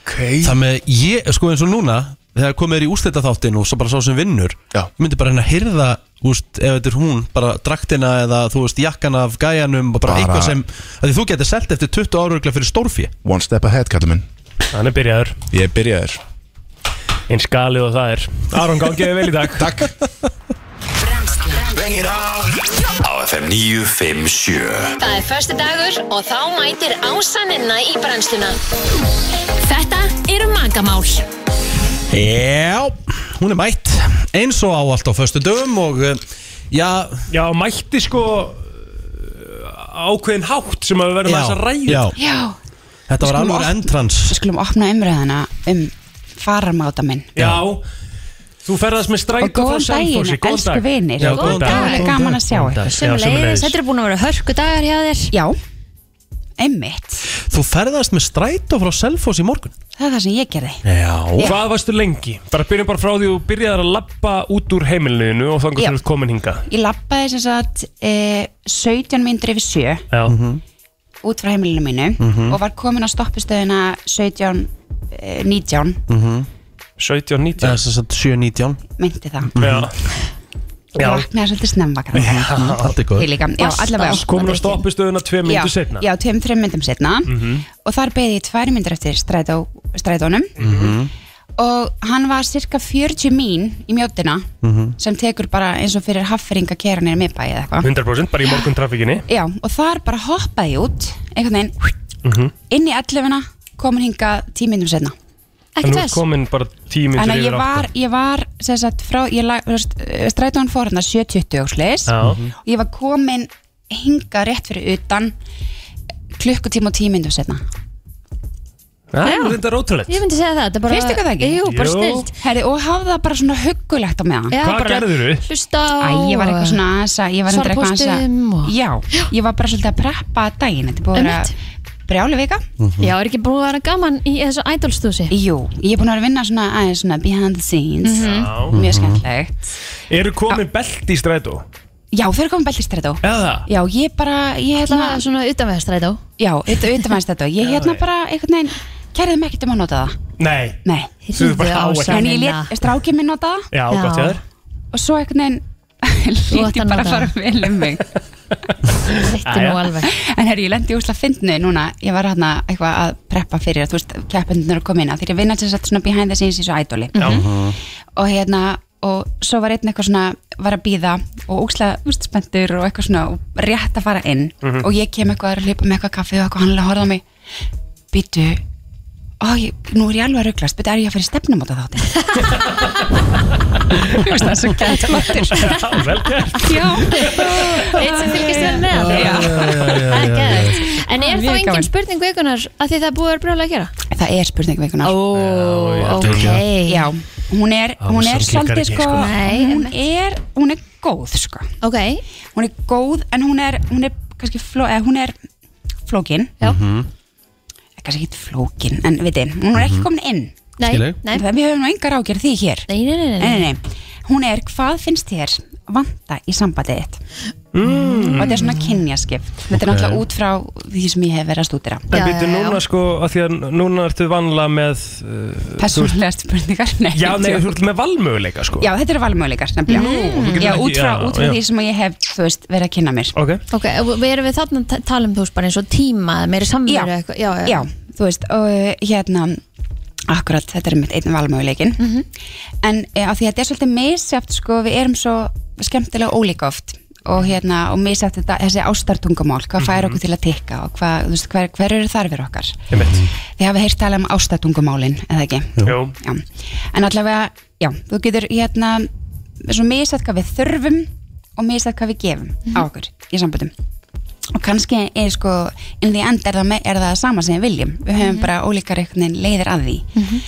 S2: okay. Það með ég, sko eins og núna þegar komið er í úslita þáttin og svo bara sá sem vinnur
S5: Já.
S2: ég myndi bara hérna hirða úst, ef þetta er hún, bara draktina eða þú veist, jakkan af gæjanum og bara,
S5: Bara-
S2: eitthvað sem, að því þú getur selt eftir 20 áruglega fyrir stórfí
S5: One step ahead, kallum minn
S3: Hann er byrjaður
S5: Ég er byrjaður
S3: Einn skalið og það er Aron gangiði vel í dag
S5: Takk
S1: Á FM 957
S10: Það er förstu dagur og þá mætir ásaninna í brennsluna. Þetta eru magamál.
S2: Já, hún er mætt eins og á allt á föstu dögum og eh, já,
S3: já mætti sko eh, ákveðin hátt sem að við verðum aðeins að ræða
S2: já.
S7: Já, Við
S2: Þetta var
S7: skulum
S2: alveg
S7: opna-
S2: endtrans
S7: við skulum opna umræðana um fararmáta minn
S3: Já, þú ferðast með
S7: Og
S3: strætó
S7: góðan
S3: frá
S7: daginn,
S3: Selfossi
S7: elsku vinir Góðan Gaman að sjá ykkur
S4: Sömulegis, þetta eru búin að vera hörku dagar hjá þér
S7: Já, einmitt
S2: Þú ferðast með strætó frá Selfoss í morgun
S7: Það er það sem ég gerði
S2: Já
S3: Hvað varstu lengi? Bara byrjum bara frá því þú byrjaðar að lappa út úr heimilinu og þangar
S7: Já.
S3: þú ert komin hinga
S7: Ég lappaði sem sagt e, 17 myndir yfir sjö
S3: Já
S7: Mhm. út frá heimilinu mínu
S3: Mhm.
S7: og var komin á stoppustöðina 17, e, 19
S3: Mhm.
S2: mm -hmm.
S3: 17, 19
S2: 7, 19 Mhm.
S7: myndi það
S2: Já.
S3: Já.
S7: Vaknaði svolítið snemma kannski.
S3: Allt er
S7: Ég líka, já, allavega
S3: Komin á stoppustöðuna tvei
S7: Já,
S3: myndu setna
S7: Já, tveim, þreim myndum setna
S3: Mhm.
S7: Og þar beði ég tvær myndir eftir strætó, strætónum
S2: Mhm.
S3: Mhm.
S7: Og hann var cirka 40 mín í mjóttina
S3: Mhm.
S7: Sem tekur bara eins og fyrir hafferinga kera nýra miðbæi eða eitthvað
S3: 100% bara í morgun trafikinni
S7: Já, og þar bara hoppaði ég út Einhvern veginn,
S3: Mhm.
S7: inn í 11 Komin hingað tíu myndum setna
S3: En nú komin bara tíu myndur
S7: Þannig að ég
S3: yfir
S7: var,
S3: átta.
S7: ég var sem sagt, frá, ég lag, þú veist, eh, strætóin fór hérna 7.20 og slis
S3: Já.
S7: og ég var komin hingað rétt fyrir utan klukkutíma og tíu myndum setna
S3: Já, þetta er ótrúlegt
S4: Ég myndi segja það, þetta er bara
S7: Finnst ykkur það ekki?
S4: Jú, bara
S3: Jú.
S4: snilt
S7: Herri, og hafði það bara svona huggulegt á meðan
S4: Já, Hvað bara- gerðirðu? Hlusta á-
S7: Æ, ég var eitthvað svona aðeins að Ég var
S4: Svara
S7: reyndar eitthvað aðeins
S4: póstum og-
S7: að Já, ég var bara svolítið að preppa daginn Þetta er búið að vera brjáli vika
S4: Mhm. Já, er ekki búið að vera gaman í þessu ædolstúsi?
S7: Jú, ég er búin að vera að vinna svona aðeins svona behind the scenes
S4: Mhm. Já.
S7: Mjög skemmtilegt
S3: Eru komin belti í strætó?
S7: Já, þau eru komið beltistrætó
S3: Eða?
S7: Já, ég bara, ég hérna-
S4: Það var svona utanvegastrætó
S7: Já, utan, utanvegastrætó Ég hérna bara einhvern veginn Kærið mig ekkert um að nota það
S3: Nei
S7: Nei
S3: Þú er bara á ekki
S7: En ég
S4: hérna.
S7: let strákið minn nota það
S3: Já, gott hjá þér
S7: Og svo einhvern veginn
S4: Þú
S7: *laughs*
S4: átt
S7: Lít
S4: að
S7: ég
S4: nota
S7: bara að fara vel
S8: *laughs*
S7: um mig
S4: Þetta er nú alveg
S7: En herri, ég lendi úrslega fyndnu núna Ég var hérna eitthvað að preppa fyrir Þú veist, keppendunur að koma inn Þegar ég vinna til þess að svona behind the scenes í svo ædoli
S2: Mhm.
S7: og hérna og svo var einn eitthvað svona var að býða og úkslega úst, spenntur og eitthvað svona og rétt að fara inn
S8: Mhm.
S7: og ég kem eitthvað að hlaupa með eitthvað kaffi og eitthvað hann alveg horfði á mig býtu, ó, ég, nú er ég alveg að rugglast býtu, er ég að fara í stefnum á það þáttin *laughs* Þú veist það er svo gæt flottur
S3: Vel gert
S7: *laughs* Já
S4: Eitt sem fylgist vel með
S7: Já.
S4: Það er gæðið En er
S7: Mjög
S4: þá engin
S7: gaman.
S4: spurning vikunar að því það er búið að vera brjóla að gera?
S7: Það er spurning vikunar
S4: Ó,
S7: ok. Já, hún er,
S4: Á,
S7: hún
S4: sorgleikar
S7: er svolítið
S4: ekki,
S7: sko,
S4: sko. Nei,
S7: hún er, hún er góð sko.
S4: Ok.
S7: Hún er góð en hún er, hún er kannski fló, eða, hún er flókin. Já.
S3: Mhm.
S7: Kannski ekki flókin, en við þið, hún er ekki
S8: Mhm.
S7: komin inn.
S8: Nei, Skilja. nei.
S7: Það við höfum nú engar ágjör því hér.
S4: Nei, nei, nei.
S7: nei, nei. Hún er, hvað finnst þér vanta í sambandið þitt? Og þetta er svona kynjaskipt. Þetta er
S3: Mm. Ok.
S7: náttúrulega út frá því sem ég hef verið að stúdira.
S3: En býttu núna sko, að því að núna ertu vanlega með uh,
S7: Persónulega spurningar, nei.
S3: þú- Já, nei, þú ert með valmöguleika sko
S7: Já, þetta eru valmöguleikar nefnilega
S3: Nú,
S4: Mm.
S3: þú getur
S7: Já,
S3: ekki-
S7: út frá,
S3: já,
S7: út frá
S3: já.
S7: því sem ég hef þú veist, verið að kynna mér
S3: Ok,
S4: Ok, og við erum við þarna að tala um þú veist bara eins og tíma eða meiri samveru
S7: já,
S4: eða
S7: já,
S4: eitthvað Já, já,
S7: þú veist og hérna akkurat, þetta er mitt einn valmöguleikin en e, á því að þetta er svolítið misjæft sko, við erum svo skemmtilega ólíka oft og hérna, og misjæft þetta þessi ástartungumál, hvað fær okkur til að tikka og hvað, þú veist, hver, hver eru þarfir okkar
S3: einmitt
S7: Þið hafið heyrt tala um ástatungumálin, eða ekki?
S3: Jú.
S7: Já. En allavega, já, þú getur hérna, svo misað hvað við þurfum og misað hvað við gefum á okkur í samböndum. Og kannski er sko, in the end er það, me- er það sama sem við viljum. Við höfum bara ólíkar einhvern veginn leiðir að því.
S1: Mhm.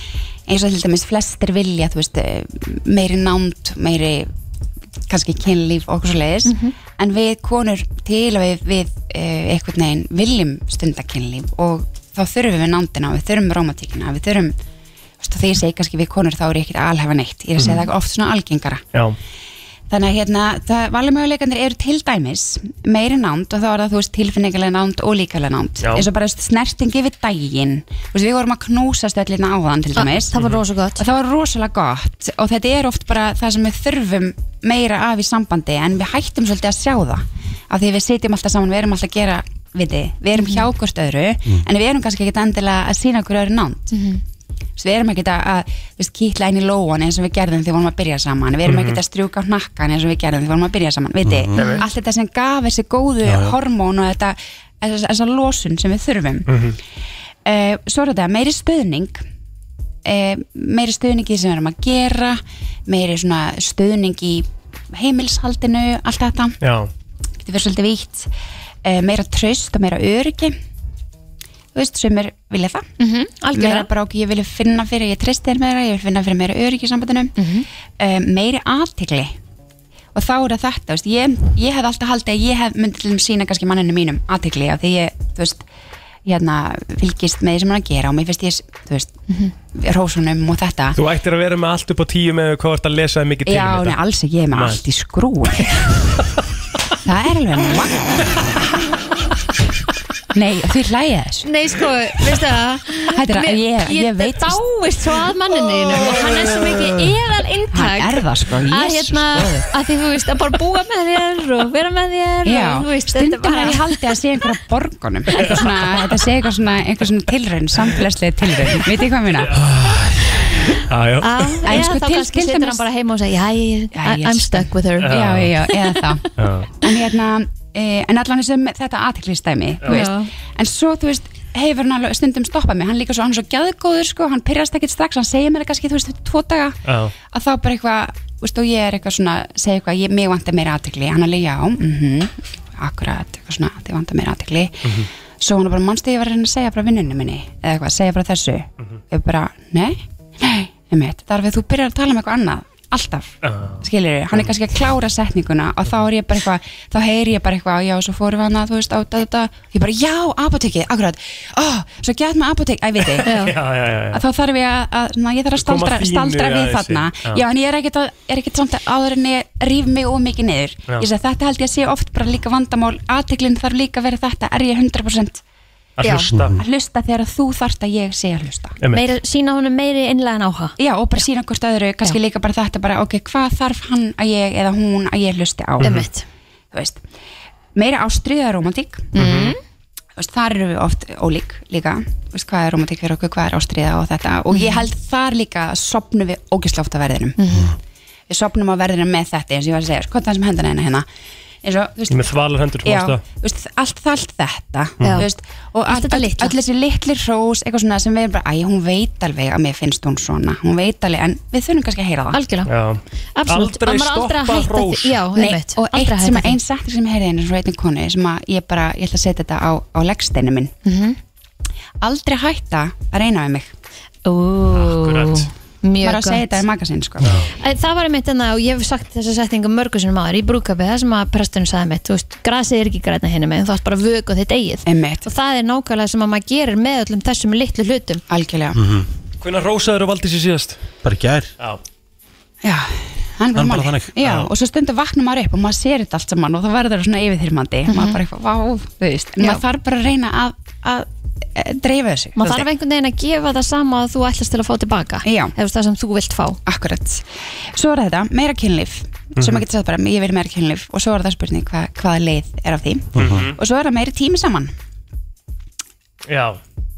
S7: Eins og til dæmis flestir vilja, þú veist, eh, meiri námt, meiri kannski kynlíf og okkur svo leiðis en við konur til að við, við eh, einhvern veginn viljum stunda kynlíf og þá þurfum við nándina við þurfum romantíkina, við þurfum þú veist, og þegar ég segi kannski við konur þá er ég ekkert að alhefa neitt ég er að segja
S8: Mhm.
S7: það oft svona algengara
S3: Já
S7: þannig að hérna, það- valmöguleikarnir eru til dæmis meiri nánd og þá er það þú veist tilfinningilega nánd og líkalega nánd
S4: Já.
S7: eins og bara þú veist, snertingi við daginn Þú veist, við vorum að knúsast öll hérna áðan til
S4: Ah,
S7: dæmis
S4: það var rosa gott.
S7: og það var rosalega gott og þetta er oft bara það sem við þurfum meira af í sambandi en við hættum svolítið að sjá það af því við sitjum alltaf saman, við erum alltaf að gera við þið, við erum hjá hvort öðru en við erum kannski ekkert endilega að sína okkur öðru nánd
S4: Mhm.
S7: Svo við erum ekkert að, að þú veist, kýtla inn í lóan eins og við gerðum þegar við vorum að byrja saman við erum
S8: Mhm.
S7: ekkert að strjúka á hnakkan eins og við gerðum þegar við vorum að byrja saman viti,
S8: Mhm. Nei, nei.
S7: allt þetta sem gaf þessi góðu
S8: Já, Mhm. já.
S7: hormón og þetta þessa, þessa losun sem við þurfum uh, svo er þetta meiri stöðning uh, meiri stöðning í því sem við erum að gera meiri svona stöðning í heimilshaldinu, allt þetta
S3: Já
S7: getur verið svolítið vítt uh, meira tröst og meira öryggi þú veist, sumir vilja það mm -hmm,
S4: algjörlega.
S7: meira bara okkur, ég vilja finna fyrir ég treysti þér meira, ég vil finna fyrir meira öryggi í sambandinu mm meiri aðtegli og þá er það þetta, þú veist ég, ég hef alltaf haldið að ég hef myndið til þeim sína kannski manninu mínum aðtegli af því ég, þú veist, hérna fylgist með því sem hann er að gera og mér finnst ég, þú veist rósunum og þetta
S3: Þú ættir að vera með allt upp á tíu með hvað ert að lesa þér mikið til um
S7: Já, nei, alls ekki, ég er með allt í skrúi Það er alveg nóg Nei, þið hlæja þessu
S4: Nei, sko, veistu það
S7: Þetta er að- ég- ég veit-
S4: dáist svo að manninu og hann er svo mikið eðal inntak
S7: Hann er það, sko,
S4: að,
S7: Jesus,
S4: hérna, að því, þú veist, að bara búa með þér og vera með þér
S7: Já,
S4: og, þú veist,
S7: stundum
S4: þetta
S7: er ég haldið að sé einhverja borgunum eitthvað svona,
S4: *laughs*
S7: þetta sé eitthvað svona, eitthvað svona tilraun, samfélagslega tilraun, veit ég hvað minna?
S3: Aðjá
S4: Á,
S7: En
S4: eða
S7: sko,
S4: þá
S7: til-
S4: kannski
S7: til
S4: setur
S7: dæmis-
S4: hann bara heima og segir "Jæja, I-
S7: ég
S4: I'm stuck with her
S7: Já, já, já, eða þá
S4: *laughs*
S3: Já.
S7: En hérna, eh, en allan þessum þetta aðteklistæmi,
S4: Já.
S7: þú veist En svo, þú veist, hefur hann alveg stundum stoppað mig Hann líka svo, hann er svo gæðgóður, sko, hann pyrrast ekkit strax Hann segir mér það kannski, þú veist, tvo daga
S3: Já.
S7: Að þá bara eitthvað, þú veist, og ég er eitthvað svona Segir eitthvað, ég, mig vantar meira aðtekli Hann alveg, já, mhm, akkurat, eitthvað svona Þið vantar meira aðtekli Svo hann er bara, mannstu ég var að reyna að segja bara vinnunni minni eða eitthvað, segja bara þessu ég bara, nei, nei, einmitt þar við þú byrjar að tala um eitthvað annað alltaf, skilur við, hann er kannski að klára setninguna og þá er ég bara eitthvað þá heyri ég bara eitthvað, já, svo fórum við hana þú veist, á þetta, þetta, ég bara, já, apotekið akkurat, ó, svo gett maður apotek æ, veit ég,
S3: já, já, já.
S7: að þá þarf ég að, að na, ég þarf að
S3: Koma
S7: staldra,
S3: fínu
S7: staldra við
S3: aðeins
S7: þarna
S3: inn,
S7: já.
S3: já.
S7: en ég er ekkert, að, er ekkert samt að áður en ég rýf mig of mikið niður
S3: Já.
S7: ég segi þetta held ég að sé oft bara líka vandamál aðteklin þarf líka að vera þetta, er ég 100%
S3: Að
S7: Já.
S3: hlusta.
S7: að hlusta þegar þú þarft að ég sé að hlusta
S3: Einmitt. Meira-
S7: sína honum meiri innlegan áha já og bara sína hvort öðru, kannski líka bara þetta bara, ok, hvað þarf hann að ég eða hún að ég hlusti á
S4: Einmitt.
S7: þú veist, meira ástriða romantík
S4: Mhm.
S7: Þú veist, þar eru við oft ólík líka Þú veist, hvað er romantík fyrir okkur, hvað er ástriða og þetta og ég held þar líka að sopnum við ógislega oft á verðinum við sopnum á verðinum með þetta eins og ég var að segja, sko, það sem hendan hennar hérna eins og, þú veist,
S3: Ég með þvalar hendur
S7: já,
S3: fórstu það?
S7: þú veist, allt, allt þetta
S3: Já.
S7: þú veist, og allt, all, all þessi litli hrós eitthvað svona sem við erum bara, æ, hún veit alveg að mér finnst hún svona, hún veit alveg en við þurfum kannski að heyra það
S4: algjörlega
S7: Absolutt,
S4: Aldrei að maður aldrei að stoppa hætta hrós. því- já, einmitt, aldrei
S7: og
S4: að
S7: eitt
S4: hætta
S7: sem að
S4: því.
S7: einn sagt sem ég heyrði einu frá einnig konu sem að ég bara, ég ætla að setja þetta á, á leggsteinu minn
S4: Mhm.
S7: aldrei hætta að reyna við mig
S4: Akkurat Mjög
S7: Maður á að segja
S4: gott.
S7: þetta í magasinn sko
S4: Æ, Það var einmitt enna og ég hef sagt þessa setningu mörgu sinum áður í brúkapi það sem að presturinn sagði mitt, þú veist, grasið er ekki græna henni með, þú átt bara að vöku þitt eigið
S7: einmitt.
S4: og það er nákvæmlega sem að maður gerir með öllum þessum litlu hlutum
S7: Algjörlega
S3: Hvernig rósaður og valdi sér síðast?
S2: Mhm. Bara gær
S3: Já
S7: hann
S2: Hann
S7: var
S2: bara
S7: málið.
S2: þannig.
S7: Já, og svo stundu vaknar maður upp og maður sér þetta allt saman og það verður svona yfirþyrmandi maður bara eitthvað, vá, þú veist
S4: Mhm.
S7: en
S4: Já.
S7: maður þarf bara að reyna að, að e, dreifa þessu
S4: maður þarf einhvern veginn að gefa það sama að þú ætlast til að fá tilbaka
S7: Já.
S4: eða það sem þú vilt fá
S7: Akkurat Svo er þetta, meira kynlíf sem
S4: Mhm.
S7: maður getur sagt bara, ég vil meira kynlíf og svo er það spurning hva, hvaða leið er af því
S3: Mhm.
S7: og svo er það meiri tími saman
S3: Já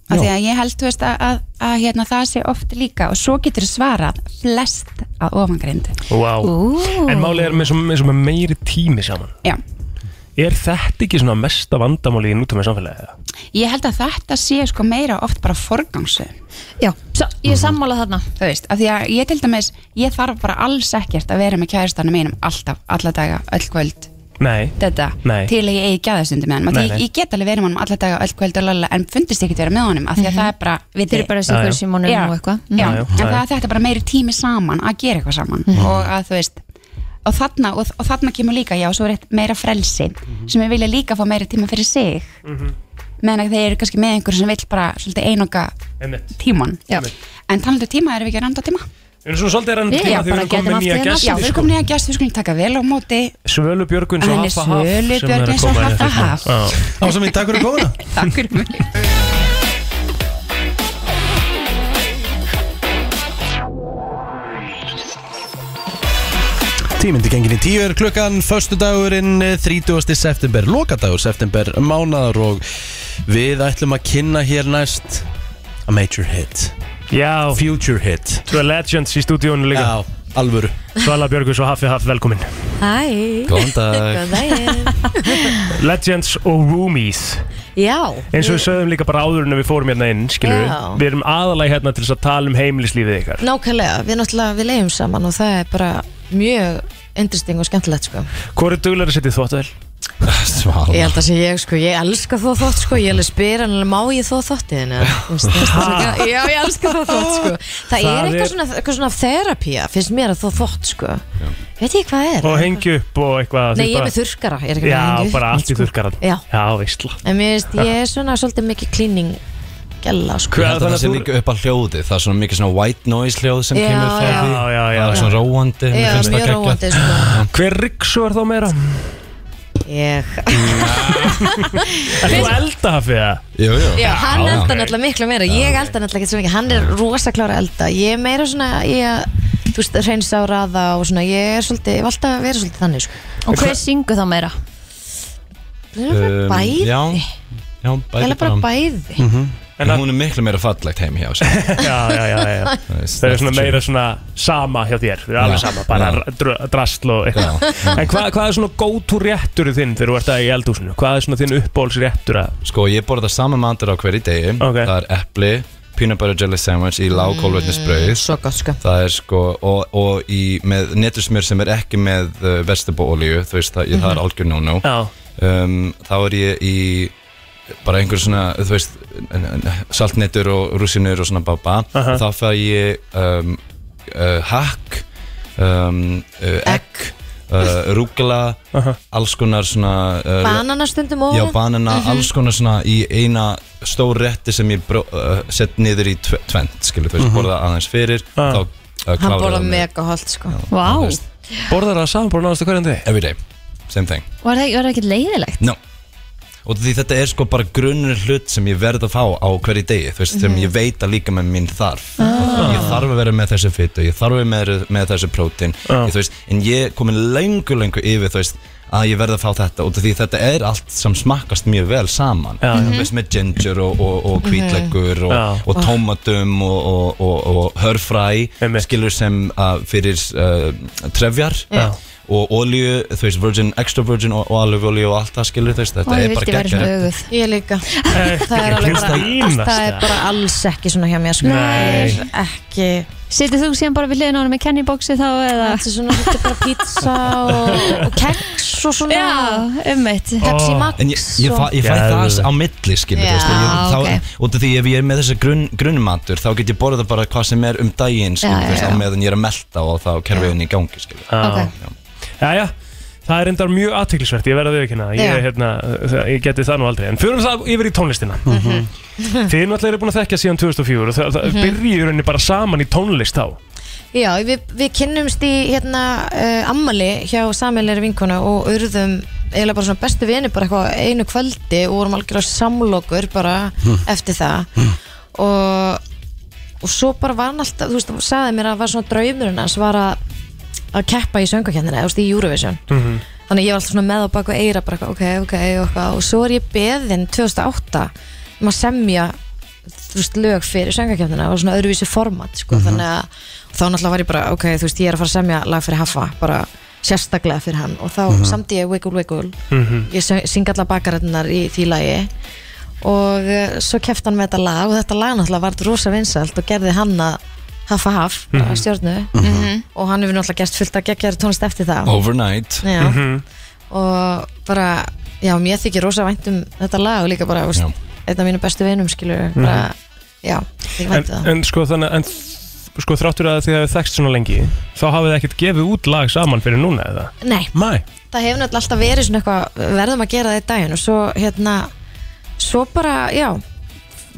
S7: af því að ég held, þú veist, að, að, að hérna, það sé oft líka og svo getur svarað flest að ofangrind
S3: Vá
S7: Ú.
S3: En málið er með, svo- með, svo með meiri tími saman
S7: Já.
S3: Er þetta ekki svona mesta vandamáli í nútum með samfélagi?
S7: Ég held að þetta sé sko meira oft bara forgangsu.
S4: Já, svo, ég er sammála þarna.
S7: Þú veist, af því að ég til dæmis, ég þarf bara alls ekkert að vera með kæristanum mínum alltaf, alla daga, öll kvöld,
S3: Nei
S7: þetta,
S3: Nei.
S7: til að ég eigi gæðastundu með hann.
S3: Nei,
S7: Nei,
S3: nei.
S7: Ég, ég get alveg verið með hann alla daga, öll kvöld og lalla, en fundist ég ekki vera með honum, af því að
S4: Mhm.
S7: það er bara, við
S4: Þeir eru bara að segja Já, hver já. Símoninn
S7: Já,
S4: og eitthvað. Mhm. Já,
S7: Já,
S4: já.
S7: en
S4: Já, já.
S7: það er þetta bara meiri tími saman að gera eitthvað saman
S4: Mhm.
S7: og að þú veist, og þarna, og, og þarna kemur líka, já, svo er eitt meira frelsi, sem ég vilja líka fá meiri tíma fyrir sig, meðan að þeir eru kannski með einhverju sem vill bara svolítið einoka
S3: Einmitt
S7: tíman
S3: Já.
S7: en talandu tíma erum við ekki að randa á tíma
S3: Við erum svona svolítið að reyna tíma
S7: Já,
S3: því við erum komin með nýja
S7: Já, við
S3: gæsti
S7: erum
S3: sko.
S7: komin nýja gæst, við skulum taka vel á móti
S3: Svölu Björgun
S7: Hann er Svölu Björgvins og
S3: hérna
S7: Haffa Haf.
S2: Ásamín, takk fyrir komuna
S7: *laughs* Takk fyrir mig
S2: Tímindi gengin í tíu er klukkan Föstudagurinn eh, 30. september Lokadagur september Mánaðar og við ætlum að kynna hér næst A major hit
S3: Já
S2: Future hit
S3: Tvö legends í stúdíónu líka
S2: Já, alvöru
S3: Svala Björgus og Hafi Haf, velkomin
S8: Hæ
S2: Góðan dag.
S8: Góðan daginn
S3: Legends og Roomies
S8: Já
S3: eins og við sögum líka bara áður en við fórum hérna inn skilur við,
S8: Já.
S3: við erum aðalega hérna til þess að tala um heimilislífið ykkar
S8: Nákvæmlega, við náttúrulega við leiðum saman og það er bara mjög interesting og skemmtilegt sko
S3: Hvor er duglega að setja þvóttavel?
S2: *laughs* Svala
S8: Ég held að sé ég sko, ég elska þó þótt sko Ég alveg spyr hann, alveg, má ég þó þóttið
S3: Ha?
S8: Já, ég elska þó þótt sko Það,
S3: Það
S8: er eitthvað
S3: er-
S8: svona, eitthvað svona þerapía finnst mér að þó þótt sko Veit ég hvað er?
S3: Og hengju upp og eitthvað
S8: Nei,
S3: þú
S8: ég er
S3: bara-
S8: með þurrkara, ég er ekki með
S3: Já,
S8: hengju upp
S3: bara allt í þurrkaran
S8: Já.
S3: Já, veistla
S8: En mér veist, ég er svona svolítið mikið klíning gælla sko
S9: Ég held að það sé líka upp á hljóði Það er svona mikið svona white noise hljóð sem
S8: Já,
S9: kemur frá
S8: já.
S9: því
S3: já, já,
S9: Það er svona róandi mér
S8: Já,
S9: finnst það
S8: mjög róandi
S9: geggjað.
S8: sko *laughs*
S3: Hver riksu er þá meira?
S8: Ég
S3: Er þú eldahafið það?
S9: Jú, jú
S8: Já, hann elda náttúrulega miklu meira Ég elda náttúrulega ekki svo mikið Hann er rosa klára elda Ég er meira svona í að Þú veist, reynsa og raða og svona Ég er svolítið, ég var alltaf að vera svolítið þannig sko.
S4: Og hver syngur þá meira?
S9: Um,
S8: Bæði.
S9: Já, já bæði
S8: Eiginlega bara bæði.
S9: Mhm. En hún er miklu meira fallegt heim hjá sér
S3: *laughs* Já, já, já, já. Það er svona meira svona sama hjá þér Við erum alveg sama, bara dr- drasl og eitthvað En hvað, hvað er svona go-to réttur þinn þegar þú ert að í eldhúsinu? Hvað er svona þinn uppbóls réttur að
S9: Sko, ég borða saman matur á hverju degi Það er epli, peanut butter jelly sandwich í lágkólvetnisbrauð
S8: Svo gott, sko
S9: Það er sko, og, og í, með netusmjör sem er ekki með uh, vestibóolíu Þú veist, það, mm það er
S8: Mhm.
S9: algjör no-no um, Þá er ég í bara einhver svona, þú veist saltnetur og rúsinur og svona baba
S3: Aha.
S9: Þá fæ ég um, uh, hakk um, uh, egg uh, rúgla alls konar svona uh,
S8: Banana stundum og
S9: Já, banana, alls konar svona í eina stór rétti sem ég bró, uh, sett niður í tve- tvennt, skilur, þú veist,
S3: Mhm.
S9: borða aðeins fyrir, þá uh,
S8: Hann
S9: klára
S8: borða mega holdt, sko
S4: Vá wow.
S9: Borðar það saman, borðar það hverjandi? Every day, same thing
S4: Var það var það ekki leiðilegt?
S9: No Og því þetta er sko bara grunnur hlut sem ég verð að fá á hverju degi Þú veist, sem
S4: Mhm.
S9: ég veit að líka með mín þarf
S4: Ah.
S9: Ég þarf að vera með þessu fytu, ég þarf að vera með, með þessu prótín ég, Þú veist, en ég er komin lengur lengur yfir, þú veist að ég verð að fá þetta og því þetta er allt sem smakkast mjög vel saman
S3: Já, já.
S9: Þú veist, með ginger og, og, og
S3: Mhm.
S9: hvítleggur og,
S3: Já.
S9: og tómatum og, og, og, og hörfræ skilur sem uh, fyrir uh, trefjar
S3: Já.
S9: og olju, þú veist, virgin, extra virgin og, og alvegolju og allt það skilur þú veist, þetta
S4: Ó, ég
S9: er bara
S4: vildi vera
S9: geggjað.
S4: svona öguð
S8: Ég líka Það er alveg bara Það er bara alls ekki svona hjá mér, sko
S4: Nei.
S8: Það er Ekki
S4: Situr þú síðan bara við hliðin á hann með kenniboksi þá eða?
S8: Þetta er svona þetta er bara pizza og, og keks og svona
S4: Já, ummitt
S8: Pepsi Max
S9: en ég, ég, fæ, ég fæ
S3: Geðveikt.
S9: það á milli skilur
S4: Já,
S9: þú veist, ég, þá,
S4: ok.
S9: út af því ef ég er með þessi grunn, grunnmatur þá get ég borðað bara hvað sem er um daginn skilur,
S3: Já,
S9: þú veist,
S3: já,
S9: á
S3: já.
S9: meðan ég er að melta og þá kerfiðin í gangi skilur
S3: Já. Jæja, það er endar mjög aðtiklisvert, ég verða að viðkynna það.
S8: Já.
S3: ég, hérna, það- ég geti það nú aldrei En förum það yfir í tónlistina Þið náttúrulega eru búin að þekkja síðan 2004 og það, það
S8: Mhm.
S3: byrjið í rauninni bara saman í tónlist þá
S8: Já, við, við kynnumst í hérna uh, ammali hjá sameilir vinkona og urðum eiginlega bara svona bestu vini bara eitthvað einu kvöldi og vorum algjörlega samlokur bara
S9: Hmm.
S13: Hm.
S8: eftir það og, og svo bara var hann alltaf, þú veist, hann sagði mér að það var svona draumurinn hans var að, að keppa í söngakendina, þú veist, í Eurovision
S13: Mhm.
S8: þannig að ég var alltaf svona með á baku eira bara eitthvað, ok, ok, og eitthvað og svo er ég beðin 2008 um að semja þú veist, lög fyrir söngakefnina og svona öðruvísi format sko,
S13: Mhm.
S8: þannig að þá náttúrulega var ég bara, ok, þú veist, ég er að fara að semja lag fyrir Haffa, bara sérstaklega fyrir hann og þá
S13: Mhm.
S8: samdi ég Wiggle Wiggle ég söng- syng alla bakarætnar í því lagi og uh, svo kefti hann með þetta lag og þetta lag náttúrulega var rosa vinsælt og gerði hann að Haffa Haff mm
S9: Mhm.
S8: stjórnu
S9: Mhm.
S8: og hann hefur náttúrulega gert fullt að geggjara tónlist eftir það
S9: Overnight
S8: Já. Mhm. og bara, já, mér þykir rosa vænt um þetta lag og líka bara, þú veist, einn af mínu bestu vinum skilur,
S9: Mhm.
S8: bara, já, þykir vænt um það
S3: en, en sko þannig en, þ- sko þráttur að þið hafið þekkt svona lengi þá hafið þið ekkert gefið út lag saman fyrir núna eða?
S8: Nei.
S3: Nei
S8: það hefur náttúrulega alltaf verið svona eitthvað við verðum að gera það í daginn og svo hérna svo bara, já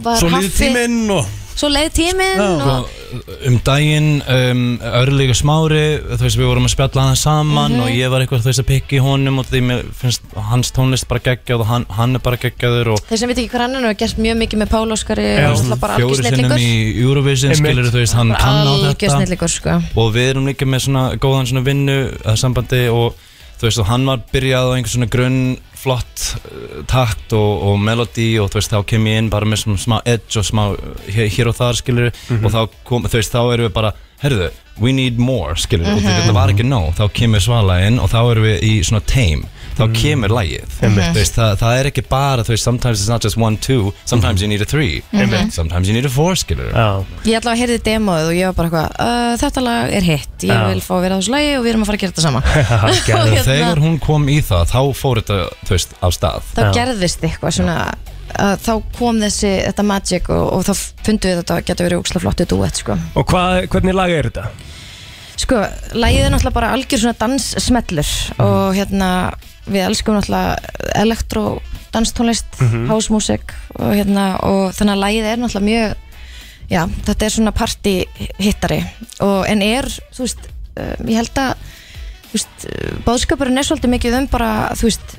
S8: var
S9: Svo líður
S8: Haffi-
S9: tíminn og-
S8: svo leið tíminn og,
S9: Sko, um daginn um, örlíka smári þú veist við vorum að spjalla hann saman
S8: Mhm.
S9: og ég var eitthvað þú veist að pikka í honum og því mér finnst hans tónlist bara geggjáð og hann, hann er bara geggjáður og
S8: þeir sem veit ekki hvað annan hefur gert mjög mikið með Pál Óskari
S9: Já.
S8: og alltaf bara
S9: fjóru
S8: algjör
S9: sinnum
S8: snillingur
S9: í Eurovision
S3: Einmitt.
S9: skilur þú veist hann
S8: Bara
S9: kann á
S8: algjör
S9: þetta
S8: snillingur sko
S9: og við erum líka með svona góðan svona vinnu eh, sambandi og þú veist og hann var byrjað á einhver svona grunn flott eh, takt og, og melodi og þú veist þá kem ég inn bara með svona smá edge og smá eh, hér, hér og þar skilur
S3: Mhm.
S9: og þá kom, þú veist þá erum við bara herðu, we need more skilur mm
S3: Mhm.
S9: og þetta var ekki nóg, þá kemur svala inn og þá erum við í svona tame þá kemur lægið,
S3: Mhm. Einmitt.
S9: þú veist, það, það er ekki bara, þú veist, sometimes it's not just one, two
S3: Mhm.
S9: sometimes you need a three,
S8: Einmitt.
S9: sometimes you need a four, skilur
S3: oh.
S8: ég allavega heyrði demóið og ég var bara eitthvað "Uh, þetta lag er hitt, ég
S9: Já.
S8: vil fá að vera á þessu lagi og við erum að fara að gera þetta saman
S3: *laughs*
S9: Geðveikt.
S8: hérna-
S9: Þegar hún kom í það þá fór þetta, þú veist, af stað
S8: þá gerðist eitthvað svona að þá kom þessi, þetta magic og, og þá fundum við að þetta getur verið úkslega flottu duett sko.
S3: og hvað, hvernig lag er þetta?
S8: Sko, lægið er náttúrulega bara algjör svona danssmellur og hérna við elskum náttúrulega elektró danstónlist,
S13: Mhm.
S8: house music og hérna og þannig að lægið er náttúrulega mjög já, þetta er svona party hittari og en er, þú eh, veist, um, ég held að þú veist, bóðskapurinn er svolítið mikið um bara, þú veist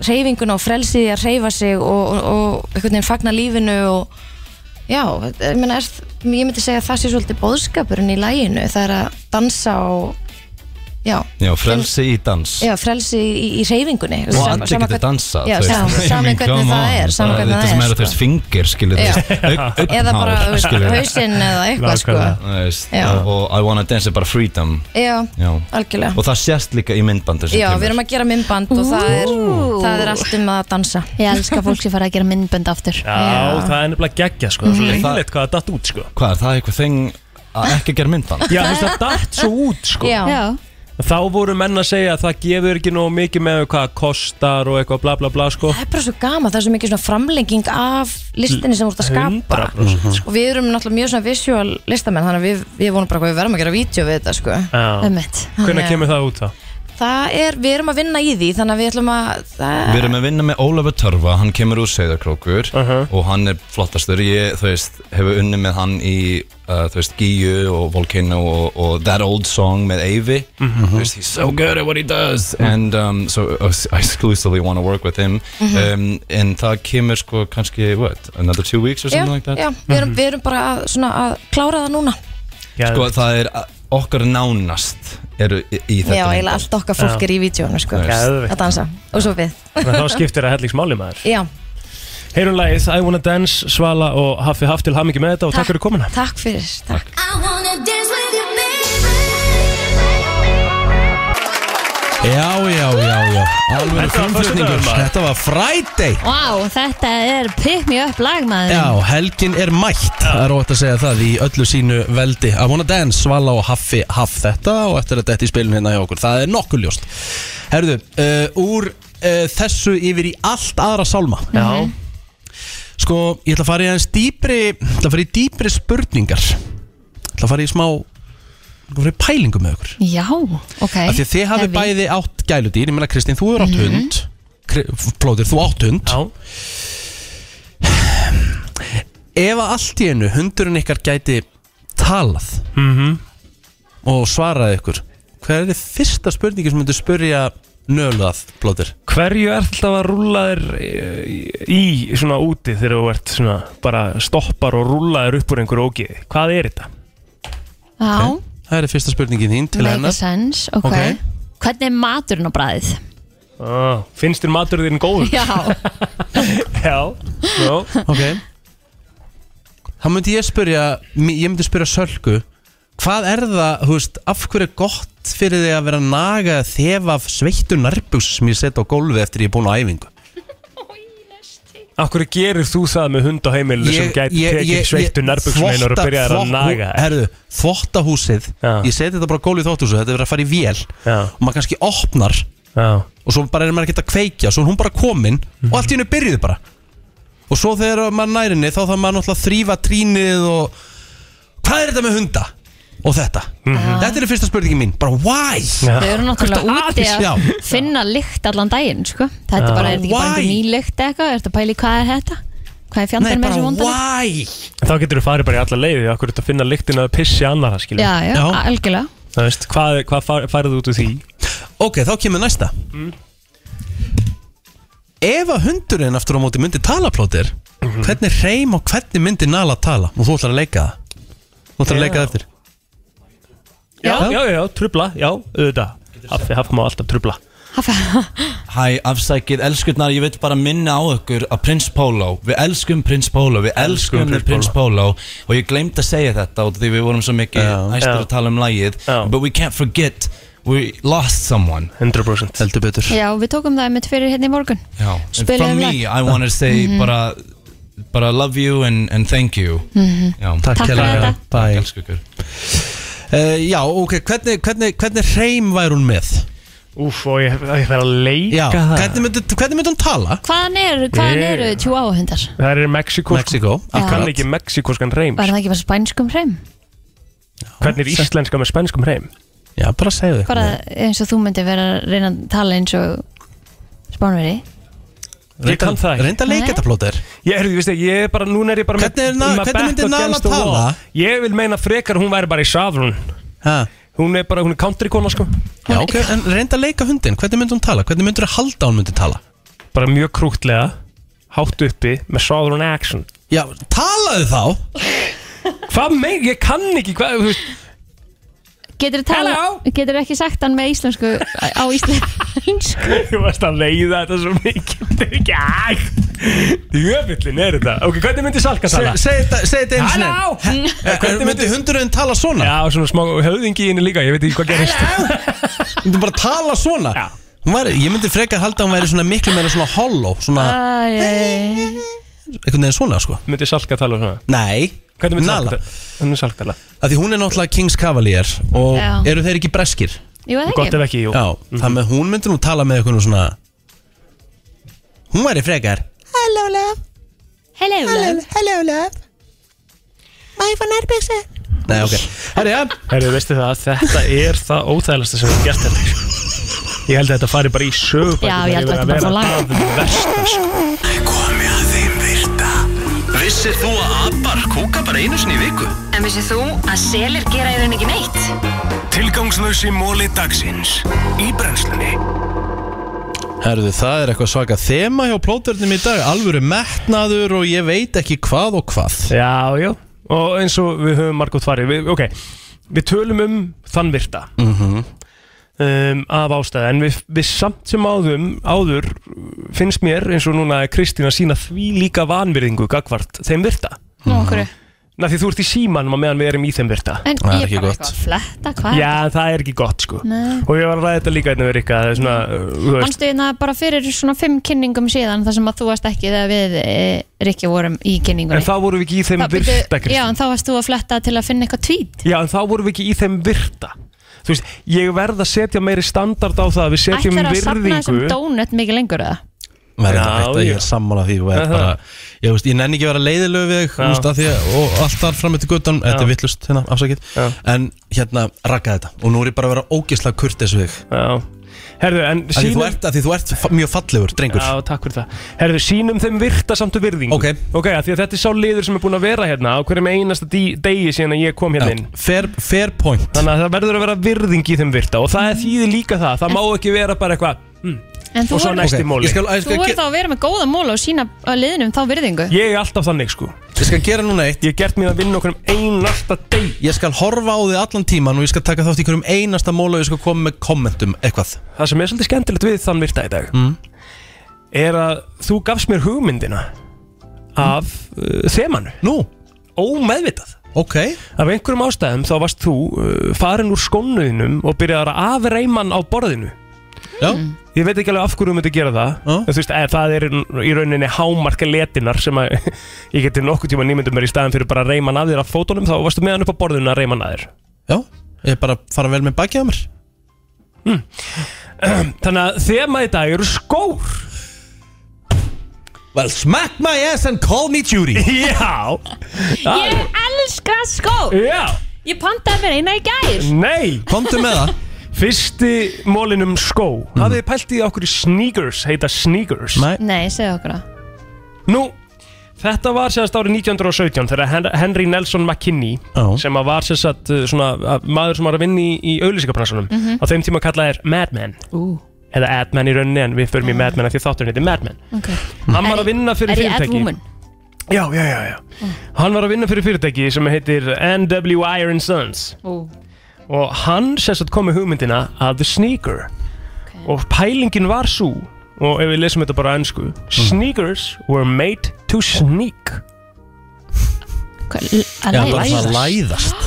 S8: reyfinguna og frelsið í að reyfa sig og, og, og einhvern veginn fagna lífinu og já, ég, meina, er, ég myndi segja að það sé svolítið bóðskapurinn í læginu, það er að dansa og já,
S9: Já, frelsi í dans
S8: já frelsi í, í reyfingunni
S9: Og allir getur dansað
S8: já,
S9: þú veist.
S8: sama,
S9: *laughs* I
S8: sama
S9: mean,
S8: hvernig
S9: come
S8: það
S9: on. Uh,
S8: er sama hvernig
S9: Þetta
S8: það
S9: sem
S8: er sko.
S9: eru þú veist fingir, skilur þú
S8: Já.
S9: veist augn-
S8: Eða bara,
S9: augnhár,
S8: þú veist,
S9: skilur við.
S8: hausinn eða eitthvað, sko.
S9: Þú veist,
S8: Já.
S9: Og I wanna dance er bara freedom
S8: Já, algjörlega.
S9: Og það sést líka í myndbandu
S8: Já, við erum að gera myndband og það er,
S4: Ú.
S8: það er allt um að dansa
S4: Ég elska fólk sem fara að gera myndbönd aftur
S3: Já, það er nefnilega geggja sko, það er svo
S9: Mhm.
S3: leiðilegt hvað það datt út sko
S9: Hvað, er það eitthvað þeng að ekki gera myndband?
S3: Já, þú
S8: *laughs*
S3: veist, það datt svo út sko
S4: Já. Já.
S3: *laughs* Þá voru menn að segja að það gefur ekki nóg mikið með hvað það kostar og eitthvað bla bla bla sko
S8: Það er *laughs* bara svo gama, það er svo mikið svona framlenging af listinni sem þú ert að skapa Mhm.
S3: 100%, sko.
S8: og við erum náttúrulega mjög svona visual listamenn þannig að við, við vonum bara hvað við verðum að gera vídeo við þetta sko. Einmitt.
S3: Hvernig
S8: Já.
S3: kemur það út þá?
S8: það er, við erum að vinna í því þannig að við ætlum að það,
S9: Við erum að vinna með Ólafur Törfa, hann kemur úr Seyðarkrókur og hann er flottastur, ég, þú veist, hefur unni með hann í, uh, þú veist, Gíu og Volcano og, og That Old Song með Eyvi,
S18: Mhm.
S9: þú veist, he's so good at what he does and um, so I exclusively want to work with him
S8: Mhm.
S9: um, en það kemur sko kannski, what, another two weeks or something
S8: já,
S9: like that?
S8: já, við,
S9: Mhm.
S8: erum, við erum bara að, svona, að klára það núna
S9: Sko það er okkar nánast eru í, í þetta
S8: Já,
S9: myndband.
S8: eiginlega allt okkar fólk er í vídjónu sko,
S3: Geðveikt.
S8: að dansa og svo við
S3: Þannig að þá skiptir það hellingsmáli maður
S8: Já,
S3: Heyrum lagið I Wanna Dance, Svala og Hafi Haftil hamingi með þetta og takk fyrir komuna
S8: takk fyrir, takk
S2: Já, já, já, já Alveg
S3: Þetta var
S2: frumflutningur
S3: föstudagur, maður.
S2: Þetta var Friday
S4: Vá, þetta er pick me up lag maður
S2: Já, helgin er mætt Það er ótt að segja það í öllu sínu veldi I wanna dance, Svala og Haffi haff þetta og eftir að þetta í spilin hérna hjá okkur Það er nokkuð ljóst Herðu, uh, úr uh, þessu yfir í allt aðra sálma Mhm.
S3: Já
S2: Sko, ég ætla að fara í aðeins dýpri Ég ætla að fara í dýpri spurningar Ég ætla að fara í smá ég ætla að fara í pælingu með okkur
S4: Já, ok
S2: Af því að þið hafið
S4: Heavy.
S2: bæði átt gæludýr Ég meina Kristín, þú hefur átt
S4: Mhm.
S2: hund Kri- Plóðir, þú átt hund
S3: Já
S2: Ef að allt í einu hundurinn ykkar gæti talað
S3: Mhm.
S2: og svaraði ykkur Hver er þið fyrsta spurningin sem myndu spyrja nölað, Plóðir?
S3: Hverju ert alltaf að rúlla þér eh, í svona úti þegar þú ert svona bara stoppar og rúlla þér upp úr einhverju ógiði? Hvað er þetta?
S4: Já,
S2: Það er fyrsta spurningin þín til
S4: make a
S2: hennar
S4: sense, ok,
S2: Ok.
S4: Hvernig er maturinn á bræðið?
S3: Ah, finnst þér matur þinn góður?
S4: Já,
S3: Já, no.
S2: Ok Þá myndi ég spyrja mi- Ég myndi spyrja Sölku Hvað er það, þú veist, af hverju er gott fyrir þig að vera að naga að þefa af sveittu nærbús sem ég set á gólfi eftir ég er búin á æfingu?
S3: Akkur gerir þú það með hund á heimilu sem gæti tekið sveittu nærbuksumein og
S2: þvotta-
S3: byrjaði að
S2: þvo-
S3: naga þér?
S2: Herðu, þvottahúsið, ég seti þetta bara á gólfið í þvottahúsið, þetta er verið að fara í vél
S3: Já.
S2: og maður kannski opnar
S3: Já. Mhm.
S2: og svo bara er maður ekkert að kveikja, svo er hún bara komin og allt í hennu byrjuði bara og svo þegar maður nærinni þá þarf maður náttúrulega að þrýfa trínið og hvað er þetta með hunda? Og þetta,
S3: Mhm.
S2: þetta er fyrsta spurningin mín, bara why?
S4: þau eru náttúrulega
S2: Hvert
S4: úti
S2: Já.
S4: að finna lykt allan daginn, sko Þetta er
S2: Já.
S4: bara, er þetta ekki bara
S2: Why?
S4: einhver ný lykt eða eitthvað? Er þetta pæli, hvað er þetta? Hvað er fjandarinn með þessu vondan?
S2: why?
S3: Þá getur þú farið bara í alla leiði, akkur ert að finna lyktin að pissi annara, skilur.
S4: Já, já, algjörlega
S3: Það veist, hvað, hvað far, farið þú út úr því?
S2: Ok, þá kemur næsta Ef að hundurinn aftur á móti myndi tala plótir Hvernig reym og hvernig myndi Nala tala? Og þú ætlar að leika það Þú ætlar að leika það eftir
S3: Já, já, já, trubla, já, auðvitað. Hafi hafa maður alltaf trubla.
S9: Hæ, afsækið, elskurnar, ég vil bara minna á ykkur að Prins Pólo, við elskum Prins Pólo, við elskum, elskum
S3: Elskum Prins
S9: Prins Pólo og ég glemt að segja þetta út af því við vorum svo mikið æstur að tala um lagið but we can't forget we lost someone
S3: 100%
S9: heldur
S2: betur
S4: Já, við tókum það einmitt fyrir hérna í morgun
S9: Já, and
S4: Spilaðu
S9: from
S4: lag.
S9: me I want to say
S4: Mhm.
S9: bara bara love you and, and thank you
S4: Mhm.
S9: Já,
S4: Takk Takk fyrir fyrir þetta. þetta.
S9: Takk, elsku ykkur
S2: uh, Já, ok, hvernig, hvernig, hvernig reym væri hún með?
S3: Úf, og ég, ég fer að leika
S2: já,
S3: það.
S2: Hvernig myndi, hvernig myndi hún tala?
S4: Hvaðan eru, hvaðan
S3: Ég-
S4: eru tjúáhundar?
S3: Það er Mexiko.
S2: Mexiko,
S3: Ég kann
S4: akkurat.
S3: ekki mexikoskan reym.
S4: Var það ekki bara spænskum hreim?
S3: Hvernig er íslenska með spænskum reym?
S2: Já, bara segðu
S4: Bara eins og þú myndi vera að reyna að tala eins og spánveri
S3: Ég kann það ekki.
S2: Reynda að leika
S4: Nei.
S2: þetta plótir
S3: Ég, er, ég veist ekki, ég er bara, núna er ég bara
S2: Hvernig er na-
S3: my
S2: hvernig
S3: back
S2: myndi Nala
S3: against the
S2: tala?
S3: wall. Ég vil meina frekar hún væri bara í safrun
S2: ha.
S3: Hún er bara, hún er countrykona sko
S2: Já, ok, en reynda að leika hundin Hvernig myndi hún tala? Hvernig myndur þú halda að hún myndi tala?
S3: bara mjög krútlega hátt uppi með Southern accent
S2: Já, talaðu þá
S3: Hvað meir, ég kann ekki hvað, þú veist
S4: Getur þú ekki sagt hann með íslensku á íslensku?
S3: Þú varst að leiða þetta svo mikið Þetta er ekki hægt Jöfullin er þetta Ok, hvernig myndi Salka tala?
S2: Se- segðu þetta- segðu þetta einu sinni.
S3: Halló
S2: Eh, myndi hundurinn tala svona?
S3: Já, svona smá höfðingi í henni líka Ég veit ekki hvað gerist
S2: *laughs* Þú bara tala svona Hún var, Ég myndi frekar halda að hún væri svona miklu meira svona hollow Svona,
S4: Ah. Æ,
S2: einhvern veginn svona sko
S3: Myndi Salka tala svona?
S2: Nei
S3: Hvernig myndi
S2: Nala.
S3: Salka tala? Hvernig Salka tala?
S2: Af Því hún er náttúrulega Kings Cavalier Og
S4: Já.
S2: eru þeir ekki breskir?
S4: Jú, eða ekki?
S3: Gott ef ekki, jú. Mhm.
S2: Já, þannig að hún myndi nú tala með eitthvað svona Hún væri frekar
S11: Hello love,
S4: Hello
S11: hello, hello love Má ég fá nærbyggsið?
S2: Nei, ok Herri, ja
S3: Herri, veistu það, þetta er það óþægilegsta sem við gert þetta sko. Ég held að þetta fari bara í sög
S4: Já, ég held að þetta bara fá lag.
S3: sko.
S1: Komið að þeim virta Vissir þú að abar kúka bara einu sinni í viku?
S10: En vissið þú að selir gera í raun ekki neitt?
S1: Tilgangslösi móli dagsins Í brennslunni
S2: Herðu, það er eitthvað svaka þema hjá plóturnum í dag Alvöru metnaður og ég veit ekki hvað og hvað
S3: Já, já, og eins og við höfum margótt farið við, Ok, við tölum um þann virta
S2: Mhm.
S3: um, af ástæða En við, við samt sem áðum, áður uh, finnst mér eins og núna er Kristín að sína því líka vanvirðingu gagvart þeim virta
S4: Nú, okkur
S3: Na, Því þú ert í símanum á meðan við erum í þeim virta
S4: En ég er bara eitthvað að fletta, hvað?
S3: Já, það er ekki gott sko
S4: Nei.
S3: Og ég var að ræða þetta líka einnig við Rikka Það er svona, uh, þú veist
S4: Manstu hérna bara fyrir svona fimm kynningum síðan þar sem að þú varst ekki þegar við e, Rikki vorum í kynningunni
S3: En þá vorum við ekki í þeim
S4: Þá-
S3: virta,
S4: Já,
S3: Kristín
S4: en þá varst þú að fletta til að finna eitthvað tvít
S3: Já, en þá vorum við ekki í þeim virta Þú veist, ég verð að setja meiri standard á það að Við setjum
S4: Ætlar að safna þessum
S3: virðingu
S4: dónut mikið lengur eða?
S2: Verða
S3: Já,
S2: þetta, ég
S3: já.
S2: er sammála því og er
S3: Aha.
S2: bara, ég, veist, ég nenni ekki að vera leiðilög við þig
S3: Já.
S2: úst, að því, að- og allt þar fram eftir guttan þetta er vittlust, hérna, afsakið en hérna, rakka þetta og nú er ég bara að vera ógislega kurtis við þig
S3: Já, herðu, en
S2: Af því þú
S3: sýnum-
S2: ert, af því þú ert fa- mjög fallegur, drengur
S3: Já, takk fyrir það Herðu, sínum þeim virta samt virðingu Ok Ok, af því að þetta er sá liður sem er búin að vera hérna Á hverjum einasta dí, degi síðan að ég kom hérna inn
S2: fair, fair point
S3: Þannig að það verður að vera virðing í þeim virta Og það er þýði líka það Það má ekki vera bara eitthvað hm.
S4: En þú
S3: Og svo
S4: voru-
S3: næsti
S2: Ok,
S3: móli
S2: ég skal- ég
S4: Þú voru þá að vera með góða mól og sína að liðnum þá virðingu
S3: Ég er alltaf þannig sko
S2: Ég skal gera núna eitt
S3: Ég hef gert mér að vinna okkur um einasta deg
S2: Ég skal horfa á þig allan tíman og ég skal taka þátt í hverjum einasta móla og ég skal koma með kommentum eitthvað
S3: Það sem er svolítið skemmtilegt við þann virta í dag Er að þú gafst mér hugmyndina Af uh, þemanu
S2: Nú?
S3: Ómeðvitað
S2: Ok
S3: Af einhverjum ástæðum þá varst þú uh, farin úr skónuðinum Og byrjaðar að afreiman á borðinu
S2: Já
S3: Ég veit ekki alveg af hverju þú myndir gera það en, Þú veist, eða, það er í rauninni hámarka letinar sem að *laughs* ég geti nokkuð tíma nýmyndum mér í staðan fyrir bara að reyman að þér af fótunum þá varstu með hann upp á borðinu að reyman að þér
S2: Já, ég er bara að fara vel með bakið á mér
S3: Hmm. *clears throat* Þannig að þema í dag eru skór
S2: Well, smack my ass and call me Judy
S3: *laughs* Já Ah,
S4: Ég elska skó
S3: Já
S4: Ég pantaði mér eina í gær
S3: Nei
S2: Komdu með það Hmm.
S3: Fyrsti mólin um skó mm. Hafið þið pælt í að okkur í sneakers heita sneakers
S2: Nei
S4: Nei, segðu okkur það
S3: Nú, þetta var sérst árið 1917 þegar Hen- Henry Nelson McKinney
S2: Já.
S3: sem að var sérst að, uh, svona, að maður sem var að vinna í, í auðlýsingapransunum
S4: Mhm.
S3: á þeim tíma kallaði er Madman
S4: Ú.
S3: eða Adman í rauninni en við förum í Madman af því að þátturinn heiti Madman
S4: okay.
S3: Hann var að vinna
S4: Er
S3: fyrir
S4: Ah. ég ad
S3: fyrirtæki
S4: woman?
S3: Já, já, já, já. Hann var að vinna fyrir fyrirtæki sem heitir NW Iron Sons
S4: Ú.
S3: og hann sérst kom með hugmyndina að The Sneaker og pælingin var svo og ef við lesum þetta bara á ennsku
S2: Mm.
S3: Sneakers were made to sneak
S4: að Já, bara læðast. svona
S2: læðast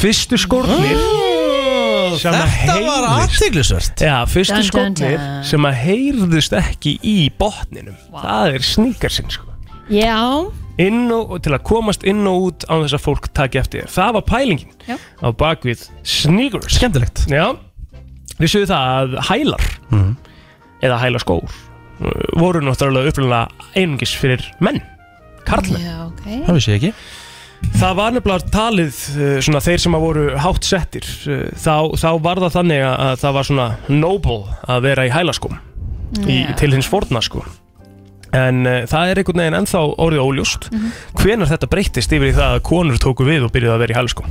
S3: Fyrstu skórnir sem að
S2: þetta var
S3: heyrðust-
S2: athyglisvert.
S3: Já, fyrstu
S2: Dun, dun,
S3: skórnir
S2: dun.
S3: sem að heyrðust ekki í botninum Það er sneakersinn sko
S4: Já
S3: Inn og, og til að komast inn og út á þess að fólk taki eftir þér Það var pælingin
S4: Já.
S3: á bakvið sneakers
S2: Skemmtilegt
S3: Já, við sögum það að hælar eða hæla skór voru náttúrulega upplulega einungis fyrir menn, karlmenn
S4: Já, ok
S2: Það vissi ég ekki
S3: Það var nefnilega talið uh, svona þeir sem að voru hátt settir uh, þá, þá var það þannig að- að það var svona noble að vera í hælaskóm í,
S18: Já.
S3: til hins forna sko en uh, það er einhvern veginn ennþá orðið óljóst
S4: Mhm.
S3: hvenar þetta breyttist yfir í það að konur tóku við og byrjuðu að vera í hælaskóm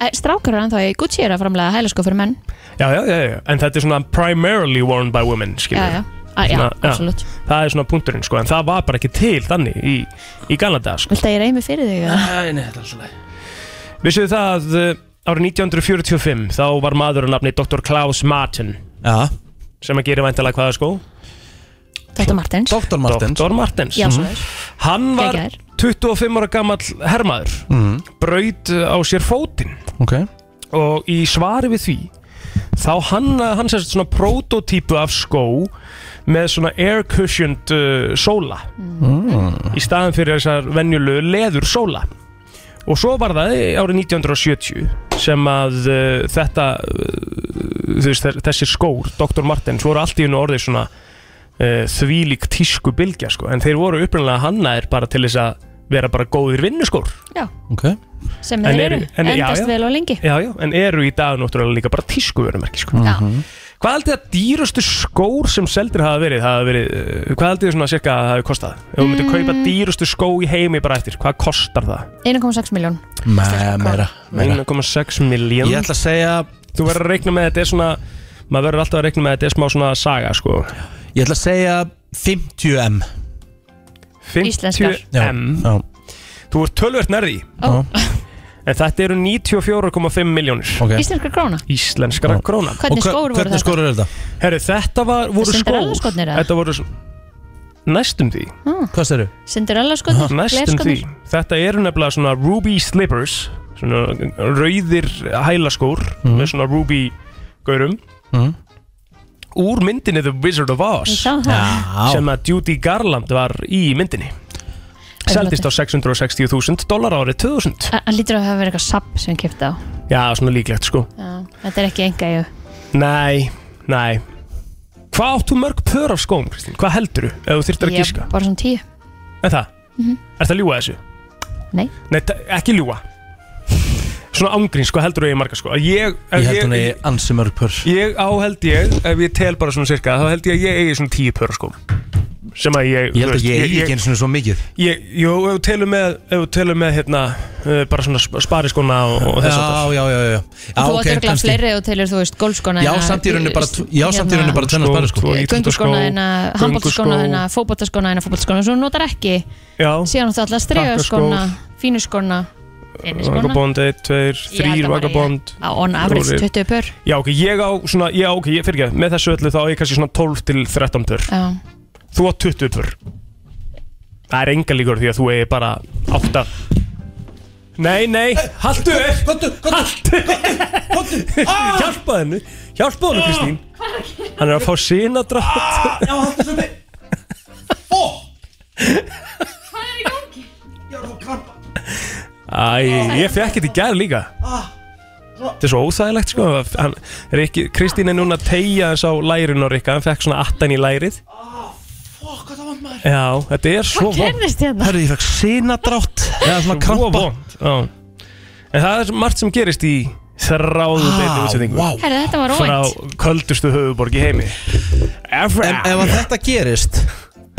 S4: Eh, Strákar er ennþá í Gucci er að framlega hælaskó fyrir menn
S3: já, já, já, já, en þetta er svona primarily worn by women skilur
S4: Já, já.
S3: við.
S4: Ah, já,
S3: Svona,
S4: absolutt.
S3: Það er svona punkturinn sko, en það var bara ekki til þannig í, í Galanda sko.
S4: Viltu að ég reymi fyrir þig?
S2: Nei, nei, þetta er alltaf
S3: Vissuðu það að uh, árið 1945 þá var maður að nafni Dr. Klaus Martin
S2: ja.
S3: sem að gera væntalega hvaða skó?
S4: Dr. Martens
S2: Dr.
S3: Martens, Dr. Martens. Mhm.
S4: Já, svoleiðis.
S3: Hann var
S4: Geggjaður.
S3: 25 ára gamall hermaður
S2: mm.
S3: braut eh, á sér fótinn
S2: Ok
S3: og í svari við því þá hann, eh, hann sérst svona prototípu af skó með svona air cushioned uh, sóla
S2: mm.
S3: í staðan fyrir þessar venjulegu leður sóla og svo var það árið 1970 sem að uh, þetta uh, þess, þessi skór, Dr. Martens voru allt í unnu orðið svona uh, þvílík tísku bylgja sko. en þeir voru upprunalega hannaðir bara til þess að vera bara góðir vinnuskór
S4: Já,
S2: ok
S4: sem þeir eru, endast vel og lengi
S3: já, já, en eru í dag náttúrulega líka bara tískuverumerki sko.
S4: Já.
S3: Hvað haldið að dýrastu skór sem seldir hafa verið, hafa verið uh, hvað haldið þið svona cirka að það hafi kostað? Ef þú myndir
S4: Mm.
S3: kaupa dýrastu skó í heimi bara eftir, hvað kostar það?
S2: Eh.
S4: 1,6 miljón
S2: Meira, meira.
S3: 1,6 miljón
S2: Ég ætla að segja
S3: Þú verður að reikna með þetta er svona maður verður alltaf að reikna með þetta er smá svona saga sko
S2: Ég ætla að segja 50M
S3: 50 M
S2: Já,
S3: Þú ert tölvert nærði
S4: Ó.
S3: En þetta eru 94,5 miljónir
S2: okay.
S4: Íslenskar króna
S3: Íslenskara
S2: Já.
S3: króna
S4: Hvernig Og hva- skór voru hvernig þetta? skór
S2: eru þetta?
S3: Herru, þetta var, voru
S4: Cinderella
S3: skór
S4: skórnir, eða? Hm.
S3: Þetta voru s- næstum því
S2: Hvað séru?
S4: Cinderella sko, skotnir,
S3: Næstum því Þetta eru nefnilega svona ruby slippers Svona rauðir hælaskór Með svona ruby gaurum
S2: Mhm.
S3: Úr myndinni The Wizard of Oz
S4: Ég sá það. Já.
S3: Sem að Judy Garland var í myndinni Seldist á 660.000 dólar árið 2000
S4: Hann lítur að hafa verið eitthvað sapp sem kipta á
S3: Já, svona líklegt sko
S4: Já, Þetta er ekki enga ég
S3: Nei, nei Hvað áttu mörg pör af skóm, Kristín? Hvað heldur þú ef þú þyrftir að gíska?
S4: Bara svona tíu
S3: En það?
S4: Mhm.
S3: Er það að ljúga þessu?
S4: Nei.
S3: Nei, ta- ekki ljúga Svona ángríns, hvað heldur þú að ég marga sko? Að Ég,
S2: Ég held hún eigi ansi mörg pör
S3: Ég á held ég, ef ég tel bara svona cirka Þá held ég að ég eigi svona tíu pör sko Sem að ég
S2: Ég held
S3: þú
S2: að
S3: veist,
S2: ég eigi ekki einu svona svo mikið
S3: ég, Jú, ef þú telur með, ef þú telur með hérna uh, Bara svona spari skona og, og þess að
S2: Já, já, já, já. já
S4: Þú
S2: Ah, ok,
S4: átt örgulega
S2: kannski.
S4: fleiri og telur þú veist golfskona en
S2: Já,
S4: að- hérna
S2: samt í rauninu bara tv- já, samt í rauninu bara tvenna spari, sko.
S4: Gönguskona en að handbóltaskona en að fótbóltaskona en að fótbóltaskona Svo þú notar ekki
S3: Já
S4: Síðan áttu alltaf stregaskona, fínuskona Tenniskona
S3: Vagabond 1, 2, 3, Vagabond
S4: Á on average
S3: fjórir.
S4: 20 pör
S3: Já, ok, ég á svona, já, ok, ég fyrir ekki Með þessu öllu þá á ég kannski svona 12 til 13 pör
S4: Já
S3: Þú á 20 pör Það er enga líkur því að þú eigi bara 8 Nei, nei, haldu upp Haldu, haldu Ah! Hjálpa hennu, hjálpa hennu Kristín Hann er að fá sinadrátt
S2: Ah, Já, haldur svo þig Ó Hvað er í gangi? Já, þú krampa
S3: Æ, ég fekk þetta í gær líka
S19: Ah,
S3: Þetta er svo óþægilegt sko hann, Rikki, Kristín er núna að tegja þess á lærin og Rikka Hann fekk svona attan í lærið
S4: Ah,
S2: Fokk, hvað það var maður
S3: Já, þetta er svo
S2: Hvað gerðist
S4: hérna?
S2: Herri, ég fekk sinadrátt Eða svona krampa
S3: vond En það er margt sem gerist í þráðu
S2: Ah,
S3: beinni útsendingu
S2: vá.
S4: Herra, þetta var óvænt
S3: Frá köldustu höfuborg í heimi
S2: En ef að þetta gerist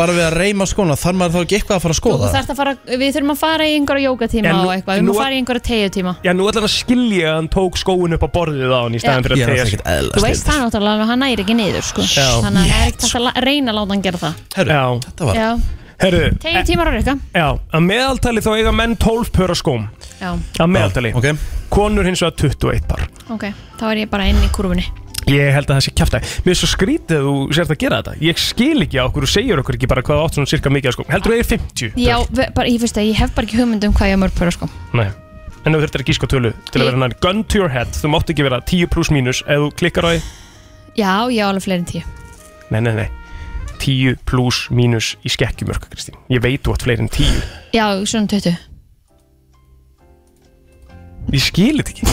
S2: Bara við að reyma skóna Þar maður þá ekki eitthvað að fara að
S4: Þú
S2: skoða
S4: þarft að fara, við þurfum að fara í einhverja jókatíma
S3: En nú-
S4: og eitthvað, við þurfum
S3: nú-
S4: að fara í einhverja tegutíma
S3: Já, nú ætla hann að skilja að hann tók skóin upp á borðið á hann í staðan
S2: Já.
S3: fyrir
S2: Ég
S3: að
S2: er
S3: tegja
S2: náttúrulega ekkert eðla
S4: Þú veist það náttúrulega alveg, hann næri ekki niður sko.
S3: Já.
S4: Þannig að það er ekkert hægt að la- reyna að láta hann gera það
S2: Herru,
S3: þetta
S4: Já,
S3: Herru,
S4: tegju tímar á reyka
S3: já, að meðaltali þá eiga menn 12 pör af skóm
S4: Já,
S3: Að meðaltali
S2: okay.
S3: Konur hins vegar 21 par
S4: ok, þá er ég bara inn í kurfunni
S3: Ég held að það sé kjæftæg Mér er svo skrítið að þú sérst að gera þetta Ég skil ekki á okkur og segir okkur ekki bara hvað þú átt svona cirka mikið af skóm Heldur þú að ég er 50?
S4: Já, ve- bara, ég finnst að ég hef bara ekki hugmynd um hvað ég er mörg pöra sko
S3: Nei En þú þurftir að gíska tölu til að vera nær Gun to your head, þú mátt ekki vera 10 pluss mínus Ef þú klikkar á því
S4: Já, ég á alveg fleiri en tíu
S3: Nei, nei, nei 10 pluss mínus í skekkjumörk, Kristín Ég veit þú átt fleiri en 10
S4: Já, svona 20
S3: Ég skil þetta ekki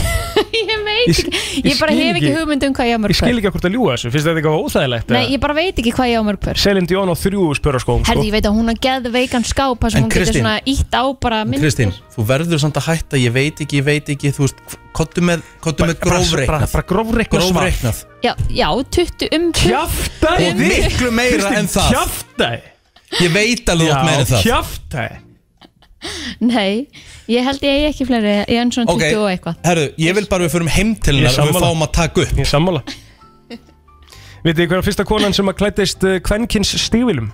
S4: *laughs* Ég veit
S3: Ég-
S4: ekki,
S3: ég
S4: ég bara
S3: skil
S4: hef
S3: ekki-
S4: ekki hugmynd um hvað ég er mörg
S3: Ég skil
S4: pör
S3: ekki okkur að ljúga þessu, finnst þetta eitthvað óþægilegt
S4: Nei, ég bara veit ekki hvað ég á mörg pör
S3: Selin Dion á þrjú spöra skóm sko.
S4: Herði, ég veit að hún að geða veikan skáp þar sem
S2: En
S4: hún getur
S2: Kristín-
S4: svona ítt á bara
S2: En
S4: mynd
S2: Kristín, þú verður samt að hætta, ég veit ekki, ég veit ekki, þú veist, kottu með, kottu með
S3: bara- bara-
S2: grófreiknað.
S3: bara grófreiknað svar.
S2: Grófreiknað.
S4: Já, já, 20 um
S3: Kjaftæði
S2: Og miklu meira en það.
S3: Kjaftæði
S2: Ég veit alveg út meira en það.
S3: Kjaftæði
S4: Nei, ég held ég eigi ekki fleiri Ég er enn svona 20 og eitthvað
S2: herru, ég vil bara við förum heim til
S3: Ég
S2: hennar og við *laughs*
S3: sammála.
S2: fáum að taka upp.
S3: Ég sammála. Vitið þið hver var fyrsta konan sem að klættist kvenkins stívilum?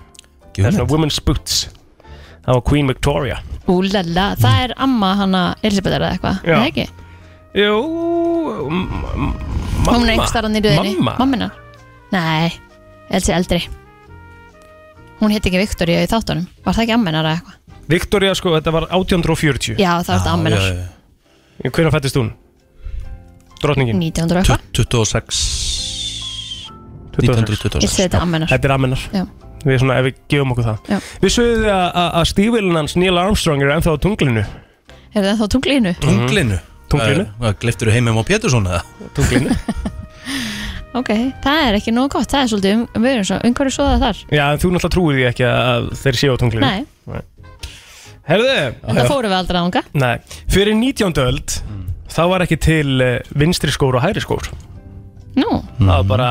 S3: Það er svona women's boots Það var Queen Victoria
S4: Úlala, það er amma hana Elisabethar eða eitthvað, er
S3: Já.
S4: það ekki?
S3: Jú, mamma
S4: Hún er einhvers staðar þarna í röðinni. Mammina? Nei, elsi eldri Hún hétt ekki Viktoria í þáttunum Var það ekki ammenar eða eitthvað?
S3: Victoria sko, þetta var 1840
S4: Já, það var þetta ammenar
S3: Hvernig fættist hún? Drottningin
S4: 1900 og eitthvað
S2: 26
S4: Ég segi þetta ammenar
S3: Þetta er ammenar
S4: Já.
S3: Við svona, ef við gefum okkur það
S4: Já.
S3: Við sögum þið að- að að stífilin hans Neil Armstrong er ennþá á tunglinu
S4: Er það þá tunglinu?
S3: Mhm.
S2: Tunglinu?
S3: Tunglinu.
S2: Gleiftur þú heimum á Pétursson eða?
S3: Tunglinu
S4: Ok, það er ekki nóg gott, það er svolítið um, um, um, um hverju svo það þar
S3: Já, en þú náttúrulega trúir því ekki að þeir séu á tunglinu
S4: Nei.
S3: Herðu
S4: En það fórum við aldrei ánga
S3: Nei, fyrir 19. öld þá var ekki til eh, vinstri skór og hægri skór
S4: Nú,
S3: það var bara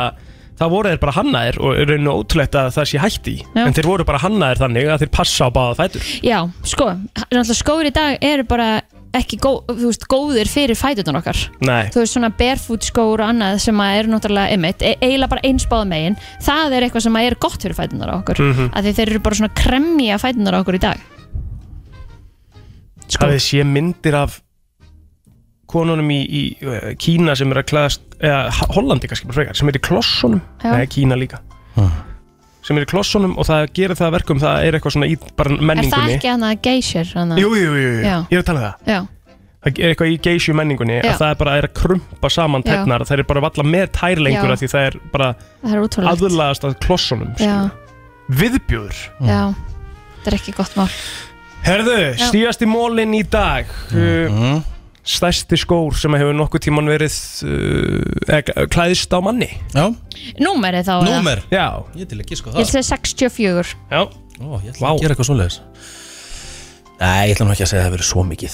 S3: það voru þeir bara hannaðir og er rauninu ótrúlegt að það sé hægt í
S4: Já.
S3: en þeir voru bara hannaðir þannig að þeir passa á báða fætur
S4: já, sko náttúrulega Skóður í dag eru bara ekki gó, þú veist, góðir fyrir fætutan okkar
S3: Nei,
S4: þú veist svona barefoot skór og annað sem að eru náttúrulega ymmit, e eiginlega bara eins báða megin það er eitthvað sem að er gott fyrir fætunar á okkur
S3: Mhm.
S4: af því þeir eru bara svona kremja fætunar á okkur í dag
S3: sko. að þeir sé myndir af konunum í, í eh, Kína sem er að klæðast eða Ha- Hollandi kannski bara frekar sem er í klossunum
S4: Já.
S3: Nei, Kína líka sem er í klossunum og það gerir það að verkum það er eitthvað svona í bara
S4: er það
S3: menningunni
S4: ekki hann að geysir? hana?
S3: Jú, jú, jú, jú,
S4: Já.
S3: ég er að tala um það
S4: já,
S3: það er eitthvað í geysju menningunni
S4: Já.
S3: að það er bara er að krumpa saman
S4: Já.
S3: tærnar það er bara valla með tær lengur
S4: Já.
S3: af því það er bara
S4: það er útrúlegt
S3: aðlaðast að klossunum
S4: já,
S3: viðbjóður
S4: já,
S3: Mm.
S4: það er ekki gott mál
S3: herðu,
S4: Já.
S3: stígast í mólinn í dag
S2: Mhm.
S3: uh, stærsti skór sem hefur nokkuð tíman verið uh, eða klæðist á manni
S2: já,
S4: Númerið þá eða?
S3: já.
S2: ég til ekki sko
S4: Ég segi 64
S3: já.
S2: Ó, ég ætla að gera eitthvað svoleiðis Nei, ég ætla nú ekki að segja að það verið svo mikið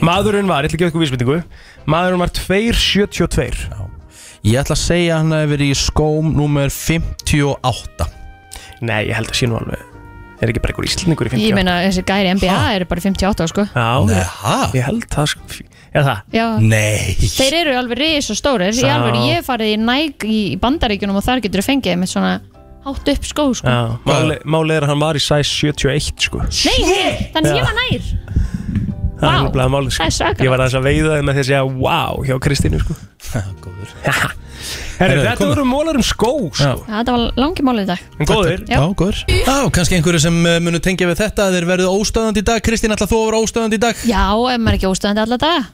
S3: maðurinn var, ég ætla að gefa eitthvað vísbendingu maðurinn var 272
S2: Ég ætla að segja að hann hefur verið í skóm Númer 58
S3: Nei, ég held að sé nú alveg Er ekki bara einhver íslendingur í 58?
S4: Ég meina þessi gæri NBA eru bara 58 sko
S3: Já, Nei, ég held það sko Eða það?
S4: Já.
S2: Nei
S4: Þeir eru alveg risa stórir Ég
S3: Já.
S4: alveg, ég hef farið í Nike í í Bandaríkjunum og þar getur þú fengið með svona hátt upp skó sko
S3: Já, máli, máli er að hann var í size 71 sko
S4: Nei, þannig
S3: Já.
S4: ég var nær
S3: Það er nefnilega máli sko
S4: það er svakalegt.
S3: Ég var aðeins að veiða þeim með því að segja wow hjá Kristínu sko Góður *laughs* Herri,
S2: Herru,
S3: þetta
S2: komum.
S3: voru mólar um skó sko
S4: Já, Þetta var langi málið í dag
S3: En góðir
S4: Já.
S2: Já, góður Já, kannski einhverju sem eh, munu tengja við þetta að Þeir verðu óstöðandi í dag Kristín, ætla þú að vera óstöðandi í dag
S4: Já, ef maður er ekki óstöðandi alla dag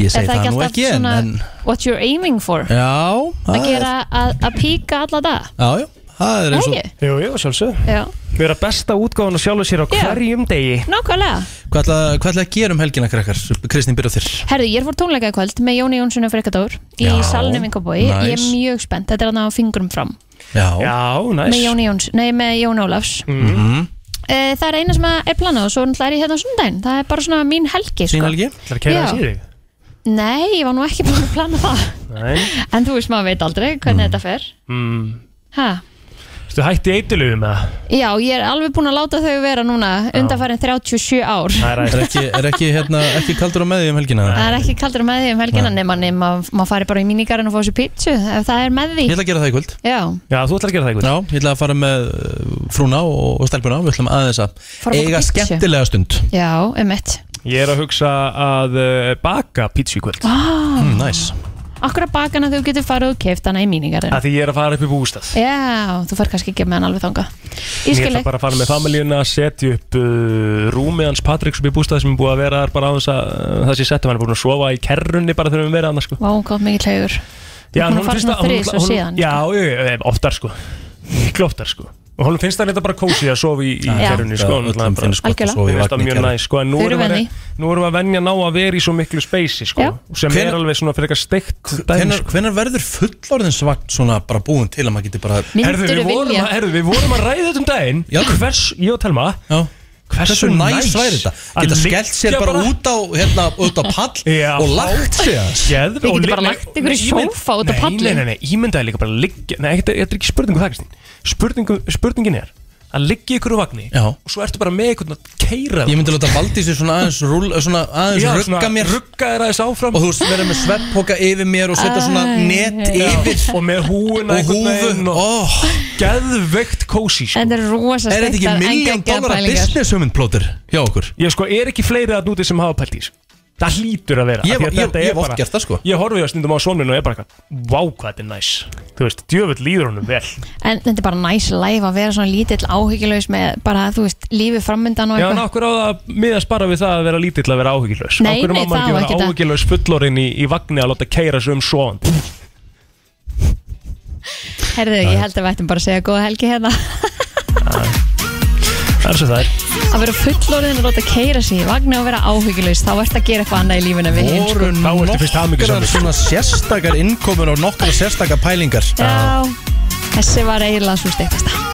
S2: Ég segi það nú
S4: alltaf
S2: ekki en, en
S4: What you're aiming for
S2: Já
S4: Að gera að, að píka alla dag
S2: Já, já, það er eins og
S4: Nei,
S3: Jú, jú, sjálfsög
S4: Já,
S3: Vera besta útgáðan og sjálfur sér á
S4: Já.
S3: hverjum degi
S4: nákvæmlega
S2: Hvað ætla, hvað ætla að gera um helgina, krakkar? Kristín, byrja á þér
S4: Herðu, ég er fór tónleika í kvöld með Jóni Jónssoni og Frekatór í
S2: Já,
S4: salnum yngabói Ég er
S2: nice.
S4: mjög spennt, þetta er hann á fingrum fram
S2: Já,
S3: já
S4: með Jóni Jóns, nei með Jón Ólafs
S3: Mm.
S2: Mhm.
S4: e, Það er eina sem er planað og svo náttúrulega er ég hérna á sundaginn Það er bara svona mín helgi sko.
S2: Þín helgi?
S3: Það er að kæra
S4: Já.
S3: þessi í þig
S4: Nei, ég var nú ekki búin að plana það
S3: Nei
S4: En þú veist maður veit aldrei hvernig þetta fer
S3: mm.
S4: ha.
S3: Þú hætti eitulöfu með það
S4: Já, ég er alveg búin að láta þau vera núna undanfærin 37 ár
S3: Það er
S2: Er ekki, er ekki, hérna, ekki kaldur á meði um helgina?
S4: *laughs* Það er ekki kaldur með því um helgina nema nema maður fari bara í mínigarinn og fá sér pítsu ef það er með því
S2: Ég ætla að gera það í kvöld
S4: Já,
S3: Já, þú ætlar að gera það
S2: Já, ég ætla að fara með uh, frúna og, og stelpuna Við ætlum aðeins
S4: Fara
S2: að
S4: að fá
S2: eiga
S4: pítsu.
S2: skemmtilega stund
S4: já, um emitt
S3: Ég er að hugsa að uh, baka pítsu í kvöld
S4: ah,
S2: mm, Næs
S4: Akkur að baka hana þú getur farið og keift hana í mínigarinn
S3: Að því ég er að fara upp í bústað
S4: Já, þú fær kannski ekki með hann alveg þanga Ég
S3: Ég
S4: skil
S3: ætla
S4: ekki
S3: bara að fara með familíuna að setja upp uh, rúmið hans Patriks upp í bústað sem er búið að vera þar bara á þess að uh, það sé settum hann er búin að sofa í kerrunni bara þegar við verið annars sko.
S4: Vá, hún kom mikið hlægur
S3: Já,
S4: Hún
S3: en
S4: er
S3: honum
S4: farin
S3: finnst
S4: svona
S3: það- honum-
S4: þrisvar
S3: honum-
S4: síðan, sko.
S3: Já, ég- ég- oftar sko Miklu oftar sko Og honum finnst það þetta bara kósið að sofa í, í
S2: Já.
S3: kerrunni
S2: Já,
S3: sko
S2: öllum
S3: náttúrulega bara-
S2: finnst gott að Algjörlega. sofa
S3: Mér
S2: í
S3: finnst það
S2: vagni í
S3: mjög
S2: kerru.
S3: næst sko En nú
S4: Þau eru
S3: erum,
S4: venni.
S3: við, nú erum við að venja ná að vera í svo miklu speysi sko
S4: Já.
S3: Sem
S2: Hvenær-
S3: er alveg svona fyrir eitthvað steikt dæmi
S2: Hvenar, hvenar verður fullorðinsvakt svona bara búin til að maður geti bara
S3: Herðu, við, vorum að, herðu, við vorum að ræða þetta um daginn
S2: Já.
S3: Hvers, ég og Telma
S2: Já.
S3: Hversu
S2: Hversu næs
S3: næs
S2: væri þetta?
S3: að
S2: Geta
S3: liggja
S2: skellt sér bara,
S3: bara-
S2: út á, hérna, út á pall
S3: *laughs* Já.
S2: og lagt sér
S3: Geð,
S4: Þið getið bara lagt ykkur í sófa út á pallinn.
S3: Nei, nei, nei, ímyndaði líka bara liggja Nei, þetta þetta er ekki spurningu það, Kristín Spurningu- Spurningin er að liggja ykkur úr vagni
S2: Já.
S3: og svo ertu bara með einhvern að keira
S2: Ég myndi láta Valdísi svona aðeins, rúl, eh, svona aðeins rugga mér
S3: rugga þér aðeins áfram
S2: og þú veist vera með svepphóka yfir mér og setja svona
S4: Æ,
S2: net
S4: já.
S2: yfir
S3: og með húuna
S2: og húfu
S3: oh. geðveikt kósi sko.
S4: Þetta er rosa
S2: Er þetta ekki
S4: steiktar, en
S2: miljón
S4: geggjaðar
S2: dólar að
S4: pælingar.
S2: business hugmynd plóter hjá okkur?
S3: Ég sko er ekki fleiri að núti sem hafa pælt í þessu Það hlýtur að vera
S2: Ég
S3: af því að
S2: var- ég-
S3: þetta er
S2: ég hef oft
S3: bara-
S2: gert það, sko.
S3: Ég horfi á stundum á sonminu og er bara eitthvað, Vá hvað þetta er næs Þú veist, djöfull líður honum vel
S4: En þetta er bara næs life að vera svona lítill áhyggjulegs með bara, þú veist, lífið framöndan og
S3: Já, en okkur á það að miðast bara við það að vera lítill að vera áhyggjulegs
S4: Nei,
S3: Okkur
S4: nei,
S3: má maður
S4: það á
S3: ekki
S4: ekki
S3: vera
S4: það.
S3: áhyggjulegs fullorinn í, í vagni að láta keira sig um svoand
S4: Herðu, ég held að við ættum bara að segja góða helgi hérna
S3: Það er svo það er
S4: Að vera fullorðin og láta keira sig í vagnu og vera áhyggjulegs þá ert að gera eitthvað annað í lífinu en við sko. hinn
S2: voru nokkrar svona sérstakar innkomin og nokkrar sérstakar pælingar
S4: Já, þessi var eiginlega svo steiktasta